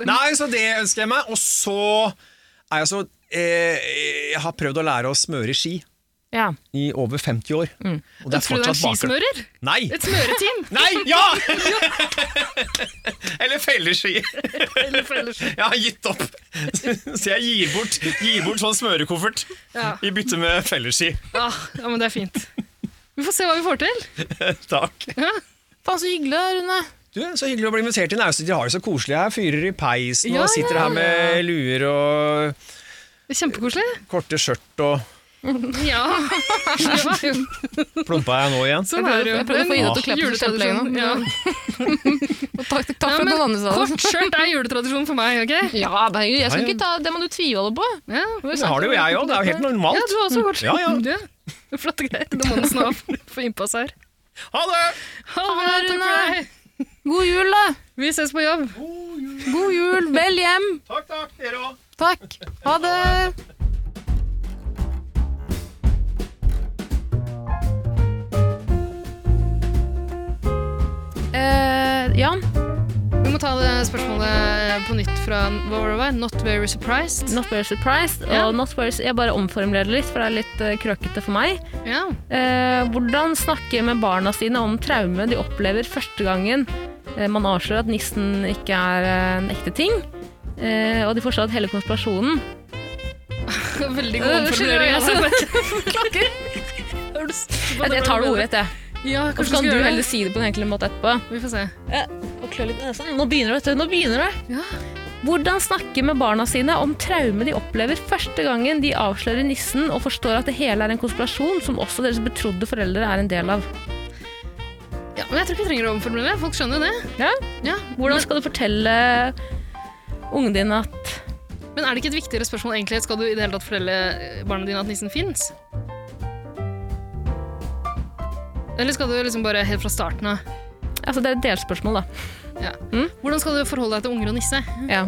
Speaker 8: Nei, så det ønsker jeg meg. Og så er jeg så eh, Jeg har prøvd å lære å smøre ski
Speaker 3: Ja.
Speaker 8: i over 50 år. Og det er
Speaker 4: Mm. Tror du det er
Speaker 8: fortsatt baker.
Speaker 4: skismører?
Speaker 8: Nei!
Speaker 4: Et smøreteam?
Speaker 8: Nei! Ja! Eller felleski.
Speaker 4: Eller for ellers.
Speaker 8: Jeg har gitt opp. Så jeg gir bort, gir bort sånn smørekoffert
Speaker 4: Ja.
Speaker 8: i bytte med felleski.
Speaker 4: Ja, ja, men det er fint. Vi får se hva vi får til.
Speaker 8: Takk.
Speaker 3: Faen, så hyggelig, da, Rune.
Speaker 8: Du, Så hyggelig å bli invitert inn. De har det så koselig her. Fyrer i peisen
Speaker 4: Ja,
Speaker 8: og sitter her med luer og
Speaker 4: Det er Kjempekoselig.
Speaker 8: korte skjørt og
Speaker 4: Ja.
Speaker 8: Plumpa jeg nå igjen?
Speaker 4: Sånn er det jo.
Speaker 3: Jeg prøvde å få Ida til å
Speaker 4: Det er en
Speaker 3: klappe for skjøtelegene.
Speaker 4: juletradisjon. Ja.
Speaker 3: Og Takk, takk for
Speaker 4: Ja,
Speaker 3: at
Speaker 4: men
Speaker 3: noen andre sa det.
Speaker 4: Kort skjørt er juletradisjon for meg, OK?
Speaker 3: Ja, herregud, jeg skal ikke ta det må du tviholde på.
Speaker 4: Ja.
Speaker 8: Det har det jo jeg òg. Det er jo helt
Speaker 4: Ja,
Speaker 8: normalt.
Speaker 4: du har også kort
Speaker 8: Ja,
Speaker 4: skjørt.
Speaker 8: ja.
Speaker 4: Du, Flotte greier. Det må nesten ha for innpass her.
Speaker 8: Ha det!
Speaker 4: Ha det,
Speaker 3: Ha det,
Speaker 4: takk
Speaker 3: Rune.
Speaker 4: for deg.
Speaker 3: God jul, da!
Speaker 4: Vi ses på jobb.
Speaker 3: God jul, vel hjem!
Speaker 8: Takk, takk, dere òg.
Speaker 3: Takk. Ha det! Eh, Jan,
Speaker 4: Vi må ta det spørsmålet på nytt fra hva var det det var? Not very surprised.
Speaker 3: not very surprised.
Speaker 4: Ja.
Speaker 3: Og not very, jeg bare omformulerer det litt, for det er litt eh, krøkete for meg.
Speaker 4: Ja.
Speaker 3: Eh, hvordan snakke med barna sine om traume de opplever første gangen eh, man avslører at nissen ikke er eh, en ekte ting? Eh, og de forstår at hele konspirasjonen
Speaker 4: Veldig god
Speaker 3: Øh, skjønner
Speaker 4: omformulering.
Speaker 3: jeg,
Speaker 4: altså.
Speaker 3: Klager!
Speaker 4: Er du sikker på at
Speaker 3: Jeg,
Speaker 4: det
Speaker 3: jeg tar det
Speaker 4: ble
Speaker 3: ordrett, jeg.
Speaker 4: bedre? Ja,
Speaker 3: Og så
Speaker 4: kanskje
Speaker 3: kan du
Speaker 4: du skal
Speaker 3: heller
Speaker 4: gjøre det.
Speaker 3: si det på en enkel måte etterpå.
Speaker 4: Vi får se.
Speaker 3: Og klø litt i nesen. Nå begynner det, vet du. Nå begynner det.
Speaker 4: Ja.
Speaker 3: Hvordan snakke med barna sine om traume de opplever første gangen de avslører nissen og forstår at det hele er en konspirasjon som også deres betrodde foreldre er en del av?
Speaker 4: Ja, men jeg tror ikke vi trenger å omformulere. Folk skjønner jo det.
Speaker 3: Ja?
Speaker 4: Ja.
Speaker 3: Hvordan skal du fortelle ungen din at
Speaker 4: Men er det ikke et viktigere spørsmål egentlig? Skal du i det hele tatt fortelle barna dine at nissen fins? Eller skal du liksom bare helt fra starten av
Speaker 3: Altså, det er et delspørsmål, da.
Speaker 4: ja. Hvordan skal du forholde deg til unger og nisse?
Speaker 3: Ja.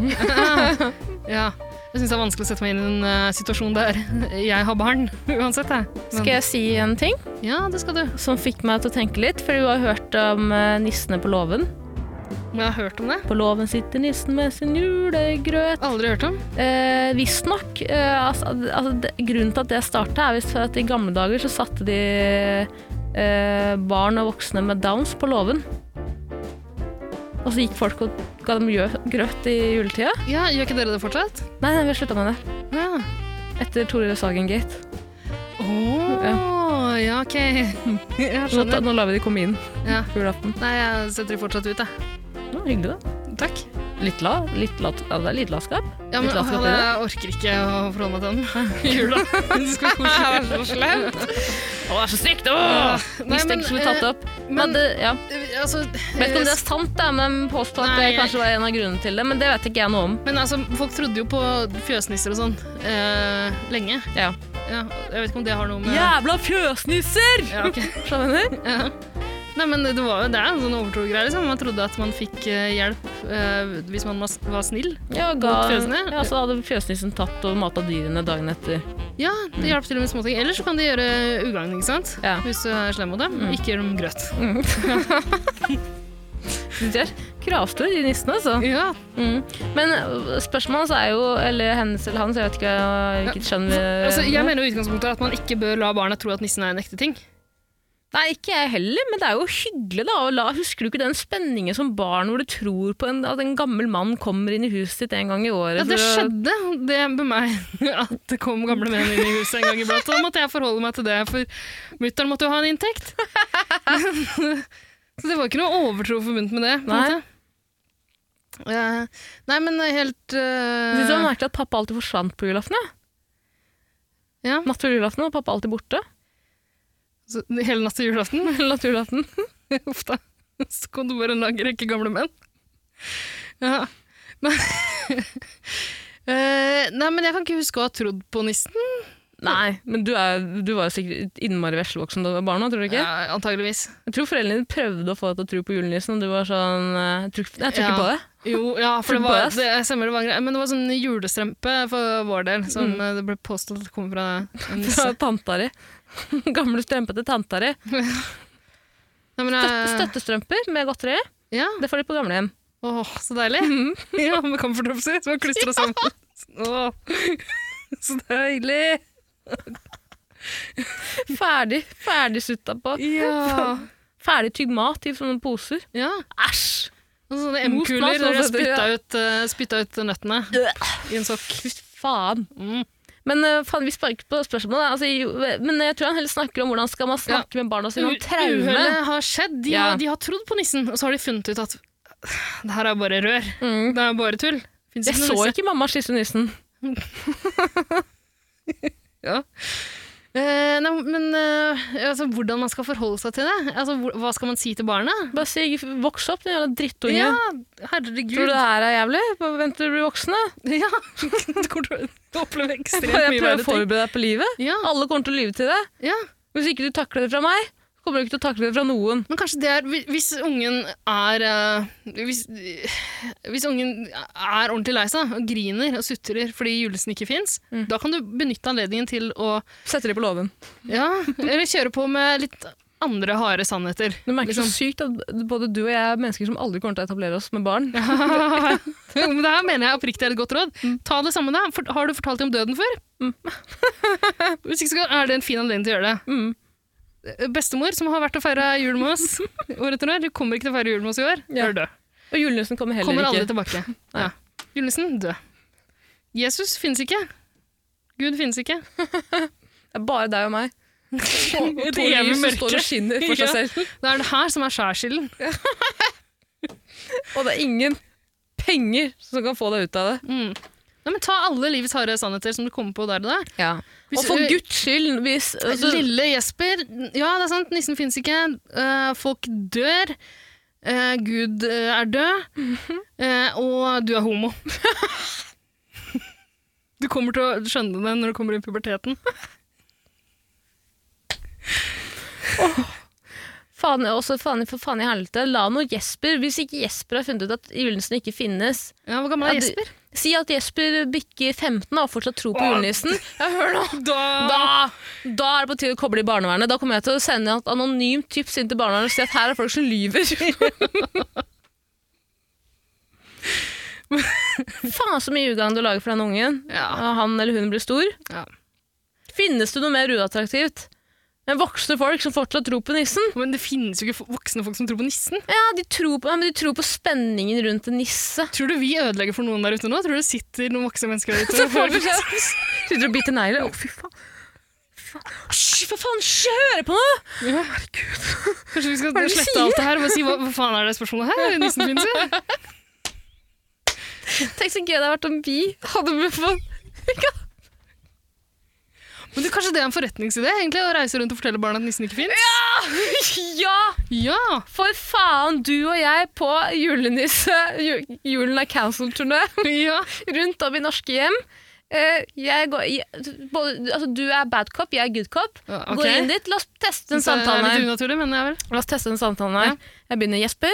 Speaker 4: Ja. Jeg syns det er vanskelig å sette meg inn i en eh, situasjon der jeg har barn, uansett. Jeg. Men-
Speaker 3: Skal jeg si en ting
Speaker 4: Ja, det skal du.
Speaker 3: som fikk meg til å tenke litt? For vi har hørt om eh, nissene på låven.
Speaker 4: Men jeg har hørt om det.
Speaker 3: På låven sitter nissen med sin julegrøt.
Speaker 4: Aldri hørt om.
Speaker 3: Eh, Visstnok. Eh, altså, altså, det- grunnen til at det starta, er visst for at i gamle dager så satte de eh, barn og voksne med downs på låven. Og så gikk folk og ga dem gjø- grøt i juletida.
Speaker 4: Ja, Gjør ikke dere det fortsatt?
Speaker 3: Nei, nei, vi har slutta med det.
Speaker 4: Ja.
Speaker 3: Etter Tore Sagen-gate.
Speaker 4: Åh, ja, ok. Jeg
Speaker 3: Nå, ta-
Speaker 4: skjønner.
Speaker 3: nå lar vi de komme inn
Speaker 4: Ja.
Speaker 3: på julaften.
Speaker 4: Nei, jeg setter det fortsatt ut, jeg.
Speaker 3: Nå, hyggelig, da.
Speaker 4: Takk.
Speaker 3: Litt, la, litt, lat, ja, det er litt latskap.
Speaker 4: Ja, men
Speaker 3: Litt latskap i
Speaker 4: åh, jeg orker ikke å forholde meg til den i jula. Det skal være koselig.
Speaker 3: Å, det er så stygt! Åh!
Speaker 4: Nei,
Speaker 3: Hvis det
Speaker 4: men, eh,
Speaker 3: ikke skulle tatt det opp. Men,
Speaker 4: men-
Speaker 3: det, ja.
Speaker 4: Eh, Altså,
Speaker 3: Vet ikke om det er sant, da, men de påstår at det
Speaker 4: Nei.
Speaker 3: kanskje var en av grunnene til det. Men det vet ikke jeg noe om.
Speaker 4: men altså, folk trodde jo på fjøsnisser og sånn eh, lenge.
Speaker 3: Ja.
Speaker 4: Ja, jeg vet ikke om det har noe med
Speaker 3: Jævla fjøsnisser!
Speaker 4: Ja, ok.
Speaker 3: Skjønner du?
Speaker 4: Ja. Nei, men det, var, jo- det er en sånn overtro-greie. Liksom. Man trodde at man fikk eh, hjelp eh, hvis man mas- var snill.
Speaker 3: Ja, og ga,
Speaker 4: Mot fjøsene?
Speaker 3: ja, så hadde fjøsnissen tatt og mata dyrene dagen etter.
Speaker 4: Ja, det hjalp til og med småting. Ellers så kan de gjøre ugagn, ikke sant?
Speaker 3: Ja. Mm.
Speaker 4: Hvis du er slem mot dem. Ikke gjør dem grøt.
Speaker 3: De er kravstore, de nissene, altså.
Speaker 4: Ja.
Speaker 3: Mm. Men øh, spørsmålet så er jo Eller hennes eller hans, jeg vet ikke øh, hvilket skjønn vi
Speaker 4: Altså, jeg mener jo i utgangspunktet at man ikke bør la barna tro at nissen er en ekte ting.
Speaker 3: Nei, ikke jeg heller, men det er jo hyggelig, da. Å la, husker du ikke den spenningen som barn hvor du tror på en, at en gammel mann kommer inn i huset ditt en gang i året?
Speaker 4: Ja, det
Speaker 3: for å-
Speaker 4: skjedde det med meg, at det kom gamle menn inn i huset en gang iblant. Da måtte jeg forholde meg til det, for mutter'n måtte jo ha en inntekt. Så det var ikke noe overtro forbundet med det. på en
Speaker 3: Nei.
Speaker 4: måte. Eh, nei, men helt
Speaker 3: Jeg
Speaker 4: eh,
Speaker 3: synes det var merkelig at pappa alltid forsvant på julaften. Ja.
Speaker 4: Ja.
Speaker 3: Natt til julaften var pappa alltid borte.
Speaker 4: så, Hele natt til julaften.
Speaker 3: Natt til julaften.
Speaker 4: Uff da. Så kom det bare en lang rekke gamle menn. Ja. Men, Eh, nei, men jeg kan ikke huske å ha trodd på nissen.
Speaker 3: Nei, men du, er, du var jo sikkert innmari veslevoksen da du var barn òg, tror du ikke?
Speaker 4: Ja, antageligvis.
Speaker 3: Jeg tror foreldrene dine prøvde å få deg til å tro på julenissen, og du var sånn eh, Jeg tror, ikke- jeg tror ikke
Speaker 4: Ja.
Speaker 3: på det.
Speaker 4: Jo, ja, for det
Speaker 3: For
Speaker 4: var,
Speaker 3: bøs.
Speaker 4: det, stemmer, det var en greie. Men det var sånn julestrømpe for vår del, som
Speaker 3: Mm.
Speaker 4: eh, det ble påstått at kom fra en nisse.
Speaker 3: Fra tanta di. Gamle strømpete tanta di.
Speaker 4: Nei, men,
Speaker 3: Støtte,
Speaker 4: eh,
Speaker 3: støttestrømper med godteri.
Speaker 4: Ja,
Speaker 3: Det får de på gamlehjem.
Speaker 4: Åh, så deilig.
Speaker 3: Mhm.
Speaker 4: Ja, med comfortdropser som er klistra sammen. Åh, så deilig.
Speaker 3: Ferdig ferdig sutta på.
Speaker 4: Ja.
Speaker 3: Ferdig tygd mat i sånne poser.
Speaker 4: ja.
Speaker 3: Æsj!
Speaker 4: Og sånne
Speaker 3: Most mat,
Speaker 4: M-kuler der jeg
Speaker 3: altså, det-
Speaker 4: spytta ut, eh, spytta ut nøttene i en sokk.
Speaker 3: Fy faen. Men eh, faen, vi sparker på spørsmålet. da. Altså, jo, men jeg tror han heller snakker om hvordan skal man snakke med barna sine om traume.
Speaker 4: Uhellet har skjedd. De,
Speaker 3: Ja.
Speaker 4: har, de har trodd på nissen, og så har de funnet ut at det her er bare rør. Det er bare tull. Finnes
Speaker 3: Mm. Jeg
Speaker 4: ikke noe
Speaker 3: så
Speaker 4: nisse.
Speaker 3: ikke mamma kysse nissen.
Speaker 4: Ja. Eh, nei, men eh, altså, hvordan man skal forholde seg til det? Altså, hvor, hva skal man si til barna?
Speaker 3: Bare si 'voks opp, din jævla drittunge'.
Speaker 4: Ja, herregud.
Speaker 3: Tror du det her er jævlig? Bare Vent til du blir voksen, da.
Speaker 4: Ja, du kommer til å oppleve
Speaker 3: Jeg
Speaker 4: ekstremt mye
Speaker 3: prøver
Speaker 4: verre
Speaker 3: å
Speaker 4: ting.
Speaker 3: forberede deg på livet.
Speaker 4: Ja,
Speaker 3: Alle kommer til å lyve til deg.
Speaker 4: ja.
Speaker 3: Hvis ikke du takler det fra meg, kommer du ikke til å takle det fra noen.
Speaker 4: Men kanskje det er hvi- Hvis ungen er eh, hvis, hvis ungen er ordentlig lei seg og griner og sutrer fordi julenissen ikke fins, da kan du benytte anledningen til å
Speaker 3: Setter de på låven.
Speaker 4: ja, eller kjøre på med litt andre harde sannheter.
Speaker 3: Du merker
Speaker 4: liksom.
Speaker 3: så sykt at både du og jeg er mennesker som aldri kommer til å etablere oss med barn.
Speaker 4: Jo, Men det her mener jeg oppriktig er et godt råd.
Speaker 3: Mm.
Speaker 4: Ta det samme, da. For, har du fortalt dem om døden før? Hvis ikke så er det en fin anledning til å gjøre det.
Speaker 3: Mm.
Speaker 4: Eh, Bestemor, som har vært og feira jul med oss år etter år, du kommer ikke til å feire jul med oss i år.
Speaker 3: Ja.
Speaker 4: Du er død.
Speaker 3: Og julenissen kommer heller
Speaker 4: Kommer
Speaker 3: ikke.
Speaker 4: aldri tilbake. Ja. Julenissen, død. Jesus finnes ikke. Gud finnes ikke.
Speaker 3: Det er bare deg og meg. Og
Speaker 4: Et
Speaker 3: to
Speaker 4: evig
Speaker 3: lys som
Speaker 4: mørke.
Speaker 3: står og skinner for seg
Speaker 4: Ja.
Speaker 3: selv.
Speaker 4: Det er det her som er skjærsilden.
Speaker 3: Og det er ingen penger som kan få deg ut av det.
Speaker 4: Mm. Nei, men ta alle livets harde sannheter som du kommer på der og da.
Speaker 3: og
Speaker 4: Hvis
Speaker 3: for
Speaker 4: du-
Speaker 3: guds skyld hvis, altså,
Speaker 4: Eh, Lille Jesper, ja det er sant, nissen finnes ikke, eh, folk dør, eh, Gud eh, er død, eh, og du er homo. du kommer til å skjønne det når du kommer i puberteten.
Speaker 3: faen, også, faen, For faen i helvete, la nå Jesper Hvis ikke Jesper har funnet ut at julenissen ikke finnes
Speaker 4: Ja, hvor gammel
Speaker 3: Ja,
Speaker 4: er
Speaker 3: du-
Speaker 4: Jesper?
Speaker 3: Si at Jesper bikker 15 og har fortsatt tro på julenissen. Ja, hør nå!
Speaker 4: Da,
Speaker 3: Da, da er det på tide å koble i barnevernet. Da kommer jeg til å sende et anonymt tips inn til barnevernet og si at her er folk som lyver. Faen så mye ugagn du lager for den ungen.
Speaker 4: Ja.
Speaker 3: Ja, Han eller hun blir stor.
Speaker 4: Ja.
Speaker 3: Finnes det noe mer uattraktivt enn voksne folk som fortsatt tror på nissen?
Speaker 4: Men det finnes jo ikke fo- voksne folk som tror på nissen.
Speaker 3: Ja, de tror på, ja, men de tror på spenningen rundt en nisse.
Speaker 4: Tror du vi ødelegger for noen der ute nå? Tror du det sitter noen voksne mennesker der ute?
Speaker 3: Så får vi se. Sitter og biter negler. Å, fy faen. Fy faen. Hysj, for faen, hysj, jeg hører på noe!
Speaker 4: Ja.
Speaker 3: Hva
Speaker 4: Kanskje vi
Speaker 3: er
Speaker 4: skal
Speaker 3: det du
Speaker 4: slette
Speaker 3: sier?
Speaker 4: alt det her og bare si hva, hva faen er det spørsmålet her? Nissen finnes jo.
Speaker 3: Tenk så gøy det hadde vært om vi hadde fått
Speaker 4: Men du, Kanskje det er en forretningsidé? egentlig, Å reise rundt og fortelle barna at nissen ikke fins?
Speaker 3: Ja!
Speaker 4: Ja!
Speaker 3: For faen, du og jeg på julenisse, ju- julen er cancelled-turné
Speaker 4: ja.
Speaker 3: rundt om i norske hjem. Eh, jeg går, jeg, både, altså, du er bad cop, jeg er good cop.
Speaker 4: Ja, ok.
Speaker 3: Gå inn dit, la oss teste den
Speaker 4: Så det er
Speaker 3: samtalen
Speaker 4: litt
Speaker 3: her.
Speaker 4: unaturlig, men jeg vel.
Speaker 3: La oss teste den samtalen her. Jeg begynner Jesper.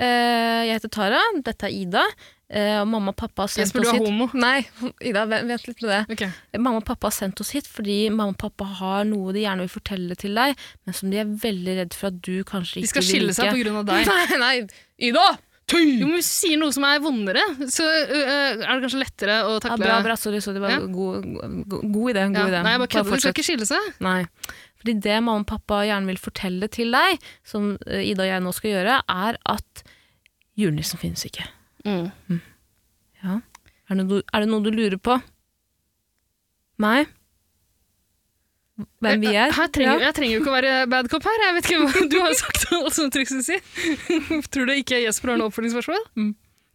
Speaker 3: Eh, jeg heter Tara, dette er Ida. Eh, og mamma og pappa har sendt
Speaker 4: Jesper,
Speaker 3: oss
Speaker 4: du er
Speaker 3: hit.
Speaker 4: homo.
Speaker 3: Nei, Ida, vent, vent litt med det.
Speaker 4: Ok.
Speaker 3: Mamma og pappa har sendt oss hit fordi mamma og pappa har noe de gjerne vil fortelle til deg, men som de er veldig redd for at du kanskje ikke vil
Speaker 4: De skal skille seg
Speaker 3: like.
Speaker 4: pga. deg.
Speaker 3: Nei, nei, Ida!
Speaker 4: Jo, men Hvis du sier noe som er vondere, så øh, øh, er det kanskje lettere å
Speaker 3: Ja,
Speaker 4: takle
Speaker 3: bra, bra, sorry, sorry. Bare
Speaker 4: Ja.
Speaker 3: god, god, god idé.
Speaker 4: Ja.
Speaker 3: God idé.
Speaker 4: Nei, jeg bare kødder. Du skal
Speaker 3: fortsett.
Speaker 4: ikke skille seg.
Speaker 3: Nei. Fordi det mamma og pappa gjerne vil fortelle til deg, som eh, Ida og jeg nå skal gjøre, er at julenissen finnes ikke. Mm. Ja. Er det, noe, er det noe du lurer på? Nei? Hvem vi er?
Speaker 4: Her trenger,
Speaker 3: ja.
Speaker 4: Jeg trenger jo ikke å være bad cop her. Jeg vet ikke hva Du har jo sagt alt som du skulle si. Tror du ikke Jesper har noe oppfølgingsspørsmål?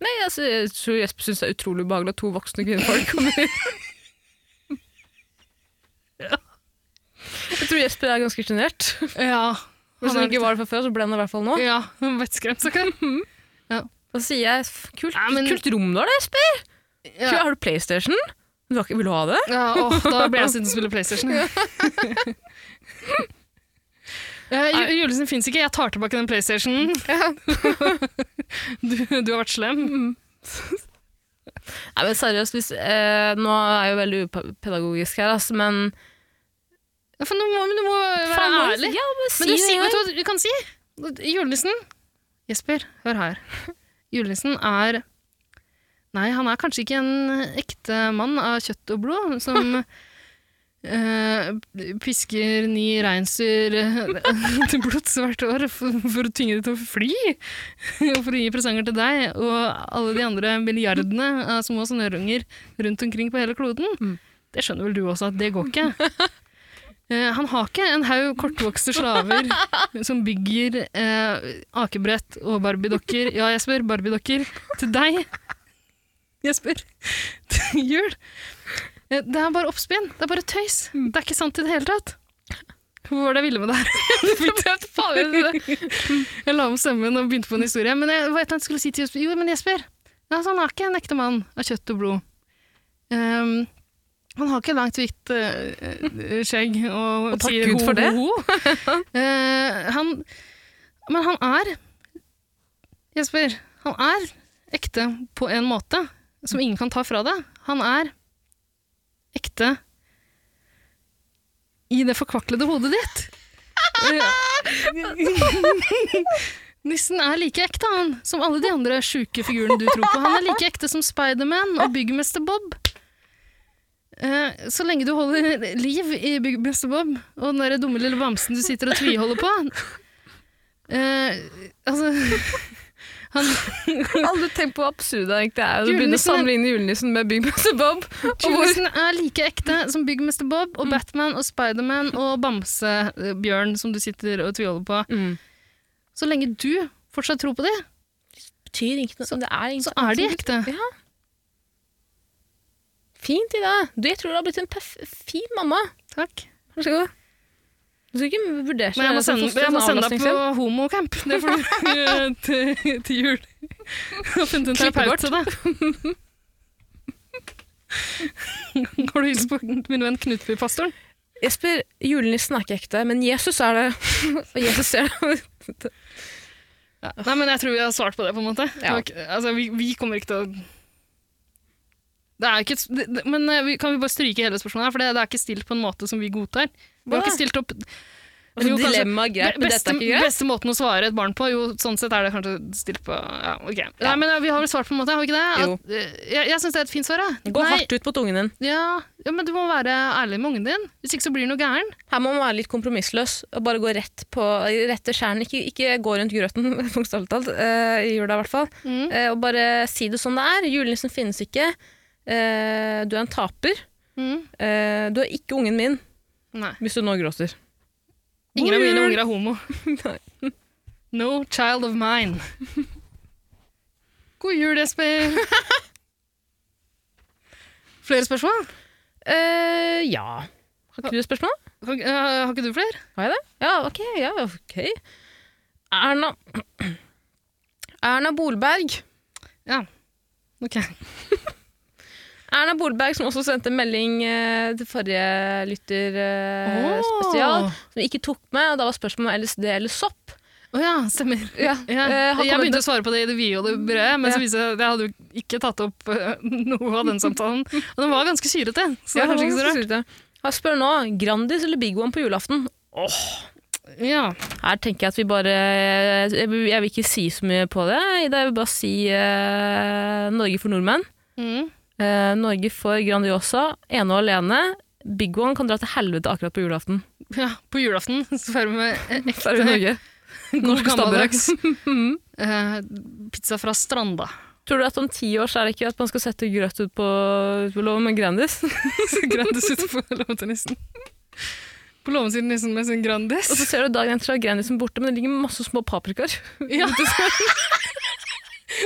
Speaker 3: Nei, altså, jeg tror Jesper syns det er utrolig ubehagelig at to voksne kvinnfolk kommer inn. Jeg tror Jesper er ganske sjenert.
Speaker 4: Ja.
Speaker 3: Hvis han ikke var det fra før, så ble han det i hvert fall nå.
Speaker 4: Ja, vettskremt, stakkar.
Speaker 3: Da sier jeg f- kult,
Speaker 4: Ja, men-
Speaker 3: kult rom du har, da, Jesper.
Speaker 4: Ja.
Speaker 3: Kult, Har du PlayStation? Du har ikke, vil du ha det?
Speaker 4: Ja, åh, da blir jeg sittende og spille PlayStation. Eh, ju- julenissen
Speaker 3: Mm.
Speaker 4: fins ikke, jeg tar tilbake den PlayStationen. Du, du har vært slem.
Speaker 3: Nei, men seriøst, hvis, eh, nå er jeg jo veldig upedagogisk her, altså, men
Speaker 4: Ja, for nå må, men du må være
Speaker 3: Faen, hva-
Speaker 4: ærlig.
Speaker 3: Ja, men si
Speaker 4: Men du,
Speaker 3: det
Speaker 4: sier-
Speaker 3: en
Speaker 4: vet du
Speaker 3: gang.
Speaker 4: hva du kan si? Julenissen Jesper, hør her. Julenissen er Nei, han er kanskje ikke en ekte mann av kjøtt og blod som eh, pisker ni reinsdyr eh, til blods hvert år for, for å tynge det til å fly. Og for å gi presanger til deg og alle de andre milliardene av små snørunger rundt omkring på hele kloden. Det skjønner vel du også at det går ikke. Eh, han har ikke en haug kortvokste slaver som bygger eh, akebrett og barbiedokker Ja, Jesper, barbiedokker til deg, Jesper, til jul. Eh, det er bare oppspinn. Det er bare tøys.
Speaker 3: Mm.
Speaker 4: Det er ikke sant i det hele tatt. Hvor var det jeg ville med det her? Du fikk det faen ut det. Jeg la om stemmen og begynte på en historie. Men jeg, hva var det jeg skulle si til Jesper? Jo, men Jesper, altså, han er ikke en ekte mann av kjøtt og blod. Ehm, han har ikke langt, hvitt eh, eh, skjegg og,
Speaker 3: Og takk
Speaker 4: sier
Speaker 3: Gud for det.
Speaker 4: ho. Eh, han, men han er Jesper, han er ekte på en måte som ingen kan ta fra deg. Han er ekte i det forkvaklede hodet ditt. Eh, Nissen er like ekte, han, som alle de andre sjuke figurene du tror på. Han er like ekte som Spiderman og Byggmester Bob. Eh, Så lenge du holder liv i Byggmester Bob og den der dumme lille bamsen du sitter og tviholder på eh, Altså han,
Speaker 9: Alle tenk på hvor absurd det egentlig er. Du begynner å
Speaker 4: Julenissen er-
Speaker 9: sammenligne julenissen med Big Brother Bob. Og hvor Mm.
Speaker 4: Julenissen er like ekte som Byggmester Bob og Batman og Spiderman og Bamsebjørn som du sitter og tviholder på.
Speaker 3: Mm.
Speaker 4: Så lenge du fortsatt tror på det,
Speaker 3: betyr ikke noe. det er
Speaker 4: så er de ekte.
Speaker 3: Fint i det. Du, jeg tror du har blitt en perf fin mamma.
Speaker 4: Takk.
Speaker 3: Vær så god. Du skal ikke vurdere
Speaker 4: Men jeg må sende, jeg må sende deg på homocamp. Det får du eh, til, til jul. Jeg har funnet en terapeut til deg. Går du og hilser på min venn Knutby-pastoren?
Speaker 3: Jesper, julenissen er ikke ekte, men Jesus er det. Og Jesus ser det.
Speaker 4: Nei, men jeg tror vi har svart på det, på en måte.
Speaker 3: Ja.
Speaker 4: Ok, Altså, vi, vi kommer ikke til å det er ikke, et s- det, det, men eh, vi, kan vi bare stryke hele spørsmålet her, for det, det er ikke stilt på en måte som vi godtar. Vi
Speaker 3: Hva
Speaker 4: har
Speaker 3: da?
Speaker 4: ikke stilt opp
Speaker 3: Altså,
Speaker 4: Jo, kanskje-
Speaker 3: dilemma er greit,
Speaker 4: Be-
Speaker 3: men
Speaker 4: beste,
Speaker 3: dette er ikke greit.
Speaker 4: Beste måten å svare et barn på, jo, sånn sett er det kanskje stilt på ja, ok. Nei, men eh, vi har vel svart på en måte, har vi ikke det?
Speaker 3: Jo.
Speaker 4: At, eh, jeg jeg syns det er et fint svar, jeg.
Speaker 3: Gå
Speaker 4: Nei,
Speaker 3: hardt ut mot ungen din.
Speaker 4: Ja, ja, men du må være ærlig med ungen din. Hvis ikke så blir det noe gæren.
Speaker 3: Her må man være litt kompromissløs og bare gå rett på rette skjæren. Ikke, ikke gå rundt grøten, bokstavelig talt, eh, i jula i hvert fall.
Speaker 4: Mm.
Speaker 3: Eh, og bare si det som det er. Julenissen finnes ikke. Eh, du er en taper.
Speaker 4: Mm.
Speaker 3: Eh, du er ikke ungen min,
Speaker 4: Nei.
Speaker 3: hvis du nå gråter.
Speaker 4: Ingen av mine
Speaker 3: Jul!
Speaker 4: unger er homo. No child of mine. God jul, Jesper. Flere spørsmål?
Speaker 3: Eh, ja. Har ikke du et spørsmål?
Speaker 4: Har, eh, har ikke du flere?
Speaker 3: Har jeg det? Ja, ok. Ja, ok. Erna Erna Bolberg.
Speaker 4: Ok.
Speaker 3: Erna Bolberg, som også sendte melding eh, til forrige lytter eh, spesial, som vi ikke tok med. og Da var spørsmålet om LSD eller sopp.
Speaker 4: Å ja, stemmer.
Speaker 3: Ja.
Speaker 4: Ja.
Speaker 3: Eh, har
Speaker 4: jeg
Speaker 3: kommet
Speaker 4: begynte å svare på det i det vide og det brede, men så viste det seg at jeg hadde jo ikke tatt opp eh, noe av den samtalen. Og den var ganske syrete, så det er kanskje ikke så rart.
Speaker 3: Jeg spør nå Grandis eller Big One på julaften.
Speaker 4: Ja.
Speaker 3: Her tenker jeg at vi bare eh, Jeg vil jeg vil ikke si så mye på det. Ida, jeg vil bare si eh, Norge for nordmenn.
Speaker 4: Mm.
Speaker 3: Eh, Norge for Grandiosa. Ene og alene. Big One kan dra til helvete akkurat på julaften.
Speaker 4: ja. På julaften så feirer vi med
Speaker 3: Så er det Norge. Mm.
Speaker 4: god
Speaker 3: Norske
Speaker 4: gammeldags eh, pizza fra Stranda.
Speaker 3: Tror du at om ti år så er det ikke at man skal sette grøt ut på, ut på låven med Grandis?
Speaker 4: Så Grandis ute på låvetenissen. På låven sin nissen med sin Grandis.
Speaker 3: Og så ser du dagen etter at Grandisen er borte, men det ligger masse små paprikaer.
Speaker 4: Ja.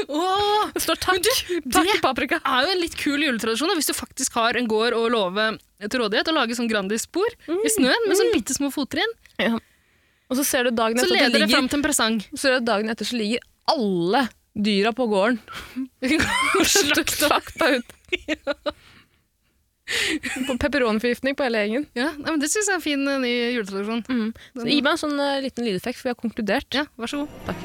Speaker 4: Åh,
Speaker 3: Det står takk! takk
Speaker 4: det-
Speaker 3: paprika!
Speaker 4: er jo en litt kul juletradisjon da, hvis du faktisk har en gård og låve til rådighet og lager sånn Grandis-spor i snøen med sånn bitte små fottrinn.
Speaker 3: Og så ser du dagen
Speaker 4: Så
Speaker 3: etter at
Speaker 4: leder
Speaker 3: det
Speaker 4: det
Speaker 3: ligger,
Speaker 4: fram til en presang.
Speaker 3: så ser du dagen etter så ligger alle dyra på gården. Slakta ut. På Pepperoniforgiftning på hele gjengen.
Speaker 4: Ja, nei, men Det syns jeg er en fin eh, ny juletradisjon.
Speaker 3: Så Gi meg en sånn eh, liten lydeffekt, for vi har konkludert.
Speaker 4: Ja, vær så god.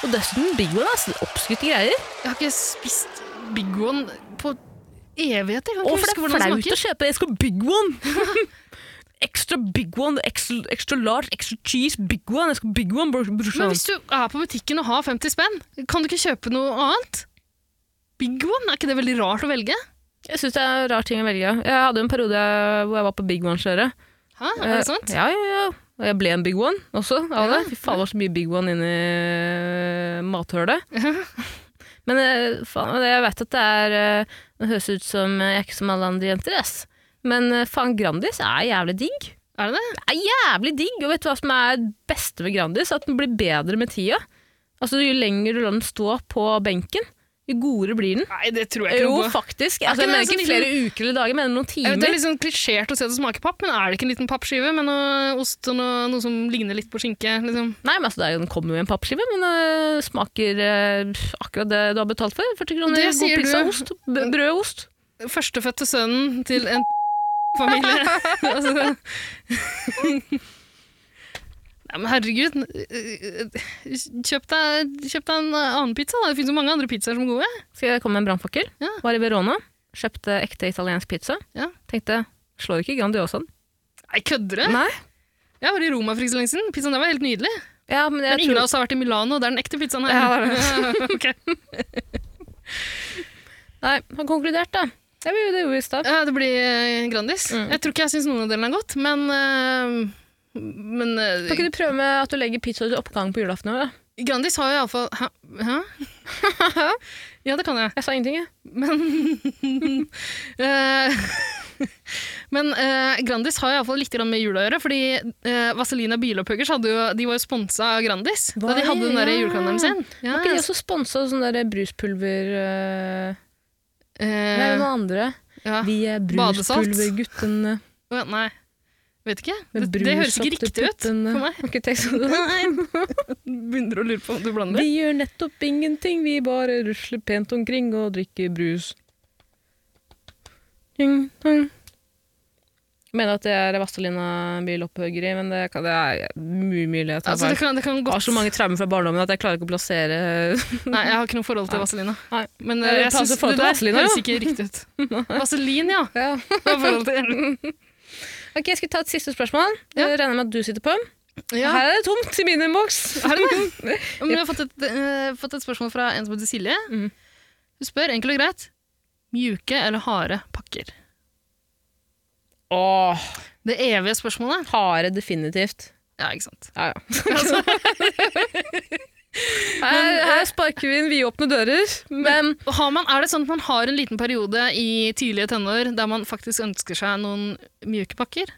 Speaker 3: Og dessuten Big One, ass. Oppskrytte greier.
Speaker 4: Jeg har ikke spist Big One på evigheter. Jeg kan
Speaker 3: Å,
Speaker 4: ikke
Speaker 3: for det
Speaker 4: huske
Speaker 3: er
Speaker 4: hvordan det
Speaker 3: flaut å
Speaker 4: smaker.
Speaker 3: kjøpe. Jeg skal Big One! Extra big one, extra, extra large, extra cheese, big one. Jeg skal big one, bror-
Speaker 4: Men
Speaker 3: brorsan.
Speaker 4: hvis du er på butikken og har 50 spenn, kan du ikke kjøpe noe annet? Big One, er ikke det veldig rart å velge?
Speaker 3: Jeg syns det er en rar ting å velge. Jeg hadde en periode hvor jeg var på big one-kjøret.
Speaker 4: Hæ, er det sant?
Speaker 3: Eh, Ja, ja, ja. Og jeg ble en big one også av det. Fy faen, det var så mye big one inni mathølet. Men eh, faen, jeg vet at det er eh, Det høres ut som eh, jeg er ikke som alle andre jenter, ass. Men eh, faen, Grandis er jævlig digg.
Speaker 4: Er det det?
Speaker 3: Det er jævlig digg! Og vet du hva som er det beste med Grandis? At den blir bedre med tida. Altså, jo lenger du lar den stå på benken, jo godere blir den.
Speaker 4: Nei, det tror jeg ikke
Speaker 3: Jo,
Speaker 4: noe på.
Speaker 3: faktisk. Altså,
Speaker 4: ikke
Speaker 3: jeg mener
Speaker 4: det
Speaker 3: ikke
Speaker 4: sånn
Speaker 3: flere uker eller dager, jeg mener noen
Speaker 4: Jeg
Speaker 3: timer.
Speaker 4: vet, det er litt sånn klisjert å se det smaker papp, men er det ikke en liten pappskive med noe ost og noe, noe som ligner litt på skinke? Liksom?
Speaker 3: Nei, men altså, det er jo- Den kommer jo i en pappskive, men øh, smaker øh, pff, akkurat det du har betalt for. 40 kroner,
Speaker 4: Det
Speaker 3: god
Speaker 4: sier
Speaker 3: pizza,
Speaker 4: du.
Speaker 3: ost, b- brød og ost.
Speaker 4: Førstefødte sønnen til en familie. altså. Nei, men herregud. Kjøp deg, kjøp deg en annen pizza. Da. Det finnes jo mange andre pizzaer som er gode.
Speaker 3: Skal jeg komme med en brannfakkel?
Speaker 4: Ja.
Speaker 3: Var i Verona, kjøpte ekte italiensk pizza.
Speaker 4: Ja.
Speaker 3: Tenkte slår ikke Grandiosaen.
Speaker 4: Nei, kødder du?
Speaker 3: Nei.
Speaker 4: Jeg var i Roma for ikke så lenge siden. Pizzaen der var helt nydelig.
Speaker 3: Ja, men jeg
Speaker 4: Men ingen
Speaker 3: tror...
Speaker 4: av oss har vært i Milano, det er den ekte pizzaen her.
Speaker 3: Ja,
Speaker 4: Ok.
Speaker 3: Nei, han konkluderte, da. Jeg vil jo det jo i stad.
Speaker 4: Ja, det blir eh, Grandis.
Speaker 3: Mm.
Speaker 4: Jeg tror ikke jeg syns noen av delene er godt, men eh, men eh,
Speaker 3: Kan ikke du prøve med at du legger pizza til oppgang på julaften? Da?
Speaker 4: Grandis har jo iallfall Hæ? Hæ? ja, det kan jeg.
Speaker 3: Jeg sa ingenting, jeg.
Speaker 4: Men eh, Men eh, Grandis har iallfall litt grann med jula å gjøre, fordi eh, Vaselina Bilopphøggers hadde jo, de var jo sponsa av Grandis da
Speaker 3: Var
Speaker 4: de hadde den der
Speaker 3: det? Ja.
Speaker 4: julekalenderen sin. Ah, Ja,
Speaker 3: Var ikke de også sponsa sånn der bruspulver øh... Nei,
Speaker 4: eh,
Speaker 3: noen andre.
Speaker 4: ja.
Speaker 3: Vi er
Speaker 4: Badesalt.
Speaker 3: bruspulverguttene.
Speaker 4: Å, Nei, vet ikke. Det,
Speaker 3: Med
Speaker 4: det
Speaker 3: brus
Speaker 4: høres
Speaker 3: opp
Speaker 4: ikke
Speaker 3: til
Speaker 4: riktig ut
Speaker 3: puttene.
Speaker 4: for meg.
Speaker 3: Har ikke tenkt sånn.
Speaker 4: Begynner å lure på om du blander.
Speaker 3: Vi gjør nettopp ingenting, vi bare rusler pent omkring og drikker brus. Ding, dong. Jeg mener at det er Vazelina bilopphøggeri, men det, kan, det er mye mulighet.
Speaker 4: Altså,
Speaker 3: Jeg
Speaker 4: det kan, det kan
Speaker 3: har
Speaker 4: godt
Speaker 3: så mange traumer fra barndommen at jeg klarer ikke å plassere
Speaker 4: Nei, jeg har ikke noe forhold til Vaselina.
Speaker 3: Nei.
Speaker 4: Men
Speaker 3: Nei,
Speaker 4: eh,
Speaker 3: det
Speaker 4: jeg
Speaker 3: passer
Speaker 4: synes
Speaker 3: forhold
Speaker 4: det
Speaker 3: til
Speaker 4: der
Speaker 3: Vaselina,
Speaker 4: høres
Speaker 3: jo.
Speaker 4: ikke riktig ut. Vaselin, ja.
Speaker 3: ja.
Speaker 4: Jeg har forhold til-
Speaker 3: Ok, Jeg skal ta et siste spørsmål. Det regner jeg med at du sitter på.
Speaker 4: Ja,
Speaker 3: Her er det tomt i min innboks.
Speaker 4: er det det? Men vi har fått et, eh, fått et spørsmål fra en som heter Silje.
Speaker 3: Mm.
Speaker 4: Hun spør enkelt og greit mjuke eller harde pakker.
Speaker 3: Åh,
Speaker 4: Det evige spørsmålet.
Speaker 3: harde definitivt.
Speaker 4: Ja, ikke sant. Altså,
Speaker 3: Ja, ja. her, her sparker vi inn vidåpne dører, men
Speaker 4: Har man, er det sånn at man har en liten periode i tidlige tenår der man faktisk ønsker seg noen mjuke pakker?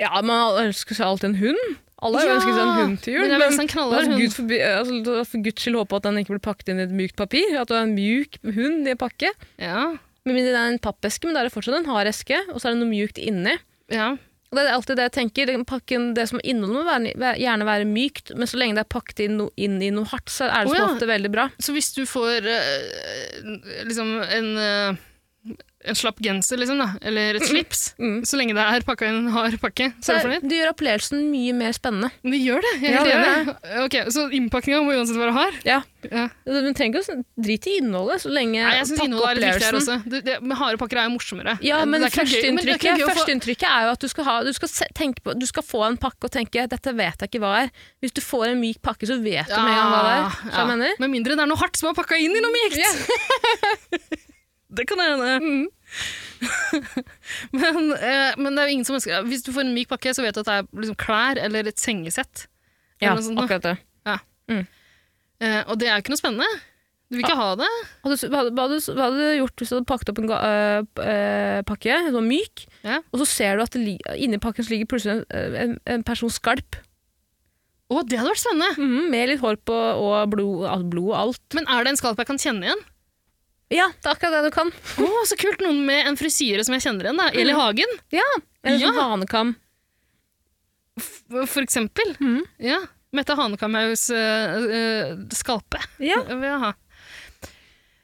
Speaker 3: Ja, man ønsker seg alltid en hund. Alle har jo
Speaker 4: Ja,
Speaker 3: ønsket seg en hund til jul.
Speaker 4: men jeg vil ønske en knallhard
Speaker 3: altså,
Speaker 4: hund.
Speaker 3: Gud forbi, altså, la oss for guds skyld håpe at den ikke blir pakket inn i et mykt papir. At du har en mjuk hund i en pakke.
Speaker 4: Ja.
Speaker 3: Men mindre det er en pappeske, men da er det fortsatt en hard eske, og så er det noe mjukt inni.
Speaker 4: ja.
Speaker 3: Og Det er alltid det jeg tenker. Den Pakken, det som inneholder, må være- være- gjerne være mykt, men så lenge det er pakket inn, no, inn i noe hardt, så er det
Speaker 4: Å,
Speaker 3: som
Speaker 4: ja.
Speaker 3: ofte veldig bra.
Speaker 4: Så hvis du får eh, liksom en, eh, en slapp genser, liksom, da, eller et slips,
Speaker 3: Mm.
Speaker 4: så lenge det er pakka inn en hard pakke, så
Speaker 3: Så
Speaker 4: er du
Speaker 3: det
Speaker 4: fornøyd?
Speaker 3: gjør opplevelsen mye mer spennende.
Speaker 4: Men det gjør det! Jeg er
Speaker 3: Ja,
Speaker 4: helt
Speaker 3: det gjør
Speaker 4: enig. Ok, Så innpakninga må uansett være hard?
Speaker 3: Ja.
Speaker 4: Ja.
Speaker 3: Du trenger ikke å drit i innholdet, så lenge
Speaker 4: Nei, jeg syns
Speaker 3: pakke-
Speaker 4: innholdet er litt viktig her
Speaker 3: opplevelsen-
Speaker 4: også. Det, det, men harde pakker er jo morsommere. Eh,
Speaker 3: Ja, men
Speaker 4: Det er ikke noe gøy- men det er
Speaker 3: førsteinntrykket
Speaker 4: ikke gøy å få-
Speaker 3: førsteinntrykket er jo at du skal, ha, du, skal se, tenke på, du skal få en pakke og tenke 'dette vet jeg ikke hva er'. Hvis du får en myk pakke, så vet du med en gang hva det er. Skjønner du hva jeg
Speaker 4: ja.
Speaker 3: mener?
Speaker 4: Med mindre det er noe hardt som er pakka inn i noe mykt. det kan hende.
Speaker 3: Mm.
Speaker 4: men, eh, men det er jo ingen som ønsker Hvis du får en myk pakke, så vet du at det er liksom klær eller et sengesett.
Speaker 3: Ja,
Speaker 4: Eller noe sånt noe.
Speaker 3: akkurat det.
Speaker 4: Eh, og det er jo ikke noe spennende. Du vil ikke ha det.
Speaker 3: Hadde, du- hva, hadde, hva hadde- hva hadde du gjort hvis du hadde pakket opp en ga, øh, øh, pakke, den var myk,
Speaker 4: Ja.
Speaker 3: og så ser du at det, li- inni pakken så ligger plutselig en, øh, en, en persons skalp,
Speaker 4: Å, det hadde vært spennende!
Speaker 3: Mhm, med litt hår på og blod, al- blod og alt.
Speaker 4: Men er det en skalp jeg kan kjenne igjen?
Speaker 3: Ja, det er akkurat det du kan.
Speaker 4: Å, så kult! Noen med en frisyre som jeg kjenner igjen. da.
Speaker 3: Mm.
Speaker 4: Eli Hagen,
Speaker 3: Ja, Eller
Speaker 4: Ja.
Speaker 3: sånn hanekam.
Speaker 4: f- for eksempel.
Speaker 3: Mhm.
Speaker 4: Ja. Mette Hanekamhaus eh, eh, skalpe.
Speaker 3: Ja.
Speaker 4: Jeg vil ha.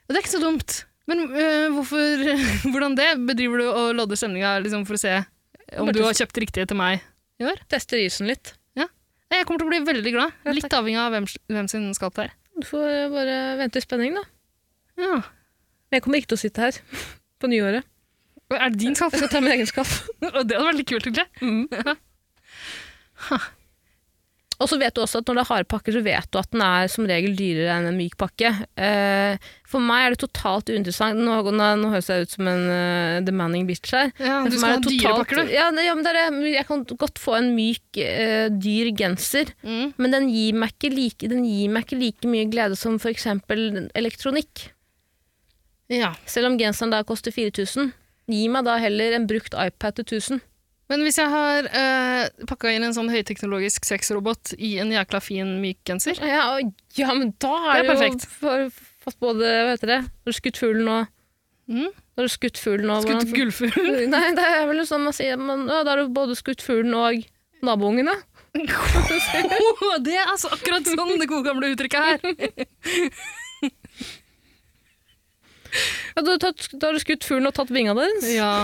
Speaker 4: Det er ikke så dumt. Men øh, hvorfor, hvordan det? Bedriver du og lodder stemninga liksom, for å se om
Speaker 3: Bare
Speaker 4: du
Speaker 3: til-
Speaker 4: har kjøpt riktig til meg?
Speaker 3: Tester isen litt.
Speaker 4: Det Jeg kommer til å bli veldig glad. Litt avhengig av hvem, hvem sin skatt det er.
Speaker 3: Du får bare vente i spenning, da.
Speaker 4: Ja.
Speaker 3: Men jeg kommer ikke til å sitte her på nyåret.
Speaker 4: Er det din skatt?
Speaker 3: Jeg skal ta min egen skatt.
Speaker 4: Og det hadde vært litt kult, egentlig.
Speaker 3: Og så vet du også at når det er harde pakker, så vet du at den er som regel dyrere enn en myk pakke. Eh, for meg er det totalt uinteressant. Nå, nå, nå høres jeg ut som en eh, demanding bitch her.
Speaker 4: Ja,
Speaker 3: Men
Speaker 4: du
Speaker 3: for
Speaker 4: skal
Speaker 3: meg
Speaker 4: ha
Speaker 3: er det
Speaker 4: dyre
Speaker 3: totalt-
Speaker 4: pakker, du.
Speaker 3: Ja, det, ja, men det er, det. jeg kan godt få en myk, eh, dyr genser,
Speaker 4: Mm.
Speaker 3: men den gir, meg ikke like, den gir meg ikke like mye glede som for eksempel elektronikk.
Speaker 4: Ja.
Speaker 3: Selv om genseren der koster 4000, gi meg da heller en brukt iPad til 1000.
Speaker 4: Men hvis jeg har eh, pakka inn en sånn høyteknologisk sexrobot i en jækla fin myk genser
Speaker 3: Ja, og- ja, men da er
Speaker 4: Det
Speaker 3: det,
Speaker 4: er perfekt.
Speaker 3: jo for, fått både, hva heter det, når du skutt fuglen og
Speaker 4: Mhm.
Speaker 3: Når du Mm? skutt fuglen og
Speaker 4: Skutt
Speaker 3: hvordan-
Speaker 4: gullfugl.
Speaker 3: Nei, det er vel sånn man sier man, ja, Da har du både skutt fuglen og naboungene.
Speaker 4: Åh, det er altså akkurat sånn det gode gamle uttrykket her.
Speaker 3: Ja, da, har du tatt, da har du skutt fuglen og tatt vinga deres.
Speaker 4: Ja.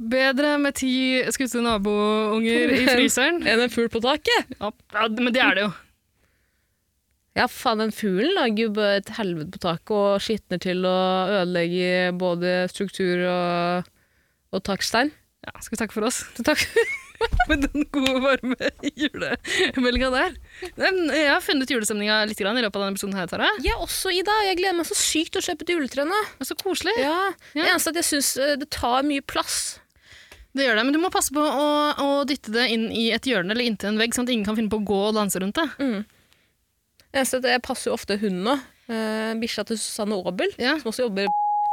Speaker 4: Bedre med ti skutte nabounger i fryseren.
Speaker 3: Enn en fugl på taket.
Speaker 4: Ja, men det er det jo.
Speaker 3: Ja, faen, den fuglen lager jo bare et helvete på taket og skitner til og ødelegger både struktur og, og takstein.
Speaker 4: Ja, skal vi takke for oss? Takk. Med den gode, varme julemeldinga der. Men Jeg har funnet julestemninga litt grann i løpet av denne episoden. her, Tara.
Speaker 3: Jeg også, Ida. Jeg gleder meg så sykt til å kjøpe et juletre nå.
Speaker 4: Det er Så koselig.
Speaker 3: Ja.
Speaker 4: Ja.
Speaker 3: Det eneste er at jeg syns det tar mye plass.
Speaker 4: Det gjør det, Men du må passe på å, å dytte det inn i et hjørne eller inntil en vegg, sånn at ingen kan finne på å gå og danse rundt det.
Speaker 3: Det eneste er at jeg passer jo ofte hunden nå. Eh, bikkja til Susanne Aabel,
Speaker 4: Ja.
Speaker 3: som også jobber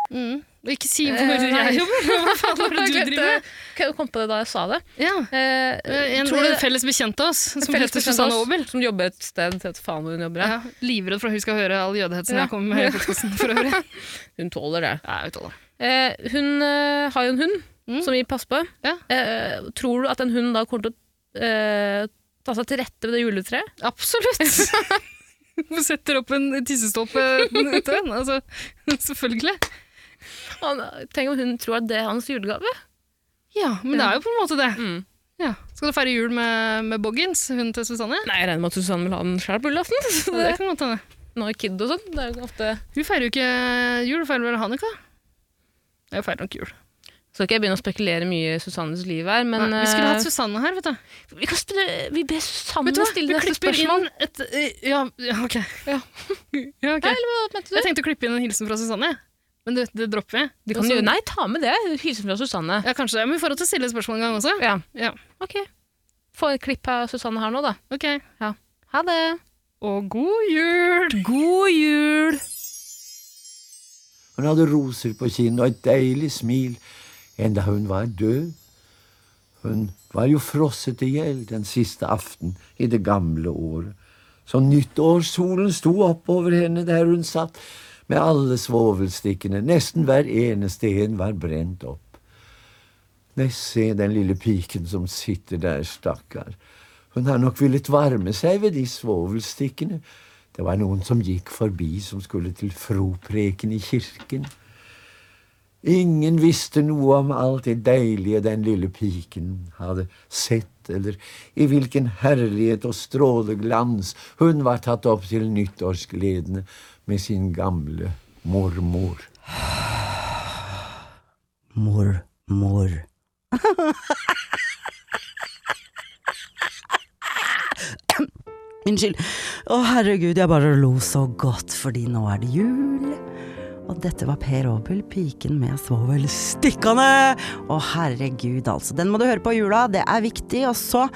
Speaker 4: Mm. Og ikke si hvor
Speaker 3: Eh, nei.
Speaker 4: jeg jobber! Hva faen er det du
Speaker 3: Jeg glemte-
Speaker 4: driver med?
Speaker 3: Jeg kom på det da jeg sa det.
Speaker 4: Ja.
Speaker 3: Eh,
Speaker 4: En
Speaker 3: tror du-
Speaker 4: felles bekjent av oss som
Speaker 3: Felles bekjent
Speaker 4: heter
Speaker 3: av
Speaker 4: Susanne
Speaker 3: oss,
Speaker 4: Aabel.
Speaker 3: Som jobber et sted, jeg vet faen hvor hun jobber.
Speaker 4: Ja, livredd for at hun skal høre all jødehetsen
Speaker 3: Ja.
Speaker 4: jeg kommer med i podcasten for øvrig.
Speaker 3: Hun tåler det.
Speaker 4: Ja, jeg vet alle.
Speaker 3: Eh, hun eh, har jo en hund
Speaker 4: Mm.
Speaker 3: som vi passer på.
Speaker 4: Ja.
Speaker 3: Eh, tror du at den hunden da kommer til å eh, ta seg til rette ved det juletreet?
Speaker 4: Absolutt! Hun setter opp en tissestolpe etter henne. Altså, selvfølgelig.
Speaker 3: Han, tenk om hun tror at det er hans julegave?
Speaker 4: Ja, men det er jo på en måte det.
Speaker 3: Mm.
Speaker 4: Ja. Skal du feire jul med, med Boggins, hunden til Susanne?
Speaker 3: Nei, jeg regner med at Susanne vil ha den sjøl på julaften. så
Speaker 4: Ja, det
Speaker 3: det-
Speaker 4: kan godt hende.
Speaker 3: Hun har jo kid og sånn. Det er jo ofte
Speaker 4: Hun feirer jo ikke jul, hun feirer vel Hanukka? Jeg feirer nok jul.
Speaker 3: Skal ikke jeg begynne å spekulere mye i Susannes liv her, men
Speaker 4: Nei, vi skulle hatt
Speaker 3: eh,
Speaker 4: Susanne her, vet du.
Speaker 3: vi, kan spille- vi ber Susanne
Speaker 4: Vet du hva?
Speaker 3: stille
Speaker 4: Vi
Speaker 3: dette
Speaker 4: klipper
Speaker 3: spørsmålet.
Speaker 4: inn et eh, Ja, ja ok. Ja. ok.
Speaker 3: Nei, eller hva mente du?
Speaker 4: Jeg tenkte å klippe inn en hilsen fra Susanne, men det, det dropper vi.
Speaker 3: De kan
Speaker 4: Også-
Speaker 3: gjøre, nei, ta med det. Hilsen fra Susanne.
Speaker 4: Altså- Ja, kanskje det. Men vi får lov til å stille spørsmål en gang også.
Speaker 3: Ja.
Speaker 4: Ja.
Speaker 3: Ok. Få et klipp av Susanne her nå, da.
Speaker 4: Ok.
Speaker 3: Ha det.
Speaker 4: Og god jul!
Speaker 3: God jul!
Speaker 10: Hun hadde roser på kinnet og et deilig smil enda hun var død. Hun var jo frosset i hjel den siste aften i det gamle året. Så nyttårssolen sto opp over henne der hun satt med alle svovelstikkene, nesten hver eneste en var brent opp. Nei, se den lille piken som sitter der, stakkar. Hun har nok villet varme seg ved de svovelstikkene. Det var noen som gikk forbi som skulle til fropreken i kirken. Ingen visste noe om alt det deilige den lille piken hadde sett, eller i hvilken herlighet og stråleglans hun var tatt opp til nyttårsgledene med sin gamle mormor.
Speaker 11: Mor, mor. Unnskyld. Å, herregud, jeg bare lo så godt, fordi nå er det jul. Og dette var Per Aabel, piken med svovelstikkene. Å, herregud, altså. Den må du høre på i jula, det er viktig. Og så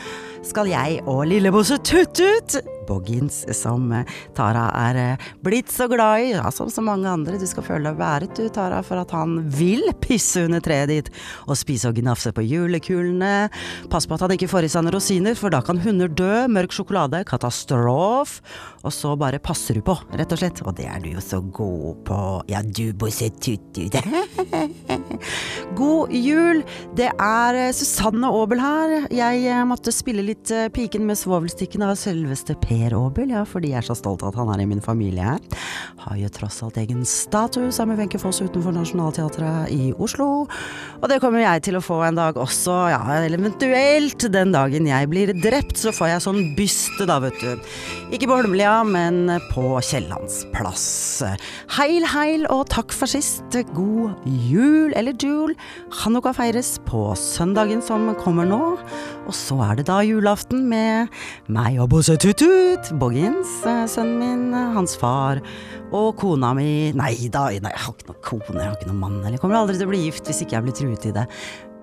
Speaker 11: skal jeg og lillebosse Tuttut, Boggins, som eh, Tara er eh, blitt så glad i, ja, som så mange andre, du skal føle deg været, du, Tara, for at han vil pisse under treet ditt og spise og gnafse på julekulene. Pass på at han ikke får i seg noen rosiner, for da kan hunder dø. Mørk sjokolade, katastrof. Og så bare passer du på, rett og slett. Og det er du jo så god på. Ja, du, Bosse Tuttut. God jul! Det er eh, Susanne Aabel her. Jeg eh, måtte spille litt eh, Piken med svovelstikkene av selveste Per Aabel, ja, fordi jeg er så stolt av at han er i min familie her. Har jo tross alt egen statue sammen med Wenche Foss utenfor Nationaltheatret i Oslo. Og det kommer jeg til å få en dag også, ja, eller eventuelt den dagen jeg blir drept, så får jeg sånn byste, da, vet du. Ikke på Holmlia, men på Kiellandsplass. Heil, heil og takk for sist. God jul, eller jul. Hanukka feires på søndagen som kommer nå. Og så er det da julaften med meg og Bosse Tutut, Boggins, eh, sønnen min, eh, hans far og kona mi Nei da, nei, jeg har ikke noen kone, jeg har ikke noen mann. Eller jeg kommer aldri til å bli gift hvis ikke jeg blir truet i det.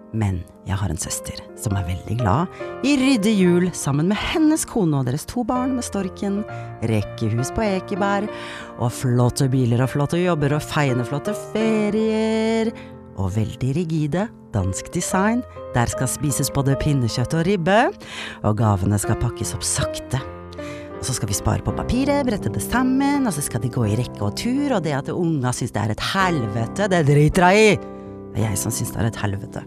Speaker 11: Men jeg har en søster som er veldig glad i rydde jul sammen med hennes kone og deres to barn med storken, rekkehus på Ekeberg, og flotte biler og flotte jobber og feiende-flotte ferier. Og veldig rigide dansk design. Der skal spises både pinnekjøtt og ribbe, og gavene skal pakkes opp sakte. Og så skal vi spare på papiret, brette det sammen, og så skal de gå i rekke og tur, og det at unga syns det er et helvete, det driter jeg i! Det er jeg som syns det er et helvete.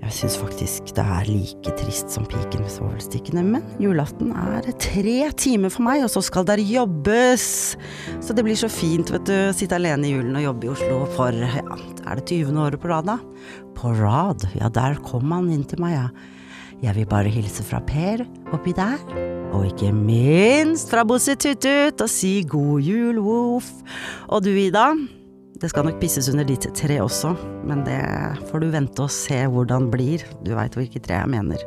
Speaker 11: Jeg syns faktisk det er like trist som piken med svovelstikkene, men julaften er tre timer for meg, og så skal der jobbes! Så det blir så fint, vet du, å sitte alene i julen og jobbe i Oslo for, ja, er det 20. året på rad, da? På rad, ja, der kom han inn til meg, ja. Jeg vil bare hilse fra Per oppi der, og ikke minst fra Bosse Tuttut, og si god jul, woof. Og du, Ida? Det skal nok pisses under ditt tre også, men det får du vente og se hvordan blir. Du veit hvilket tre jeg mener.